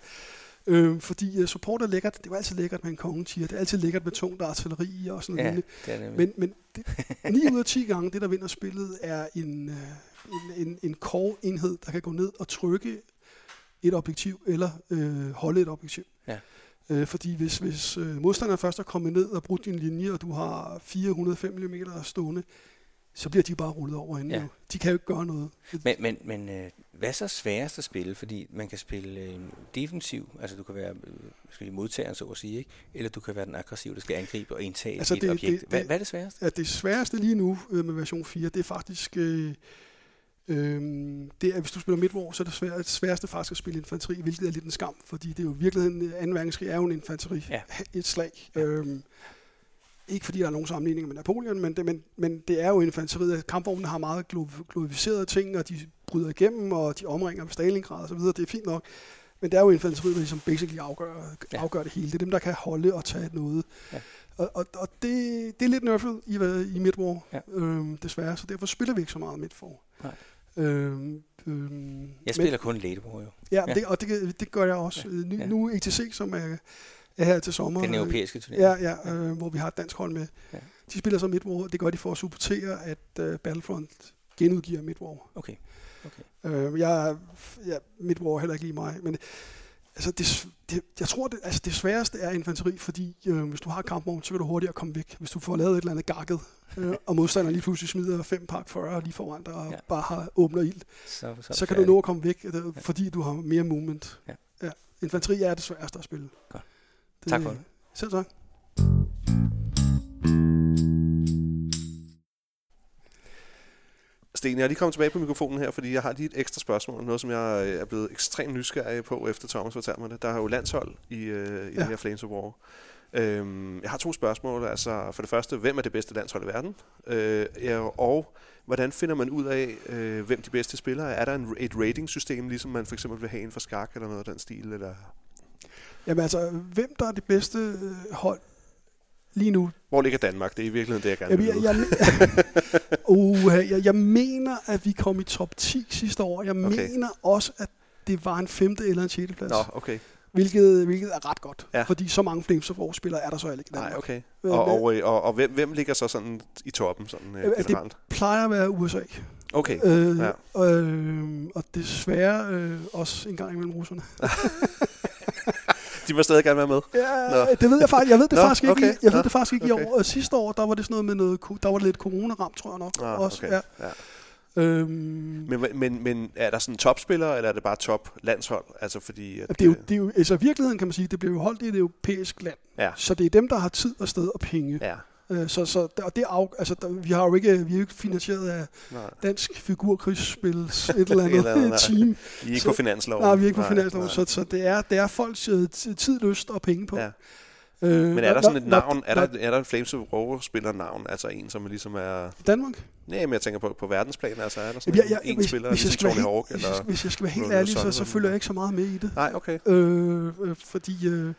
D: Øh, fordi øh, support er lækkert. Det er jo altid lækkert med en kongetier. Det er altid lækkert med tungt artilleri og sådan
C: Ja,
D: noget.
C: det er nemlig.
D: Men, men det, 9 ud af 10 gange, det der vinder spillet, er en, øh, en, en, en core-enhed, der kan gå ned og trykke et objektiv, eller øh, holde et objektiv.
C: Ja.
D: Øh, fordi hvis, hvis øh, modstanderen først er kommet ned og brudt din linje, og du har 405 mm stående, så bliver de bare rullet over inden.
C: Ja.
D: Ja. De kan jo ikke gøre noget.
C: Men, men, men øh, hvad er så sværest at spille? Fordi man kan spille øh, defensiv, altså du kan være øh, skal lige modtageren, så at sige, ikke? eller du kan være den aggressive, der skal angribe og indtage altså,
D: Altså,
C: et det,
D: det-
C: objekt.
D: det-
C: hvad,
D: det-
C: hvad er det sværeste?
D: at det sværeste lige nu øh, med version 4, det er faktisk... Øh, øh, det er, hvis du spiller midtvår, så er det svær, sværeste faktisk at spille infanteri, hvilket er lidt en skam, fordi det er jo i virkeligheden, øh, 2. verdenskrig er jo en infanteri,
C: Ja.
D: et slag.
C: Ja.
D: Ja. Øhm, ikke fordi der er nogen sammenligninger med Napoleon, men det, men, men det er jo infanteriet. Kampvognene har meget glo- glorificerede ting, og de bryder igennem, og de omringer Stalingrad osv. Det er fint nok. Men det er jo infanteriet, der ligesom basically afgør,
C: Ja.
D: ja. afgør det hele. Det er dem, der kan holde og tage noget.
C: Ja.
D: Ja. Og, og, og det, det er lidt nerfed i, hvad- i Midtwar,
C: Ja.
D: ja. øhm, desværre. Så derfor spiller vi ikke så meget Midtwar.
C: Nej.
D: Øhm, øhm,
C: Jeg spiller kun Ladybor jo.
D: Ja,
C: Ja.
D: ja. Det, og det, det gør jeg også.
C: Ja.
D: Ja. Nu,
C: Ja.
D: nu ETC, som er, er her til sommer.
C: Den
D: øh,
C: europæiske turnering.
D: Ja, ja, øh, hvor vi har et dansk hold med.
C: Ja.
D: Ja. De spiller så Midwar. Det gør de for at supportere, at øh, Battlefront genudgiver Midwar.
C: Okay.
D: Øh, jeg, jeg, mit war er heller ikke lige mig, men altså, det, s- det, jeg tror, det, altså, det sværeste er infanteri, fordi øh, hvis du har kampvogn, så kan du hurtigere komme væk. Hvis du får lavet et eller andet gakket, øh, og modstanderen lige pludselig smider fem pak 40 lige foran dig og
C: Ja.
D: ja. bare har, åbner ild,
C: Så, så,
D: så kan du nå at komme væk, øh, fordi du har mere movement.
C: Ja.
D: Ja. Infanteri er det sværeste at spille.
C: Godt. Tak for det.
D: Selv tak.
B: Sten, jeg er lige kommet tilbage på mikrofonen her, fordi jeg har lige et ekstra spørgsmål. Noget, som jeg øh, er blevet ekstremt nysgerrig på, efter Thomas fortalte mig det. Der er jo landshold i, øh, i ja.
D: Ja.
B: den her Flames of War. Øhm, jeg har to spørgsmål. Altså, for det første, hvem er det bedste landshold i verden? Øh, ja, og hvordan finder man ud af, øh, hvem de bedste spillere er? Er der en, et rating-system, ligesom man for eksempel vil have inden for skak eller noget af den stil? Eller
D: Jamen altså, hvem der er det bedste øh, hold lige nu,
B: Hvor ligger Danmark? Det er i virkeligheden det, jeg gerne
D: Jeg,
B: vil
D: jeg,
B: vide.
D: jeg, Uha, jeg, jeg mener, at vi kom i top 10 sidste år. Jeg
B: Okay.
D: okay. mener også, at det var en femte eller en sjette plads,
B: Nå, okay.
D: hvilket, hvilket er ret godt,
B: Ja.
D: ja. fordi så mange Flames of War-spillere er der så heller ikke. i
B: Nej,
D: Danmark.
B: okay.
D: Øh,
B: Og,
D: hvad-
B: og, øh, og, og hvem, hvem ligger så sådan i toppen sådan, øh,
D: Jamen, altså, det-
B: generelt?
D: plejer at være USA.
B: Okay.
D: Øh,
B: ja.
D: øh, og desværre øh, også en gang imellem russerne.
B: De må stadig gerne være med.
D: Ja,
B: Nå.
D: det ved jeg faktisk. Jeg ved det
B: Nå,
D: faktisk ikke.
B: okay.
D: i- Jeg ved
B: Nå,
D: det faktisk ikke
B: okay.
D: i år. Og sidste år, der var det sådan noget med noget, ko- der var lidt corona-ramt, tror jeg nok.
B: Ah,
D: også.
B: okay.
D: Ja.
B: Ja.
D: Øhm,
B: Men, men, men er der sådan topspillere, eller er det bare top landshold? Altså fordi... At,
D: Det er jo,
B: øh,
D: det er jo, altså i virkeligheden kan man sige, det bliver jo holdt i et europæisk land.
B: Ja.
D: Så det er dem, der har tid og sted og penge.
B: Ja,
D: Øh, Så, så der- og det af, altså, der, vi har jo ikke, vi er jo ikke finansieret af
B: nej.
D: dansk figurkrigsspil, et eller
B: Et eller andet, nej.
D: andet team.
B: I er ikke
D: Så-
B: på finansloven?
D: Nej, vi er ikke på
B: nej.
D: finansloven, så, så det, er, det er folks øh, t- tid, lyst og penge på.
B: Ja. Men
D: Øh,
B: er
D: når-
B: der sådan et
D: når-
B: navn? Er
D: når-
B: der, er der en Flames of Rover spiller navn? Altså en, som ligesom er...
D: Danmark?
B: Nej, men jeg tænker på, på verdensplan. Altså er der sådan
D: Jamen, jeg, jeg,
B: en, en
D: hvis,
B: spiller,
D: hvis, jeg
B: ligesom
D: skal være
B: Tony
D: helt,
B: Hawk?
D: hvis, jeg,
B: Eller...
D: hvis jeg skal være helt
B: Ronald
D: ærlig, så, så
B: Sullivan,
D: følger
B: eller-
D: jeg ikke så meget med i det.
B: Nej, okay.
D: Øh, øh, fordi øh,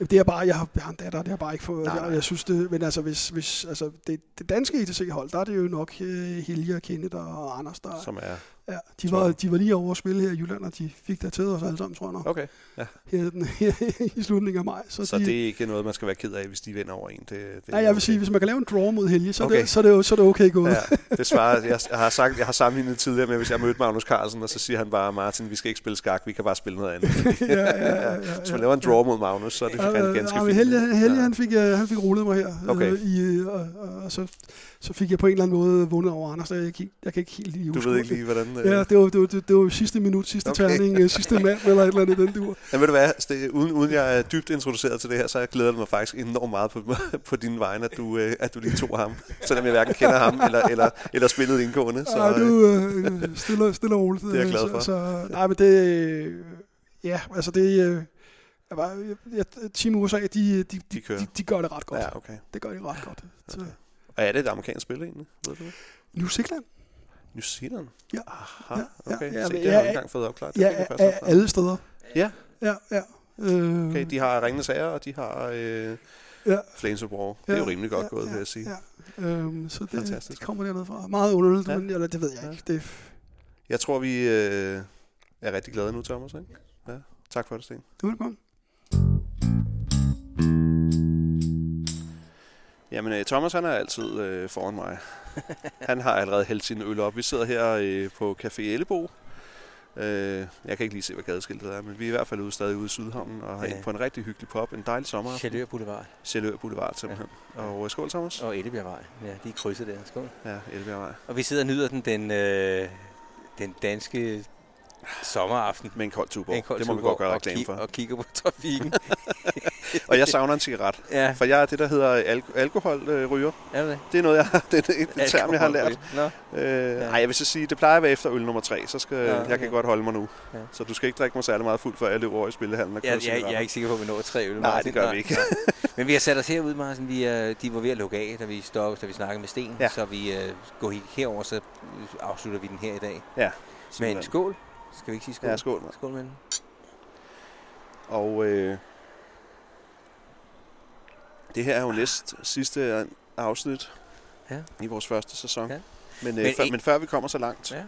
D: det er bare, jeg har, jeg har en datter, det har bare ikke fået,
B: Nej,
D: nej,
B: nej.
D: Jeg, jeg synes det, men altså, hvis, hvis, altså det, det danske ETC-hold, der er det jo nok øh, Helge og Kenneth og Anders, der,
B: Som er...
D: ja, de, var, de var lige over at spille her i Jylland, og de fik der til os alle sammen, tror jeg nok,
B: Okay.
D: her, den, i slutningen af maj. Så,
B: Så
D: de,
B: det er ikke noget, man skal være ked af, hvis de vinder over en. Det, det er
D: nej, jeg vil
B: okay.
D: sige, hvis man kan lave en draw mod Helge, så, okay.
B: Okay.
D: det, så, er, det, jo- så er det okay gået. Ja.
B: Ja, det svarer, jeg, jeg, har sagt, jeg har sammenlignet tidligere med, hvis jeg mødte Magnus Carlsen, og så siger han bare, Martin, vi skal ikke spille skak, vi kan bare spille noget andet.
D: ja, ja, ja,
B: Hvis man laver en draw mod Magnus, så er det
D: Ja,
B: ja,
D: øh,
B: ganske
D: ja, men
B: fint.
D: Helge, Helge
B: Ja.
D: han, fik, øh, han fik rullet mig her,
B: Okay.
D: øh, i, øh, og, og, og så, så fik jeg på en eller anden måde vundet over Anders, og jeg, kan ikke- jeg kan ikke helt lige
B: Du
D: huske.
B: ved ikke lige, hvordan... øh,
D: Ja, det var, det var, det, det var sidste minut, sidste
B: Okay.
D: okay. terning, øh, sidste mand, eller et eller andet i den dur.
B: Men ved du hvad, Ste- uden, uden jeg er dybt introduceret til det her, så jeg glæder mig faktisk enormt meget på, på din vegne, at du, øh, at du lige tog ham. Selvom jeg hverken kender ham eller, eller, eller spillet indgående.
D: Så,
B: Så,
D: Ej,
B: øh,
D: du øh, stille, stille og roligt. øh,
B: Det er jeg glad for.
D: Så, så, nej, men det... øh, Ja, altså det... øh, Jeg var, jeg, jeg- Team USA, de, de, de,
B: De kører.
D: de, de gør det ret godt. Ja.
B: øh. ja, okay.
D: Det gør de ret godt. Så,
B: Og er det et amerikansk spil egentlig? Ved du det?
D: New Zealand?
B: New Zealand?
D: Ja.
B: Aha,
D: Ja,
B: okay.
D: ja,
B: Se,
D: men
B: det har jeg
D: ja,
B: ikke engang fået opklaret. Det
D: Ja,
B: fik jeg først
D: af
B: opklaret.
D: alle steder.
B: Ja.
D: Ja, ja. Øh,
B: Okay, de har ringende sager, og de har... Øh,
D: Ja.
B: Flames of War. Det er jo rimelig godt gået, vil jeg sige.
D: Ja. Øhm, så det,
B: Fantastisk.
D: det kommer dernede fra. Meget underligt,
B: Ja.
D: ja. men eller, det ved jeg
B: Ja.
D: ikke. Det,
B: Jeg tror, vi øh, er rigtig glade nu, Thomas. Ikke? Ja. Tak for det, Sten.
D: det var det godt.
B: Jamen, øh, Thomas han er altid øh, foran mig. Han har allerede hældt sin øl op. Vi sidder her øh, på Café Ellebo. Øh, jeg kan ikke lige se, hvad gadeskiltet er, men vi er i hvert fald ude, stadig ude i Sydhavnen og er
C: Ja.
B: inde på en rigtig hyggelig pop. En dejlig sommer.
C: Chalør Boulevard
B: Sjælør Boulevard simpelthen.
C: Ja.
B: Og øh, skål, Thomas.
C: og Ellebjergvej. Ja, de er krydset der. Skål.
B: Ja, Elbjergvej.
C: Og vi sidder og nyder den, den, øh, den danske sommeraften.
B: Med en kold tuborg.
C: En kold
B: det må vi
C: Tuborg,
B: godt gøre
C: og,
B: reklame
C: ki-
B: for.
C: og kigger på trafikken.
B: Og jeg savner en cigaret.
C: ja,
B: For jeg er det, der hedder al- alkoholryger.
C: er det det?
B: Det er noget, jeg har, det er et term, jeg har lært.
C: Nå,
B: Øh, ja. Ej, jeg vil så sige, det plejer at være efter øl nummer tre, så skal, ja,
C: Ja,
B: jeg kan
C: okay.
B: godt holde mig nu. Ja.
C: Ja.
B: Så du skal ikke drikke mig særlig meget fuld, før jeg løber over i spillehallen og køber
C: jeg, jeg, jeg er
B: cigaretter.
C: ikke sikker på, at vi når tre øl.
B: Nej,
C: Martin.
B: det gør
C: Nej.
B: vi ikke.
C: Men vi har sat os herud, Martin. Vi er, de var ved at lukke af, da vi stoppede, da vi snakkede med Sten.
B: Ja.
C: Ja. Så vi øh, går he- herover, så afslutter vi den her i dag. Med
B: Simpelthen.
C: en skål. Skal vi ikke sige skål?
B: Ja, skål. mand.
C: Skål med den.
B: Og øh, det her er jo næst sidste afsnit ja.
C: Ja.
B: i vores første sæson. Ja.
C: Ja.
B: Men, øh, men,
C: Men
B: før,
C: en-
B: men før vi kommer så langt,
C: Ja.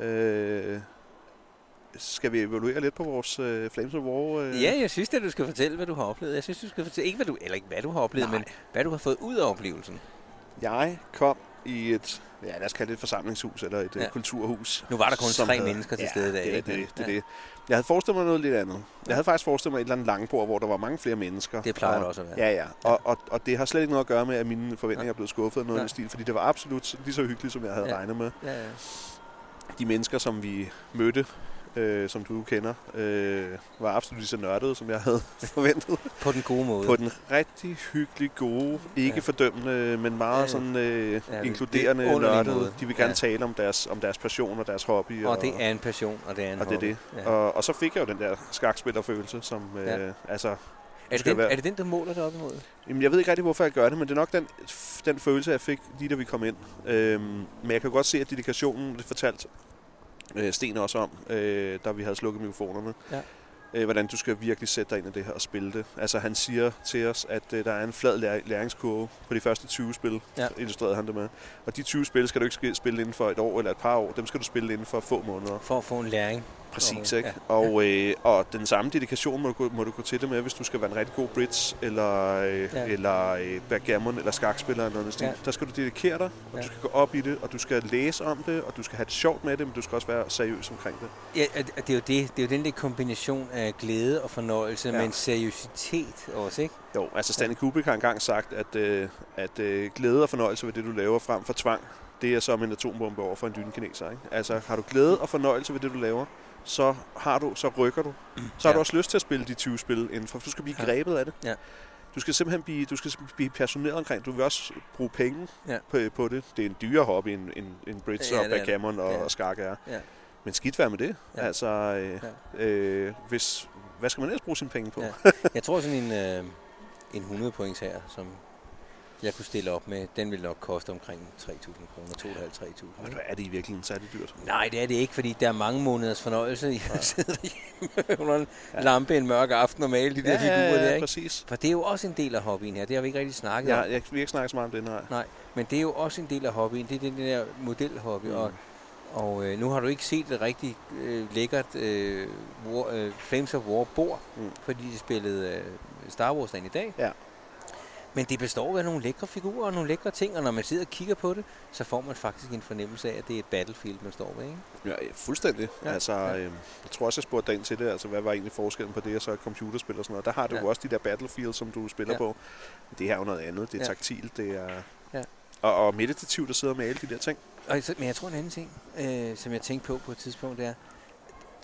B: ja. øh, skal vi evaluere lidt på vores øh, Flames of War? Øh,
C: ja, jeg synes, at du skal fortælle, hvad du har oplevet. Jeg synes, du skal fortælle, ikke hvad du, eller ikke hvad du har oplevet,
B: Nej.
C: Nej. men hvad du har fået ud af oplevelsen.
B: Jeg kom i et, ja, lad os kalde det et forsamlingshus eller et ja.
C: Ja.
B: kulturhus.
C: Nu var der kun
B: som
C: tre
B: havde-
C: mennesker til stede i dag,
B: Det, er
C: ikke?
B: det, det, er
C: Ja.
B: det. Jeg havde forestillet mig noget lidt andet. Jeg havde faktisk forestillet mig et eller andet langbord, hvor der var mange flere mennesker.
C: Det plejer
B: og,
C: det også at være.
B: Ja, ja. Og, og, og det har slet ikke noget at gøre med, at mine forventninger er blevet skuffet eller noget i
C: Nej.
B: den stil, fordi det var absolut lige så hyggeligt, som jeg havde
C: Ja.
B: regnet med.
C: Ja, ja.
B: De mennesker, som vi mødte, øh, som du kender, øh, var absolut lige så nørdede, som jeg havde forventet
C: På den gode måde.
B: på den rigtig hyggelig gode, ikke ja.
C: Ja.
B: fordømmende, men meget ja.
C: Ja.
B: sådan øh, ja,
C: det-
B: inkluderende
C: det er underlig
B: nørdede.
C: måde.
B: De vil gerne ja.
C: Ja.
B: tale om deres, om deres passion og deres hobby.
C: og det er en passion, og det er en
B: og det er
C: hobby.
B: det.
C: Ja.
B: Ja. Og, og så fik jeg jo den der skakspillerfølelse, som øh, ja.
C: Ja.
B: altså...
C: er,
B: skal
C: det den,
B: være-
C: er det den, du måler dig op imod?
B: Jamen, jeg ved ikke rigtig, hvorfor jeg gør det, men det er nok den, den følelse, jeg fik lige da vi kom ind. Øhm, men jeg kan godt se, at dedikationen, det fortalte øh, Sten også om, øh, da vi havde slukket mikrofonerne,
C: Ja.
B: øh, hvordan du skal virkelig sætte dig ind i det her og spille det. Altså han siger til os, at øh, der er en flad læ- læringskurve på de første 20 spil, ja.
C: Ja.
B: illustrerede han det med. Og de 20 spil skal du ikke sk- spille inden for et år eller et par år, dem skal du spille inden for få måneder.
C: For at få en læring.
B: Præcis,
C: Okay,
B: ikke? Og, øh, og den samme dedikation må du, gå- må du gå til det med, hvis du skal være en rigtig god bridge, eller, øh, ja.
C: Ja.
B: eller øh, backgammon, eller skakspiller, eller noget ja.
C: Ja.
B: Der skal du dedikere dig, og ja.
C: Ja.
B: du skal gå op i det, og du skal læse om det, og du skal have det sjovt med det, men du skal også være seriøs omkring det.
C: Ja, og det- og det er jo det. Det er jo den der kombination af glæde og fornøjelse,
B: Ja.
C: ja. men seriøsitet også, ikke?
B: Jo, altså Stanley Kubrick har engang sagt, at, øh, at øh, glæde og fornøjelse ved det, du laver, frem for tvang, det er som en atombombe over for en dynekineser. Ikke? Altså, har du glæde og fornøjelse ved det, du laver, så har du, så rykker du. Så har
C: Ja.
B: du også lyst til at spille de 20 spil indenfor, for du skal blive
C: Ja.
B: grebet af det.
C: Ja.
B: Du skal simpelthen blive, du skal blive passioneret omkring. Du vil også bruge penge ja.
C: Ja.
B: på, på det. Det er en dyre hobby, en, en, en bridge
C: Ja,
B: ja, og
C: det er det.
B: backgammon og,
C: Ja.
B: og skak er.
C: Ja.
B: Men skidt være med det. Ja.
C: Ja.
B: Altså, øh, ja. øh, hvis, hvad skal man ellers bruge sine penge på? Ja.
C: Ja. Jeg tror sådan en, øh, en 100 points her, som jeg kunne stille op med, den ville nok koste omkring 3.000 kroner, 2.500-3.000. ikke?
B: Er det i virkeligheden særlig dyrt?
C: Nej, det er det ikke, fordi der er mange måneders fornøjelse i at sidde derhjemme under en lampe en mørk aften og male de der figurer der, ikke?
B: præcis.
C: For det er jo også en del af hobbyen her, det har vi ikke rigtig snakket
B: Ja,
C: om.
B: jeg vil ikke snakke så meget om det, nej.
C: Nej, men det er jo også en del af hobbyen. Det er den der modelhobby.
B: Mm.
C: Mm. Og, og øh, nu har du ikke set et rigtig øh, lækkert øh, war, øh, Flames of War bord,
B: Mm.
C: mm. fordi de spillede øh, Star Wars den i dag.
B: Ja.
C: Men det består af nogle lækre figurer og nogle lækre ting, og når man sidder og kigger på det, så får man faktisk en fornemmelse af, at det er et battlefield, man står ved. Ikke?
B: Ja, fuldstændig. Ja.
C: Ja,
B: Altså,
C: ja.
B: Øh, jeg tror også, jeg spurgte dig ind til det, altså hvad var egentlig forskellen på det og så et computerspil og sådan noget. Der har du
C: Ja.
B: jo også de der battlefield, som du spiller ja.
C: Ja.
B: på. Men det her er jo noget andet. Det er ja.
C: Ja.
B: taktilt, det er... Ja.
C: Ja.
B: Og, og meditativt at sidde og male de der ting.
C: Og, så- men jeg tror en anden ting, øh, som jeg tænkte på på et tidspunkt, det er,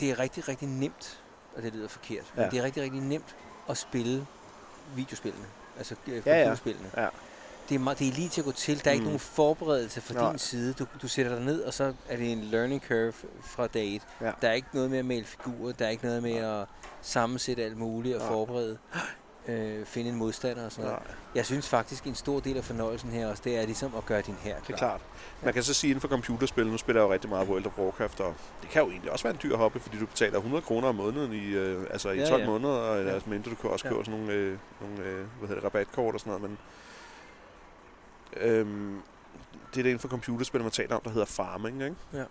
C: det er rigtig, rigtig nemt, og det lyder forkert, ja.
B: Ja.
C: men det er rigtig, rigtig nemt at spille videospillene, altså øh,
B: Ja, ja.
C: computerspillene.
B: Ja.
C: Det, er meget, det er lige til at gå til. Der er mm. ikke
B: Mm.
C: nogen forberedelse fra
B: Nej.
C: din side. Du, du sætter dig ned, og så er det en learning curve fra dag et.
B: Ja.
C: Der er ikke noget med at male figurer, der er ikke noget med at sammensætte alt muligt og
B: Nej.
C: forberede. øh, finde en modstander og sådan noget.
B: Nej.
C: Jeg synes faktisk, en stor del af fornøjelsen her også, det er ligesom at gøre din her
B: Det er
C: klar.
B: klart. Man kan så sige, at inden for computerspil, nu spiller jeg jo rigtig meget World of Warcraft, og det kan jo egentlig også være en dyr hobby, fordi du betaler 100 kroner om måneden i, øh, altså i
C: Ja,
B: 12
C: ja.
B: måneder, og
C: Ja.
B: ja. altså mindre du kan også
C: Ja.
B: købe sådan nogle, øh, nogle øh, hvad hedder det, rabatkort og sådan noget, men øhm, det er det inden for computerspil, man taler om, der hedder farming, ikke?
C: Ja.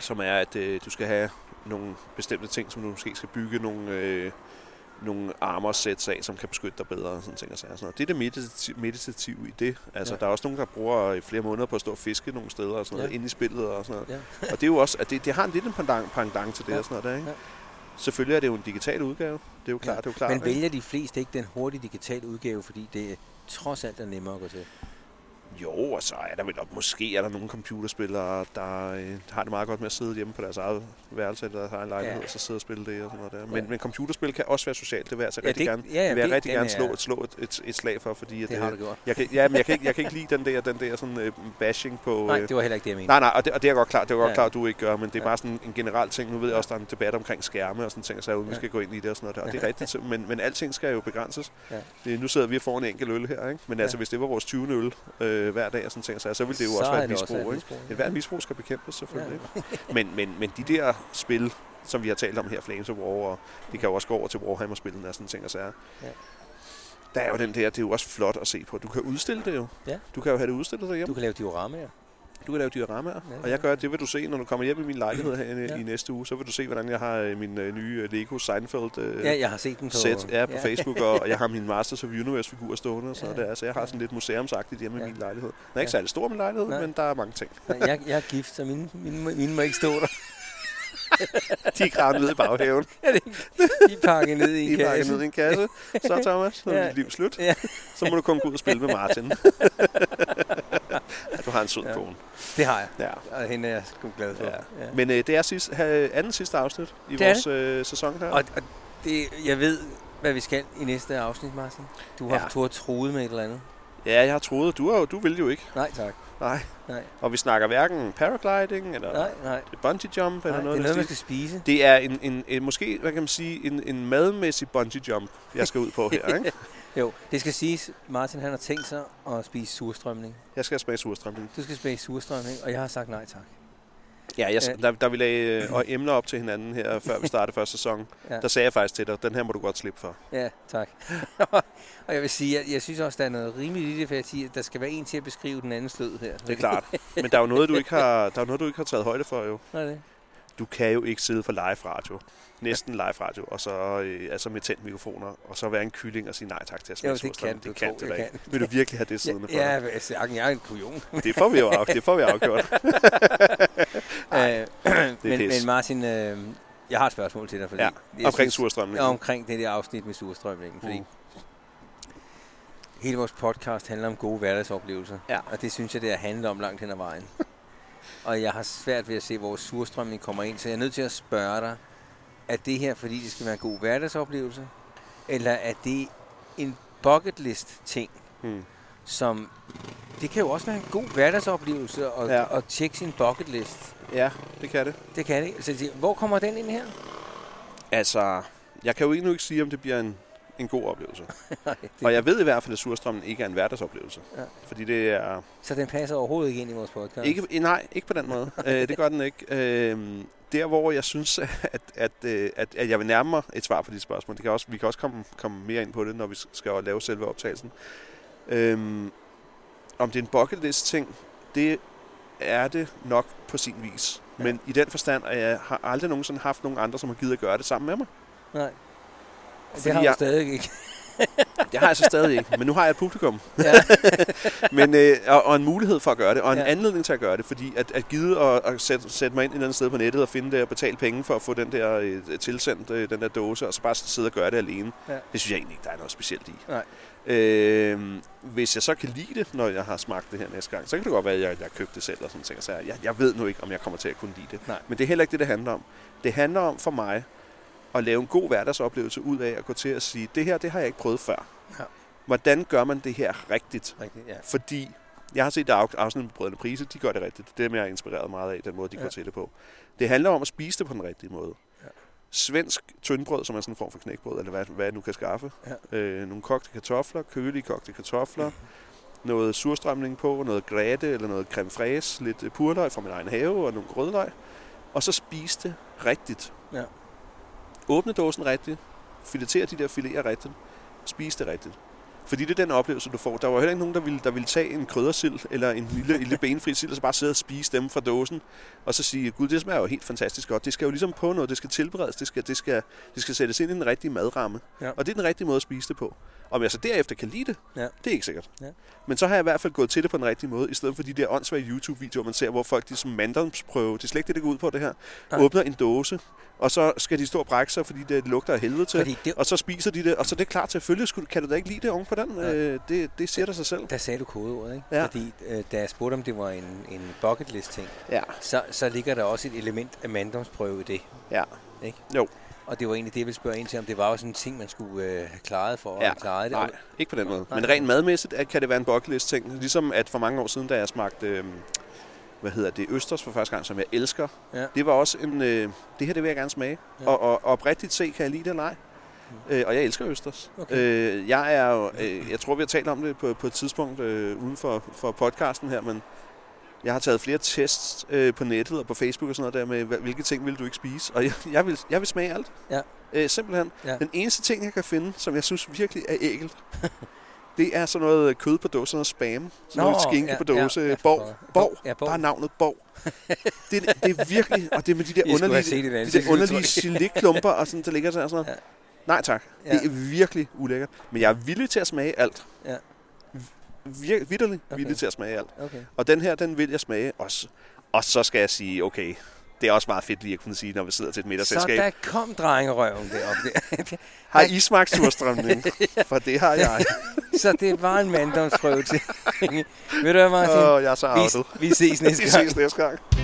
B: som er, at øh, du skal have nogle bestemte ting, som du måske skal bygge nogle, øh, nogle armor sæt af, som kan beskytte dig bedre og sådan ting og sager. og Sådan noget. Det er det meditative, meditative i det. Altså,
C: Ja.
B: ja. der er også nogen, der bruger øh, flere måneder på at stå og fiske nogle steder og sådan noget,
C: Ja.
B: ja. inde i spillet og sådan noget.
C: Ja.
B: og det er jo også, at det, det har en lidt en pendant, pendant til det
C: Ja.
B: og sådan noget der, ikke?
C: Ja.
B: Ja. Selvfølgelig er det jo en digital udgave. Det er jo klart,
C: Ja.
B: det er jo klart.
C: Men
B: ikke?
C: vælger de fleste ikke den hurtige digitale udgave, fordi det trods alt er nemmere at gå til.
B: Jo, og så er der vel, og måske er der nogle computerspillere, der øh, har det meget godt med at sidde hjemme på deres eget værelse eller deres egen lejlighed,
C: Ja.
B: ja. og så sidde og spille det og sådan noget der. Men,
C: Ja.
B: ja. men computerspil kan også være socialt, det vil jeg altså
C: Ja,
B: ja, rigtig
C: det-
B: gerne,
C: ja, ja,
B: det vil jeg
C: det-
B: rigtig
C: den
B: gerne slå,
C: er-
B: et, slå et, et, et, slag for, fordi at øh,
C: Det har du gjort.
B: jeg kan, ja, men jeg, kan ikke, jeg kan ikke lide den der, den der sådan, øh, bashing på...
C: Nej,
B: øh,
C: det var heller ikke det, jeg mente.
B: Nej, nej, og det, og det er jeg godt klar, det er jeg godt
C: Ja.
B: klar, at du ikke gør, men det er
C: Ja.
B: bare sådan en generel ting. Nu ved jeg også, der er en debat omkring skærme og sådan ting, så jeg uden, vi
C: Ja.
B: skal gå ind i det og sådan noget der, og det
C: Ja.
B: er rigtigt, men, men alting skal jo begrænses.
C: Ja.
B: Det, nu sidder vi og får en enkelt øl her, ikke? men altså
C: Ja.
B: hvis det var vores 20. øl øh, hver dag og sådan ting, så, så ville det jo
C: Så
B: også
C: er
B: være et
C: det også
B: misbrug.
C: et
B: Ikke?
C: misbrug, ja.
B: Et hvert misbrug skal bekæmpes selvfølgelig. Ikke? Men, men, men de der spil, som vi har talt om her, Flames of War, og det kan jo også gå over til Warhammer-spillene og sådan ting og sager.
C: Ja.
B: Der er jo den der, det er jo også flot at se på. Du kan udstille det jo.
C: Ja.
B: Du kan jo have det udstillet derhjemme.
C: Du kan lave dioramaer.
B: Du kan lave dioramaer,
C: Ja,
B: ja,
C: ja.
B: og jeg gør, det vil du se, når du kommer hjem i min lejlighed her
C: Ja.
B: ja. i næste uge. Så vil du se, hvordan jeg har øh, min øh, nye øh, Lego Seinfeld øh,
C: Ja, jeg har set den på...
B: sæt ja, på Facebook, og, og jeg har min Masters of Universe-figur stående og sådan
C: Ja.
B: ja. der. Så jeg har sådan lidt museumsagtigt hjemme
C: Ja.
B: ja. i min lejlighed. Den
C: Ja.
B: er ikke ja. særlig stor, min lejlighed,
C: Nej.
B: Nej. men der er mange ting.
C: Nej, jeg, jeg er gift, så mine, mine, må- mine må ikke stå der.
B: De er gravet ned i baghaven.
C: De er pakket ned i
B: De
C: en
B: er pakket
C: kasse.
B: ned i en kasse. Så Thomas, så er
C: Ja.
B: dit liv slut.
C: Ja.
B: Så må du kun gå ud og spille med Martin. du har en sød
C: Ja.
B: ja. kone.
C: Det har jeg,
B: Ja.
C: og hende er jeg sgu glad for.
B: Ja.
C: Ja.
B: Men øh, det er sidst, ha- anden sidste afsnit i
C: Det er
B: vores øh, sæson her.
C: Og, og det, jeg ved, hvad vi skal i næste afsnit, Martin. Du har,
B: Ja.
C: ja. du har troet med et eller andet.
B: Ja, jeg har troet. Du, er jo, du vil jo ikke.
C: Nej, tak.
B: Nej.
C: Nej.
B: Og vi snakker hverken paragliding eller
C: Nej, nej.
B: bungee jump eller
C: nej. det er
B: noget. af
C: noget,
B: den
C: man
B: stil.
C: skal spise.
B: det er en, en, en, måske, hvad kan man sige, en, en madmæssig bungee jump, jeg skal ud på her. Ikke?
C: Jo, det skal siges, Martin han har tænkt sig at spise surstrømning.
B: Jeg skal smage surstrømning.
C: Du skal spise surstrømning, og jeg har sagt nej tak.
B: Ja, jeg,
C: Ja.
B: der, der vi lagde øh, og emner op til hinanden her, før vi startede første sæson,
C: Ja.
B: ja. der sagde jeg faktisk til dig, den her må du godt slippe for.
C: Ja, tak. og jeg vil sige, at jeg synes også, der er noget rimeligt i det, for jeg siger, at der skal være en til at beskrive den anden slød her.
B: Det er klart. Men der er jo noget, du ikke har, der er jo noget, du ikke har taget højde for jo.
C: Nå, det.
B: Du kan jo ikke sidde for live radio. Næsten live radio, og så øh, altså med tændt mikrofoner, og så være en kylling og sige nej tak til at smage
C: Jo, det kan
B: surstrømning.
C: du
B: det kan
C: tro,
B: du
C: jeg
B: da ikke. Vil du virkelig have det
C: Ja,
B: siddende for dig?
C: ja, altså, jeg, jeg, jeg er en kujon.
B: Det får vi jo af, det får vi afgjort.
C: Øh, men,
B: pis.
C: men Martin, øh, jeg har et spørgsmål til dig. Fordi
B: Ja,
C: jeg
B: Omkring
C: synes-
B: surstrømning.
C: Ja, omkring det der afsnit med surstrømningen, fordi
B: Mm.
C: hele vores podcast handler om gode hverdagsoplevelser.
B: Ja.
C: Og det synes jeg, det har handlet om langt hen ad vejen. og jeg har svært ved at se, hvor surstrømning kommer ind, så jeg er nødt til at spørge dig, er det her, fordi det skal være en god hverdagsoplevelse, eller er det en bucket list ting,
B: Hmm.
C: som... Det kan jo også være en god hverdagsoplevelse at,
B: Ja.
C: ja. at tjekke sin bucket list.
B: Ja, det kan det.
C: Det kan det. Så jeg siger, hvor kommer den ind her?
B: Altså, jeg kan jo endnu ikke sige, om det bliver en, en god oplevelse.
C: Nej,
B: Og jeg ved i hvert fald, at surstrømmen ikke er en hverdagsoplevelse.
C: Ja.
B: Ja. Fordi det er...
C: Så den passer overhovedet ikke ind i vores podcast.
B: Ikke, eh, nej, ikke på den måde. øh, det gør den ikke. Øh, der, hvor jeg synes, at, at, øh, at, at jeg vil nærme mig et svar på de spørgsmål, det kan også, vi kan også komme, komme mere ind på det, når vi skal lave selve optagelsen. Øhm, om det er en bucket list ting, det er det nok på sin vis.
C: Ja.
B: Ja. Men i den forstand, at jeg har aldrig nogensinde haft nogen andre, som har givet at gøre det sammen med mig.
C: Nej. det
B: Fordi
C: har jeg...
B: jeg-
C: stadig ikke.
B: Det har jeg så stadig ikke, men nu har jeg et publikum.
C: Ja.
B: Men, øh, og, og en mulighed for at gøre det, og en
C: Ja.
B: ja. anledning til at gøre det, fordi at, at gide at, at sætte, sætte mig ind et eller andet sted på nettet og finde det og betale penge for at få den der øh, tilsendt, øh, den der dåse, og så bare sidde og gøre det alene,
C: Ja.
B: ja. det synes jeg egentlig ikke, der er noget specielt i.
C: Nej.
B: Øh, hvis jeg så kan lide det, når jeg har smagt det her næste gang, så kan det godt være, at jeg, jeg købte det selv og sådan ting. Så jeg, jeg ved nu ikke, om jeg kommer til at kunne lide det.
C: Nej.
B: Men det er heller ikke det, det handler om. Det handler om for mig at lave en god hverdagsoplevelse ud af at gå til at sige, det her, det har jeg ikke prøvet før.
C: Ja.
B: Hvordan gør man det her rigtigt?
C: Rigtigt, ja.
B: Fordi jeg har set der er afsnit med Brødrene Prise, de gør det rigtigt. Det er dem, jeg er inspireret meget af, den måde, de
C: Ja.
B: ja. går til det på. Det handler om at spise det på den rigtige måde.
C: Ja.
B: svensk tyndbrød, som er sådan en form for knækbrød, eller hvad, hvad jeg nu kan skaffe. Ja. Øh, nogle kogte kartofler, kølige kogte kartofler, noget surstrømning på, noget grætte eller noget creme fraise, lidt øh, purløg fra min egen have og nogle rødløg. Og så spise det rigtigt.
C: Ja.
B: Åbne dåsen rigtigt, filetere de der fileter rigtigt, spise det rigtigt. Fordi det er den oplevelse, du får. Der var heller ikke nogen, der ville, der ville tage en kryddersild eller en lille, lille benfri sild, og så bare sidde og spise dem fra dåsen, og så sige, gud, det smager jo helt fantastisk godt. Det skal jo ligesom på noget, det skal tilberedes, det skal, det skal, det skal sættes ind i den rigtige madramme.
C: Ja.
B: Og det er den rigtige måde at spise det på. Om jeg så derefter kan lide det,
C: Ja.
B: det er ikke sikkert.
C: Ja.
B: Men så har jeg i hvert fald gået til det på den rigtige måde, i stedet for de der åndssvage YouTube-videoer, man ser, hvor folk de som manddomsprøve, det er slet ikke det, det går ud på det her,
C: Nej.
B: åbner en dåse, og så skal de stå og brække sig, fordi det lugter af helvede til.
C: Fordi det,
B: Og så spiser de det, og så er det klart, selvfølgelig skulle, kan du da ikke lide det oven på den.
C: Ja.
B: Øh, det, det siger dig sig selv.
C: der sagde du kodeordet, ikke?
B: Ja.
C: Fordi øh, da jeg spurgte, om det var en, en bucket list ting,
B: Ja.
C: så, så ligger der også et element af manddomsprøve i det.
B: Ja.
C: Ikke?
B: Jo.
C: Og det var egentlig det, jeg ville spørge ind til, om det var også en ting, man skulle øh, have klaret for,
B: Ja.
C: og klaret det.
B: Nej, ikke på den måde.
C: Nej.
B: Men rent madmæssigt at- kan det være en bucketlist ting. Ligesom at for mange år siden, da jeg smagte, øh, hvad hedder det, Østers for første gang, som jeg elsker.
C: Ja.
B: Det var også en, øh, det her det vil jeg gerne smage.
C: Ja. Mm.
B: Ja. Og, og, og oprigtigt se, kan jeg lide det eller ej. Øh, og jeg elsker Østers.
C: Okay.
B: Øh, jeg er jo, øh, jeg tror vi har talt om det på, på et tidspunkt øh, uden for, for podcasten her, men jeg har taget flere tests øh, på nettet og på Facebook og sådan noget der med, hvad- hvilke ting vil du ikke spise. Og jeg, jeg, vil, jeg vil smage alt.
C: Ja.
B: Øh, simpelthen.
C: Ja.
B: Den eneste ting, jeg kan finde, som jeg synes virkelig er ægelt, det er sådan noget kød på dåse, sådan noget spam, sådan noget skinke på dåse, ja, borg, borg,
C: Ja,
B: Bare
C: borg.
B: navnet Borg. Det, er- det er virkelig, og det er med de der
C: I skulle have
B: underlige,
C: set et
B: de
C: ansigt.
B: der underlige geléklumper, og sådan, der ligger der og sådan noget.
C: Ja.
B: Nej tak,
C: Ja.
B: det er virkelig ulækkert. Men jeg er villig til at smage alt.
C: Ja.
B: Vir- vitterlig
C: Okay.
B: villig til at smage alt.
C: Okay.
B: Og den her, den vil jeg smage også. Og så skal jeg sige, okay, det er også meget fedt lige at kunne sige, når vi sidder til et
C: Så
B: middagsselskab.
C: der kom drengerøven deroppe. Der.
B: Har I smagt surstrømning? For det har jeg.
C: så det var en manddomsprøve til. Ved du hvad, Martin?
B: Åh, jeg er så outet.
C: vi, vi ses næste
B: Vi
C: gang.
B: ses næste gang.